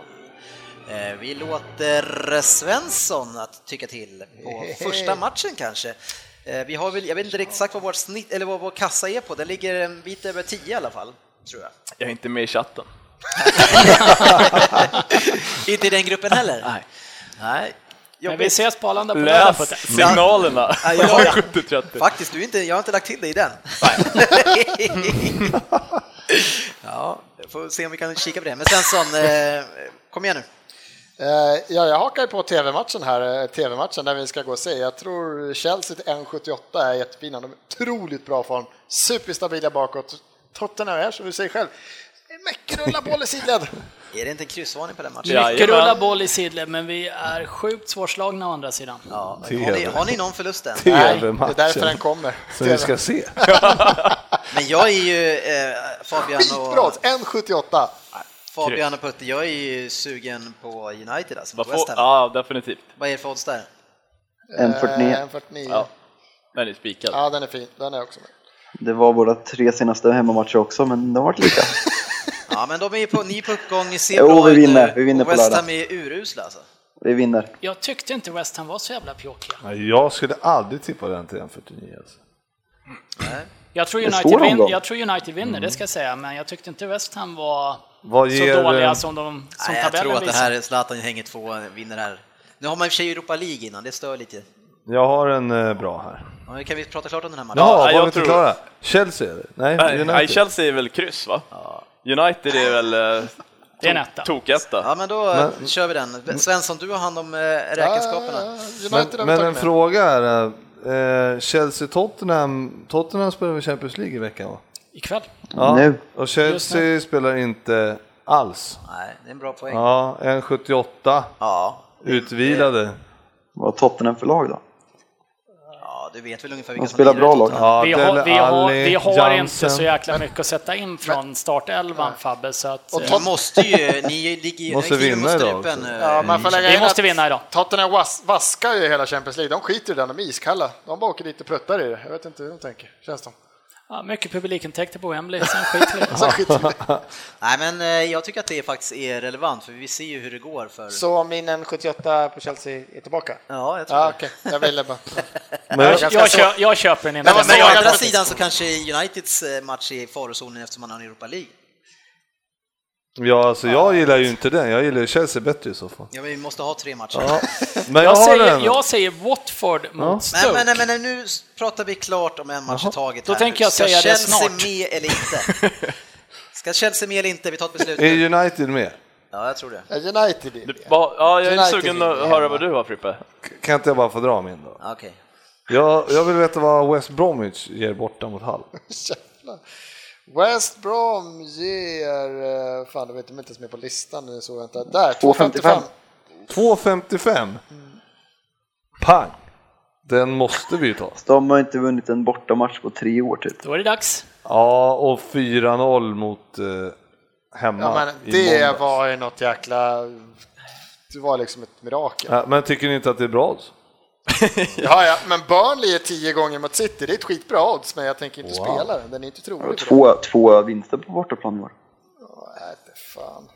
[SPEAKER 2] Eh, Vi låter Svensson att tycka till på första matchen kanske. Eh, Vi har väl, jag vet inte riktigt exakt vad vårt snitt, eller vad vår kassa är på, den ligger en bit över 10 i alla fall, tror jag.
[SPEAKER 6] Jag är inte med i chatten.
[SPEAKER 2] Inte i den gruppen heller? Nej. Nej.
[SPEAKER 5] Men vi ses på Arlanda på lördag. på
[SPEAKER 6] Läs
[SPEAKER 5] ett-
[SPEAKER 6] signalerna!
[SPEAKER 2] Ja, jag har-
[SPEAKER 6] 70-30.
[SPEAKER 2] Faktiskt, du är inte, jag har inte lagt till dig i den. ja, jag får se om vi kan kika på det. Men Svensson, eh, kom igen nu.
[SPEAKER 7] Eh, Ja, jag hakar ju på tv-matchen här, eh, tv-matchen där vi ska gå och se. Jag tror Chelsea till 1,78 är jättefina. De är i otroligt bra form, superstabila bakåt. Tottenham är som du säger själv, mycket rulla boll i sidled.
[SPEAKER 2] Är det inte en kryssvarning på den matchen?
[SPEAKER 6] Ja.
[SPEAKER 5] Mycket
[SPEAKER 6] Jajamän.
[SPEAKER 5] rulla boll i sidled, men vi
[SPEAKER 4] Mm.
[SPEAKER 5] är sjukt svårslagna å andra sidan.
[SPEAKER 2] Ja, har, ni, har ni någon förlust än?
[SPEAKER 7] Nej, det
[SPEAKER 4] TV-matchen.
[SPEAKER 7] är därför den kommer.
[SPEAKER 4] Som vi ska se.
[SPEAKER 2] Men jag är ju eh, Fabian
[SPEAKER 7] Skitbra!
[SPEAKER 2] och,
[SPEAKER 7] 1,78.
[SPEAKER 2] Fabian och Putte, jag är ju sugen på United alltså,
[SPEAKER 6] Vad
[SPEAKER 2] mot
[SPEAKER 6] får,
[SPEAKER 2] West Ham.
[SPEAKER 6] ja, definitivt.
[SPEAKER 2] Vad är det för odds där?
[SPEAKER 7] Eh,
[SPEAKER 3] 1,49.
[SPEAKER 7] 1,49.
[SPEAKER 6] Ja.
[SPEAKER 7] Ja.
[SPEAKER 6] Den är spikad.
[SPEAKER 7] den är fin. Den är också med.
[SPEAKER 3] Det var våra tre senaste hemmamatcher också, men det har varit lika.
[SPEAKER 2] Ja, men de är ju på, ni är på uppgång, ni ser
[SPEAKER 3] Jo,
[SPEAKER 2] bra
[SPEAKER 3] vi
[SPEAKER 2] ut
[SPEAKER 3] vinner.
[SPEAKER 2] nu.
[SPEAKER 3] Vi vinner
[SPEAKER 2] och
[SPEAKER 3] på
[SPEAKER 2] West
[SPEAKER 3] lördag.
[SPEAKER 2] Ham är urusla alltså.
[SPEAKER 3] Vi vinner.
[SPEAKER 5] Jag tyckte inte West Ham var så jävla pjåkiga.
[SPEAKER 4] Nej, Jag skulle aldrig tippa den till 1.49 alltså.
[SPEAKER 5] Jag tror
[SPEAKER 3] står
[SPEAKER 5] United, vin-
[SPEAKER 3] omgång.
[SPEAKER 5] jag tror United vinner, det ska jag säga, men jag tyckte inte West Ham var
[SPEAKER 4] Mm. Vad ger,
[SPEAKER 5] så alltså. dåliga
[SPEAKER 4] eh,
[SPEAKER 5] som, de, som
[SPEAKER 2] Nej, jag
[SPEAKER 5] tabellen
[SPEAKER 2] tror att det
[SPEAKER 5] visar.
[SPEAKER 2] här, Zlatan hänger två, vinner här. Nu har man i och för sig Europa League innan, det stör lite.
[SPEAKER 4] Jag har en eh, bra här.
[SPEAKER 2] Ja, men kan vi prata klart om den här matchen?
[SPEAKER 4] Ja,
[SPEAKER 6] jag
[SPEAKER 4] var vi inte
[SPEAKER 6] tror-
[SPEAKER 4] klara? Chelsea eller? Nej,
[SPEAKER 6] Nej, nej,
[SPEAKER 4] United.
[SPEAKER 6] Chelsea är väl kryss va? United är väl eh,
[SPEAKER 5] Det är en
[SPEAKER 6] tok-
[SPEAKER 5] etta.
[SPEAKER 6] toketta.
[SPEAKER 2] Ja, men då eh, kör vi den. Svensson, du har hand om eh, räkenskaperna.
[SPEAKER 4] Men,
[SPEAKER 7] Ah, United har vi
[SPEAKER 4] men en
[SPEAKER 7] tagit med.
[SPEAKER 4] fråga är, eh, Chelsea-Tottenham, Tottenham spelar väl Champions League i veckan va?
[SPEAKER 5] Ikväll.
[SPEAKER 4] Ja,
[SPEAKER 3] Nu.
[SPEAKER 4] och Chelsea spelar inte alls.
[SPEAKER 2] Nej, det är en bra poäng. Ja.
[SPEAKER 4] Ja, 1,78
[SPEAKER 2] Ja,
[SPEAKER 4] utvilade.
[SPEAKER 3] Vad har Tottenham för lag då?
[SPEAKER 2] du vet väl ungefär vilka
[SPEAKER 3] De spelar
[SPEAKER 2] lirar
[SPEAKER 3] bra
[SPEAKER 2] i
[SPEAKER 3] lag.
[SPEAKER 2] Tottenham.
[SPEAKER 4] Ja,
[SPEAKER 5] Vi har,
[SPEAKER 4] Dele
[SPEAKER 5] vi har,
[SPEAKER 4] Alli,
[SPEAKER 5] vi har inte
[SPEAKER 4] Jansen.
[SPEAKER 5] så jäkla mycket att sätta in från startelvan Fabbe, så att... eh,
[SPEAKER 2] Ni måste ju, ni ligger ju
[SPEAKER 4] Måste
[SPEAKER 2] ni ligger
[SPEAKER 4] vinna
[SPEAKER 2] mot
[SPEAKER 4] idag
[SPEAKER 2] strupen eh.
[SPEAKER 4] också.
[SPEAKER 2] nu.
[SPEAKER 7] Ja, man får lägga
[SPEAKER 5] Vi
[SPEAKER 7] in
[SPEAKER 5] måste
[SPEAKER 7] att
[SPEAKER 5] vinna idag.
[SPEAKER 7] Tottenham vas- vaskar ju hela Champions League. De skiter i den, de är iskalla. De bara åker dit och pruttar i det. Jag vet inte hur de tänker, känns det
[SPEAKER 5] Ja, mycket publikintäkter på Wembley, sen skiter vi i det.
[SPEAKER 7] som. Skiter i det.
[SPEAKER 2] Nej, men eh, jag tycker att det faktiskt är relevant, för vi ser ju hur det går för...
[SPEAKER 7] Så min 1,78 på Chelsea är tillbaka?
[SPEAKER 2] Ja, jag tror
[SPEAKER 7] Ja,
[SPEAKER 2] det.
[SPEAKER 7] okej. Jag ville bara...
[SPEAKER 4] Men,
[SPEAKER 7] Jag ska
[SPEAKER 5] Jag,
[SPEAKER 7] så-
[SPEAKER 5] kö, jag köper den inte.
[SPEAKER 7] Men vad
[SPEAKER 2] Men å
[SPEAKER 7] sa jag?
[SPEAKER 2] andra sidan så kanske Uniteds eh, match är i farozonen eftersom man har en Europa League.
[SPEAKER 4] ja, alltså, jag gillar ju inte den, jag gillar ju Chelsea bättre i så fall.
[SPEAKER 2] Ja, men vi måste ha tre matcher.
[SPEAKER 4] Ja. Men jag
[SPEAKER 5] Jag
[SPEAKER 4] har
[SPEAKER 5] säger,
[SPEAKER 4] den.
[SPEAKER 5] jag säger Watford mot
[SPEAKER 2] Men, men,
[SPEAKER 5] Stoke.
[SPEAKER 2] men, men nu s- pratar vi klart om en match i taget.
[SPEAKER 5] Då
[SPEAKER 2] här.
[SPEAKER 5] tänker jag
[SPEAKER 2] Ska
[SPEAKER 5] säga det
[SPEAKER 2] Chelsea
[SPEAKER 5] snart.
[SPEAKER 2] med eller inte? Ska Chelsea med eller inte? Vi tar ett beslut nu.
[SPEAKER 4] Är United med?
[SPEAKER 2] Ja, jag tror det.
[SPEAKER 7] United är
[SPEAKER 6] Du, vad- ja, jag är
[SPEAKER 7] United
[SPEAKER 6] sugen
[SPEAKER 7] vinner
[SPEAKER 6] att höra vad du har Frippe.
[SPEAKER 4] Kan inte jag bara få dra min då?
[SPEAKER 2] Okej.
[SPEAKER 4] Jag, jag vill veta vad West Bromwich ger borta mot Hull.
[SPEAKER 7] Jävlar. West Brom ger... eh, Fan, det vet de inte ens med på listan. Nu såg jag inte. Där, 2,55.
[SPEAKER 4] 2.55! Pang! Den måste vi ju ta.
[SPEAKER 3] De har inte vunnit en bortamatch på tre år typ.
[SPEAKER 5] Då är det dags.
[SPEAKER 4] Ja, och 4-0 mot eh, hemma
[SPEAKER 7] Ja,
[SPEAKER 4] i
[SPEAKER 7] men det
[SPEAKER 4] måndags.
[SPEAKER 7] var ju något jäkla... Det var liksom ett mirakel.
[SPEAKER 4] Ja, men tycker ni inte att det är bra alltså? odds?
[SPEAKER 7] Ja, ja, men Burnley är tio gånger mot City. Det är ett skitbra odds, men jag tänker inte spela den. Den är inte trolig. för dem.
[SPEAKER 3] Två, två vinster på bortaplan i år.
[SPEAKER 7] Nej, det fan.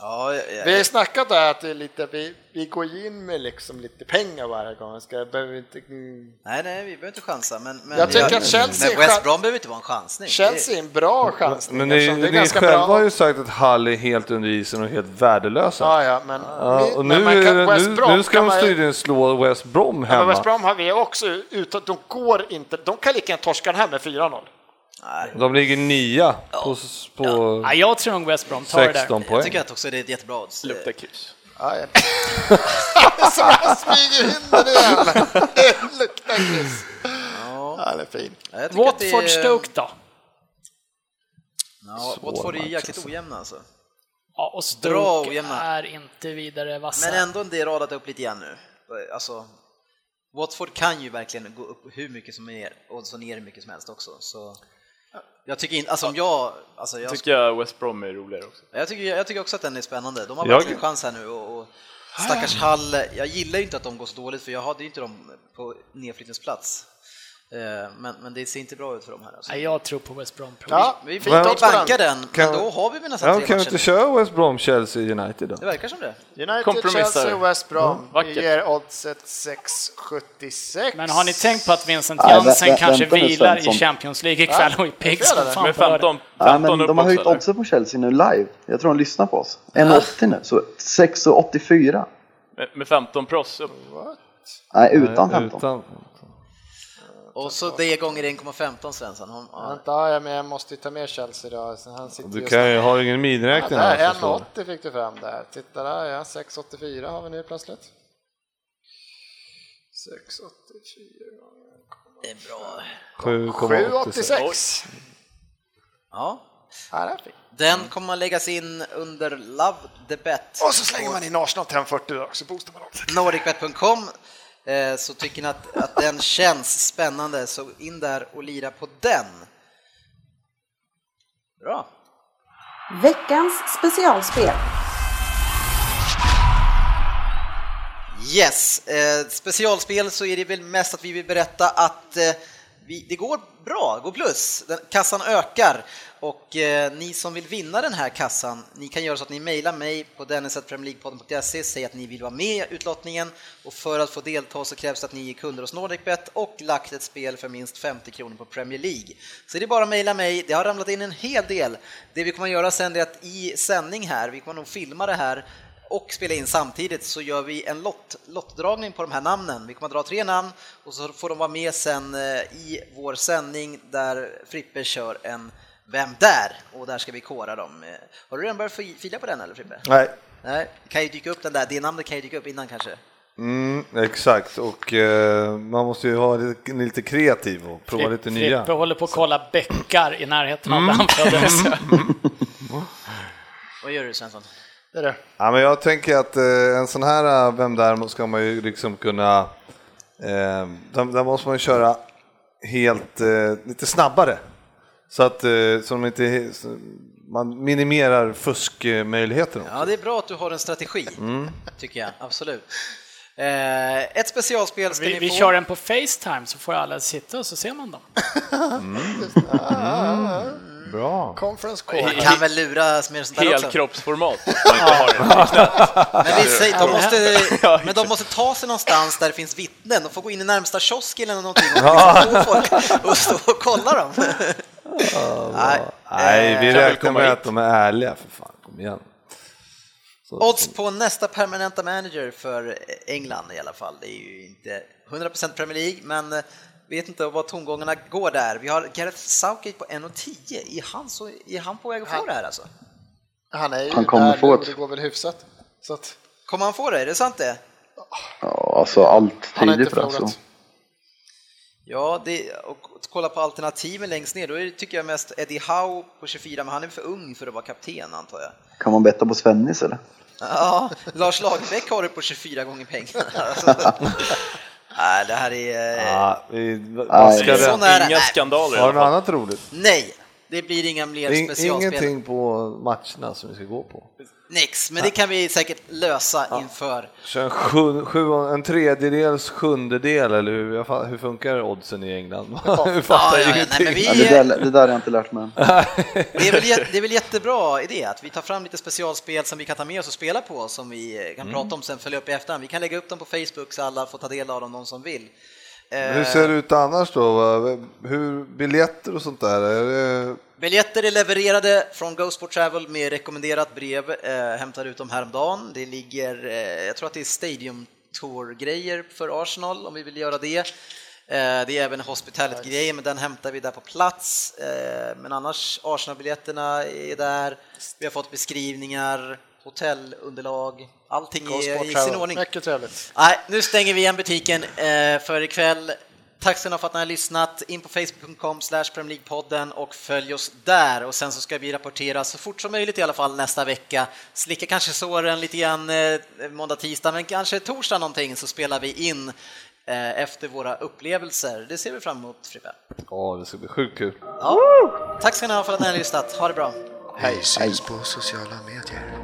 [SPEAKER 2] Ja, ja, ja.
[SPEAKER 7] Vi har ju snackat där att det är lite, vi, vi går ju in med liksom lite pengar varje gång. Ska, behöver inte, mm.
[SPEAKER 2] Nej, nej, vi behöver inte chansa. Men, men,
[SPEAKER 7] Jag tycker att Chelsea
[SPEAKER 2] men
[SPEAKER 7] är
[SPEAKER 2] West
[SPEAKER 7] chans-
[SPEAKER 2] Brom behöver inte vara en chansning.
[SPEAKER 7] Chelsea är en bra chansning.
[SPEAKER 4] Men ni,
[SPEAKER 7] eftersom det är
[SPEAKER 4] ni
[SPEAKER 7] ganska
[SPEAKER 4] själva
[SPEAKER 7] bra
[SPEAKER 4] har ju sagt att Hull är helt under isen och helt värdelösa.
[SPEAKER 7] Ja, ja, men,
[SPEAKER 4] Ja,
[SPEAKER 7] vi-
[SPEAKER 4] och
[SPEAKER 7] men
[SPEAKER 4] nu,
[SPEAKER 7] man
[SPEAKER 4] är
[SPEAKER 7] kan-
[SPEAKER 4] det-
[SPEAKER 7] West
[SPEAKER 4] nu,
[SPEAKER 7] Brom
[SPEAKER 4] nu ska
[SPEAKER 7] kan
[SPEAKER 4] de
[SPEAKER 7] man ju-
[SPEAKER 4] tydligen slå West Brom
[SPEAKER 7] Ja,
[SPEAKER 4] hemma.
[SPEAKER 7] men West Brom har vi också utan de går inte, de kan lika gärna torska den här med 4-0.
[SPEAKER 2] Nej,
[SPEAKER 4] De ligger nia på, s- på
[SPEAKER 5] Ja, jag tror nog West Brom tar det där.
[SPEAKER 4] 16
[SPEAKER 2] jag
[SPEAKER 4] poäng.
[SPEAKER 2] tycker att också det är ett jättebra odds.
[SPEAKER 6] Luktar kryss.
[SPEAKER 7] Så han smyger in den igen! Det luktar kryss. Ja, det är fin.
[SPEAKER 2] Ja, jag tycker att det är-
[SPEAKER 5] Watford Stoke då?
[SPEAKER 2] Ja, Watford är ju jäkligt ojämna alltså.
[SPEAKER 5] Ja, och
[SPEAKER 2] Bra
[SPEAKER 5] Stoke
[SPEAKER 2] ojämna.
[SPEAKER 5] är inte vidare vassa.
[SPEAKER 2] Men ändå, det är radat upp lite igen nu. Alltså, Watford kan ju verkligen gå upp hur mycket som är och så ner hur mycket som helst också. Så jag tycker inte, alltså om jag, alltså jag,
[SPEAKER 6] Tycker jag West Brom är roligare också.
[SPEAKER 2] jag, tycker, jag tycker också att den är spännande. De har
[SPEAKER 4] Jag- Ah,
[SPEAKER 2] verkligen chans här nu och, och stackars Hall, jag gillar ju inte att de går så dåligt för jag hade ju inte dem på nedflyttningsplats. Eh, Men, men det ser inte bra ut för dem här. Alltså.
[SPEAKER 5] Ja, jag tror på West Brom. tror jag.
[SPEAKER 7] Ja,
[SPEAKER 2] Vi, vi
[SPEAKER 4] Men-
[SPEAKER 2] bankar den, men
[SPEAKER 4] Kan-
[SPEAKER 2] då har vi väl nästan
[SPEAKER 4] Ja,
[SPEAKER 2] tre
[SPEAKER 4] kan vi
[SPEAKER 2] matcher
[SPEAKER 4] inte
[SPEAKER 2] nu.
[SPEAKER 4] köra West Brom, Chelsea, United då?
[SPEAKER 2] Det verkar som det.
[SPEAKER 7] United,
[SPEAKER 6] Kompromisser.
[SPEAKER 7] Chelsea, West Brom
[SPEAKER 6] vackert.
[SPEAKER 7] ger oddset 6,76.
[SPEAKER 5] Men har ni tänkt på att Vincent
[SPEAKER 3] Nej, vä-
[SPEAKER 5] Jansen
[SPEAKER 3] vä-
[SPEAKER 5] kanske
[SPEAKER 3] vänta nu,
[SPEAKER 5] vilar i
[SPEAKER 3] Svensson.
[SPEAKER 5] Champions League ikväll och är pigg som
[SPEAKER 7] det.
[SPEAKER 5] fan
[SPEAKER 6] Med
[SPEAKER 5] på lördag.
[SPEAKER 6] 15, 15
[SPEAKER 3] Ja, men
[SPEAKER 6] upp
[SPEAKER 3] de har höjt
[SPEAKER 6] också, eller?
[SPEAKER 3] oddset på Chelsea nu live. Jag tror de lyssnar på oss. 1,80 nu, så 6,84.
[SPEAKER 6] Med, med 15 proffs upp.
[SPEAKER 3] Nej, utan 15.
[SPEAKER 4] Utan-
[SPEAKER 2] Och så det gånger 1,15 Svensson. Hon, ja.
[SPEAKER 7] Vänta, ja, men jag måste ju ta med Chelsea då. så Han sitter
[SPEAKER 4] Du
[SPEAKER 7] just
[SPEAKER 4] kan
[SPEAKER 7] nu.
[SPEAKER 4] ju, har ingen
[SPEAKER 7] Ja,
[SPEAKER 4] miniräkning
[SPEAKER 7] där,
[SPEAKER 4] här. alltså, förstår
[SPEAKER 7] 1,80 fick du fram där. Titta där, ja, 6,84 har vi nu plötsligt. 6,84.
[SPEAKER 2] Det är bra.
[SPEAKER 4] du. 7,86.
[SPEAKER 7] 7,86.
[SPEAKER 2] Ja.
[SPEAKER 7] Ja, det är fint.
[SPEAKER 2] Den kommer att läggas in under Love the Bet.
[SPEAKER 7] Och så slänger man in Arsenal 540 där också, boostar man också.
[SPEAKER 2] Nordicbet.com. Eh, Så tycker ni att, att den känns spännande så in där och lira på den. Bra.
[SPEAKER 1] Veckans specialspel.
[SPEAKER 2] Yes, eh, specialspel så är det väl mest att vi vill berätta att eh, vi, det går bra, går plus, den, kassan ökar och eh, ni som vill vinna den här kassan, ni kan göra så att ni mejlar mig på dennis.premierleaguepodden.se, säg att ni vill vara med i utlottningen och för att få delta så krävs det att ni är kunder hos NordicBet och lagt ett spel för minst 50 kronor på Premier League. Så det är bara att mejla mig, det har ramlat in en hel del. Det vi kommer att göra sen är att i sändning här, vi kommer nog filma det här och spela in samtidigt så gör vi en lott, lottdragning på de här namnen. Vi kommer att dra tre namn och så får de vara med sen eh, i vår sändning där Frippe kör en Vem där? och där ska vi kora dem. Eh, Har du redan börjat fi- fila på den eller Frippe?
[SPEAKER 4] Nej,
[SPEAKER 2] Nej, kan ju dyka upp den där, det namnet kan ju dyka upp innan kanske.
[SPEAKER 4] mm, exakt. Och eh, man måste ju ha lite, lite kreativ och prova lite nya. Mm.
[SPEAKER 5] Frippe håller på att kolla bäckar i närheten av där han föddes.
[SPEAKER 2] Vad gör du Svensson?
[SPEAKER 7] Det är det.
[SPEAKER 4] Ja, men jag tänker att eh, en sån här eh, Vem där ska man ju liksom kunna... Eh, där, där måste man ju köra helt eh, lite snabbare. Så att eh, så de inte, he- så man minimerar fuskmöjligheterna.
[SPEAKER 2] Ja, det är bra att du har en strategi, tycker jag, absolut. Eh, ett specialspel ska
[SPEAKER 5] Vi,
[SPEAKER 2] ni
[SPEAKER 5] vi
[SPEAKER 2] få.
[SPEAKER 5] kör en på Facetime så får alla sitta och så ser man dem.
[SPEAKER 4] Bra.
[SPEAKER 7] Conference
[SPEAKER 2] Man
[SPEAKER 7] call.
[SPEAKER 2] kan väl luras med sånt där också.
[SPEAKER 6] Helkroppsformat. Man inte har det.
[SPEAKER 2] Men, vi säger, de måste,
[SPEAKER 6] Ja,
[SPEAKER 2] men de måste ta sig någonstans där det finns vittnen. De får gå in i närmsta kiosk eller någonting och, liksom få folk och stå och kolla dem. Nej.
[SPEAKER 4] Nej, vi
[SPEAKER 6] Kan väl
[SPEAKER 4] räknar
[SPEAKER 6] komma
[SPEAKER 4] med
[SPEAKER 6] hit.
[SPEAKER 4] att de är ärliga för fan. Kom igen. Så,
[SPEAKER 2] Odds på nästa permanenta manager för England i alla fall. Det är ju inte 100% Premier League, men eh, vet inte vad tongångarna går där. Vi har Gareth Southgate på 1,10. Är han, så, är han på väg att få det här alltså?
[SPEAKER 7] Han är ju
[SPEAKER 3] Han kommer
[SPEAKER 7] där
[SPEAKER 3] få
[SPEAKER 7] nu,
[SPEAKER 3] ett-
[SPEAKER 7] det går väl hyfsat. Så att
[SPEAKER 2] Kommer han få det? Är det sant det?
[SPEAKER 3] Ja, alltså allt
[SPEAKER 7] han har
[SPEAKER 3] tyder
[SPEAKER 7] inte
[SPEAKER 3] på det. Alltså.
[SPEAKER 7] förlorat.
[SPEAKER 2] Ja, det, och att kolla på alternativen längst ner, då är, det- tycker jag mest Eddie Howe på 24, men han är för ung för att vara kapten antar jag.
[SPEAKER 3] Kan man betta på Svennis eller?
[SPEAKER 2] Ja, Lars Lagerbäck har det på 24 gånger pengarna. Alltså. Nej, det här är... eh,
[SPEAKER 4] Ja, vi, vad ska
[SPEAKER 3] Nej.
[SPEAKER 4] det-
[SPEAKER 2] Sån är det.
[SPEAKER 6] Inga
[SPEAKER 2] Nej.
[SPEAKER 6] skandaler i
[SPEAKER 4] Har
[SPEAKER 6] alla
[SPEAKER 4] du något
[SPEAKER 6] fall.
[SPEAKER 4] annat roligt?
[SPEAKER 2] Nej, det blir inga mer
[SPEAKER 4] In,
[SPEAKER 2] specialspel.
[SPEAKER 4] ingenting på matcherna som vi ska gå på?
[SPEAKER 2] Nix, men det kan vi säkert lösa inför.
[SPEAKER 4] Så en, sju, sju, en tredjedels sjundedel eller hur, jag fa- hur funkar oddsen i England? Jag fattar
[SPEAKER 2] Ja, ja, ja, nej,
[SPEAKER 4] ingenting.
[SPEAKER 2] men
[SPEAKER 3] Ja, det,
[SPEAKER 2] vi,
[SPEAKER 3] där, det där har jag inte lärt mig än.
[SPEAKER 2] det, är väl, jä- det är väl jättebra idé att vi tar fram lite specialspel som vi kan ta med oss och spela på som vi eh, kan prata om sen följa upp i efterhand. Vi kan lägga upp dem på Facebook så alla får ta del av dem, de som vill. Eh,
[SPEAKER 4] Hur ser det ut annars då? va? Hur, biljetter och sånt där? Är det,
[SPEAKER 2] Biljetter är levererade från Ghostport Travel med rekommenderat brev. Eh, hämtade ut dem häromdagen. Det ligger, eh, jag tror att det är Stadium Tour-grejer för Arsenal om vi vill göra det. Eh, det är även Hospitality-grejer, men den hämtar vi där på plats. Eh, men annars, Arsenal-biljetterna är där. Vi har fått beskrivningar, hotellunderlag, allting är i sin ordning.
[SPEAKER 7] Mycket trevligt.
[SPEAKER 2] Nej, nu stänger vi igen butiken eh, för ikväll. Tack ska ni ha för att ni har lyssnat. In på facebook.com slash Premier League-podden och följ oss där. Och sen så ska vi rapportera så fort som möjligt i alla fall nästa vecka. Slicka kanske såren lite grann eh, måndag, tisdag, men kanske torsdag någonting så spelar vi in eh, efter våra upplevelser. Det ser vi fram emot, Frippe.
[SPEAKER 4] ja, det ska bli sjukt kul.
[SPEAKER 2] Tack ska ni ha för att ni har lyssnat. Ha det bra.
[SPEAKER 8] Hej, syns på sociala medier.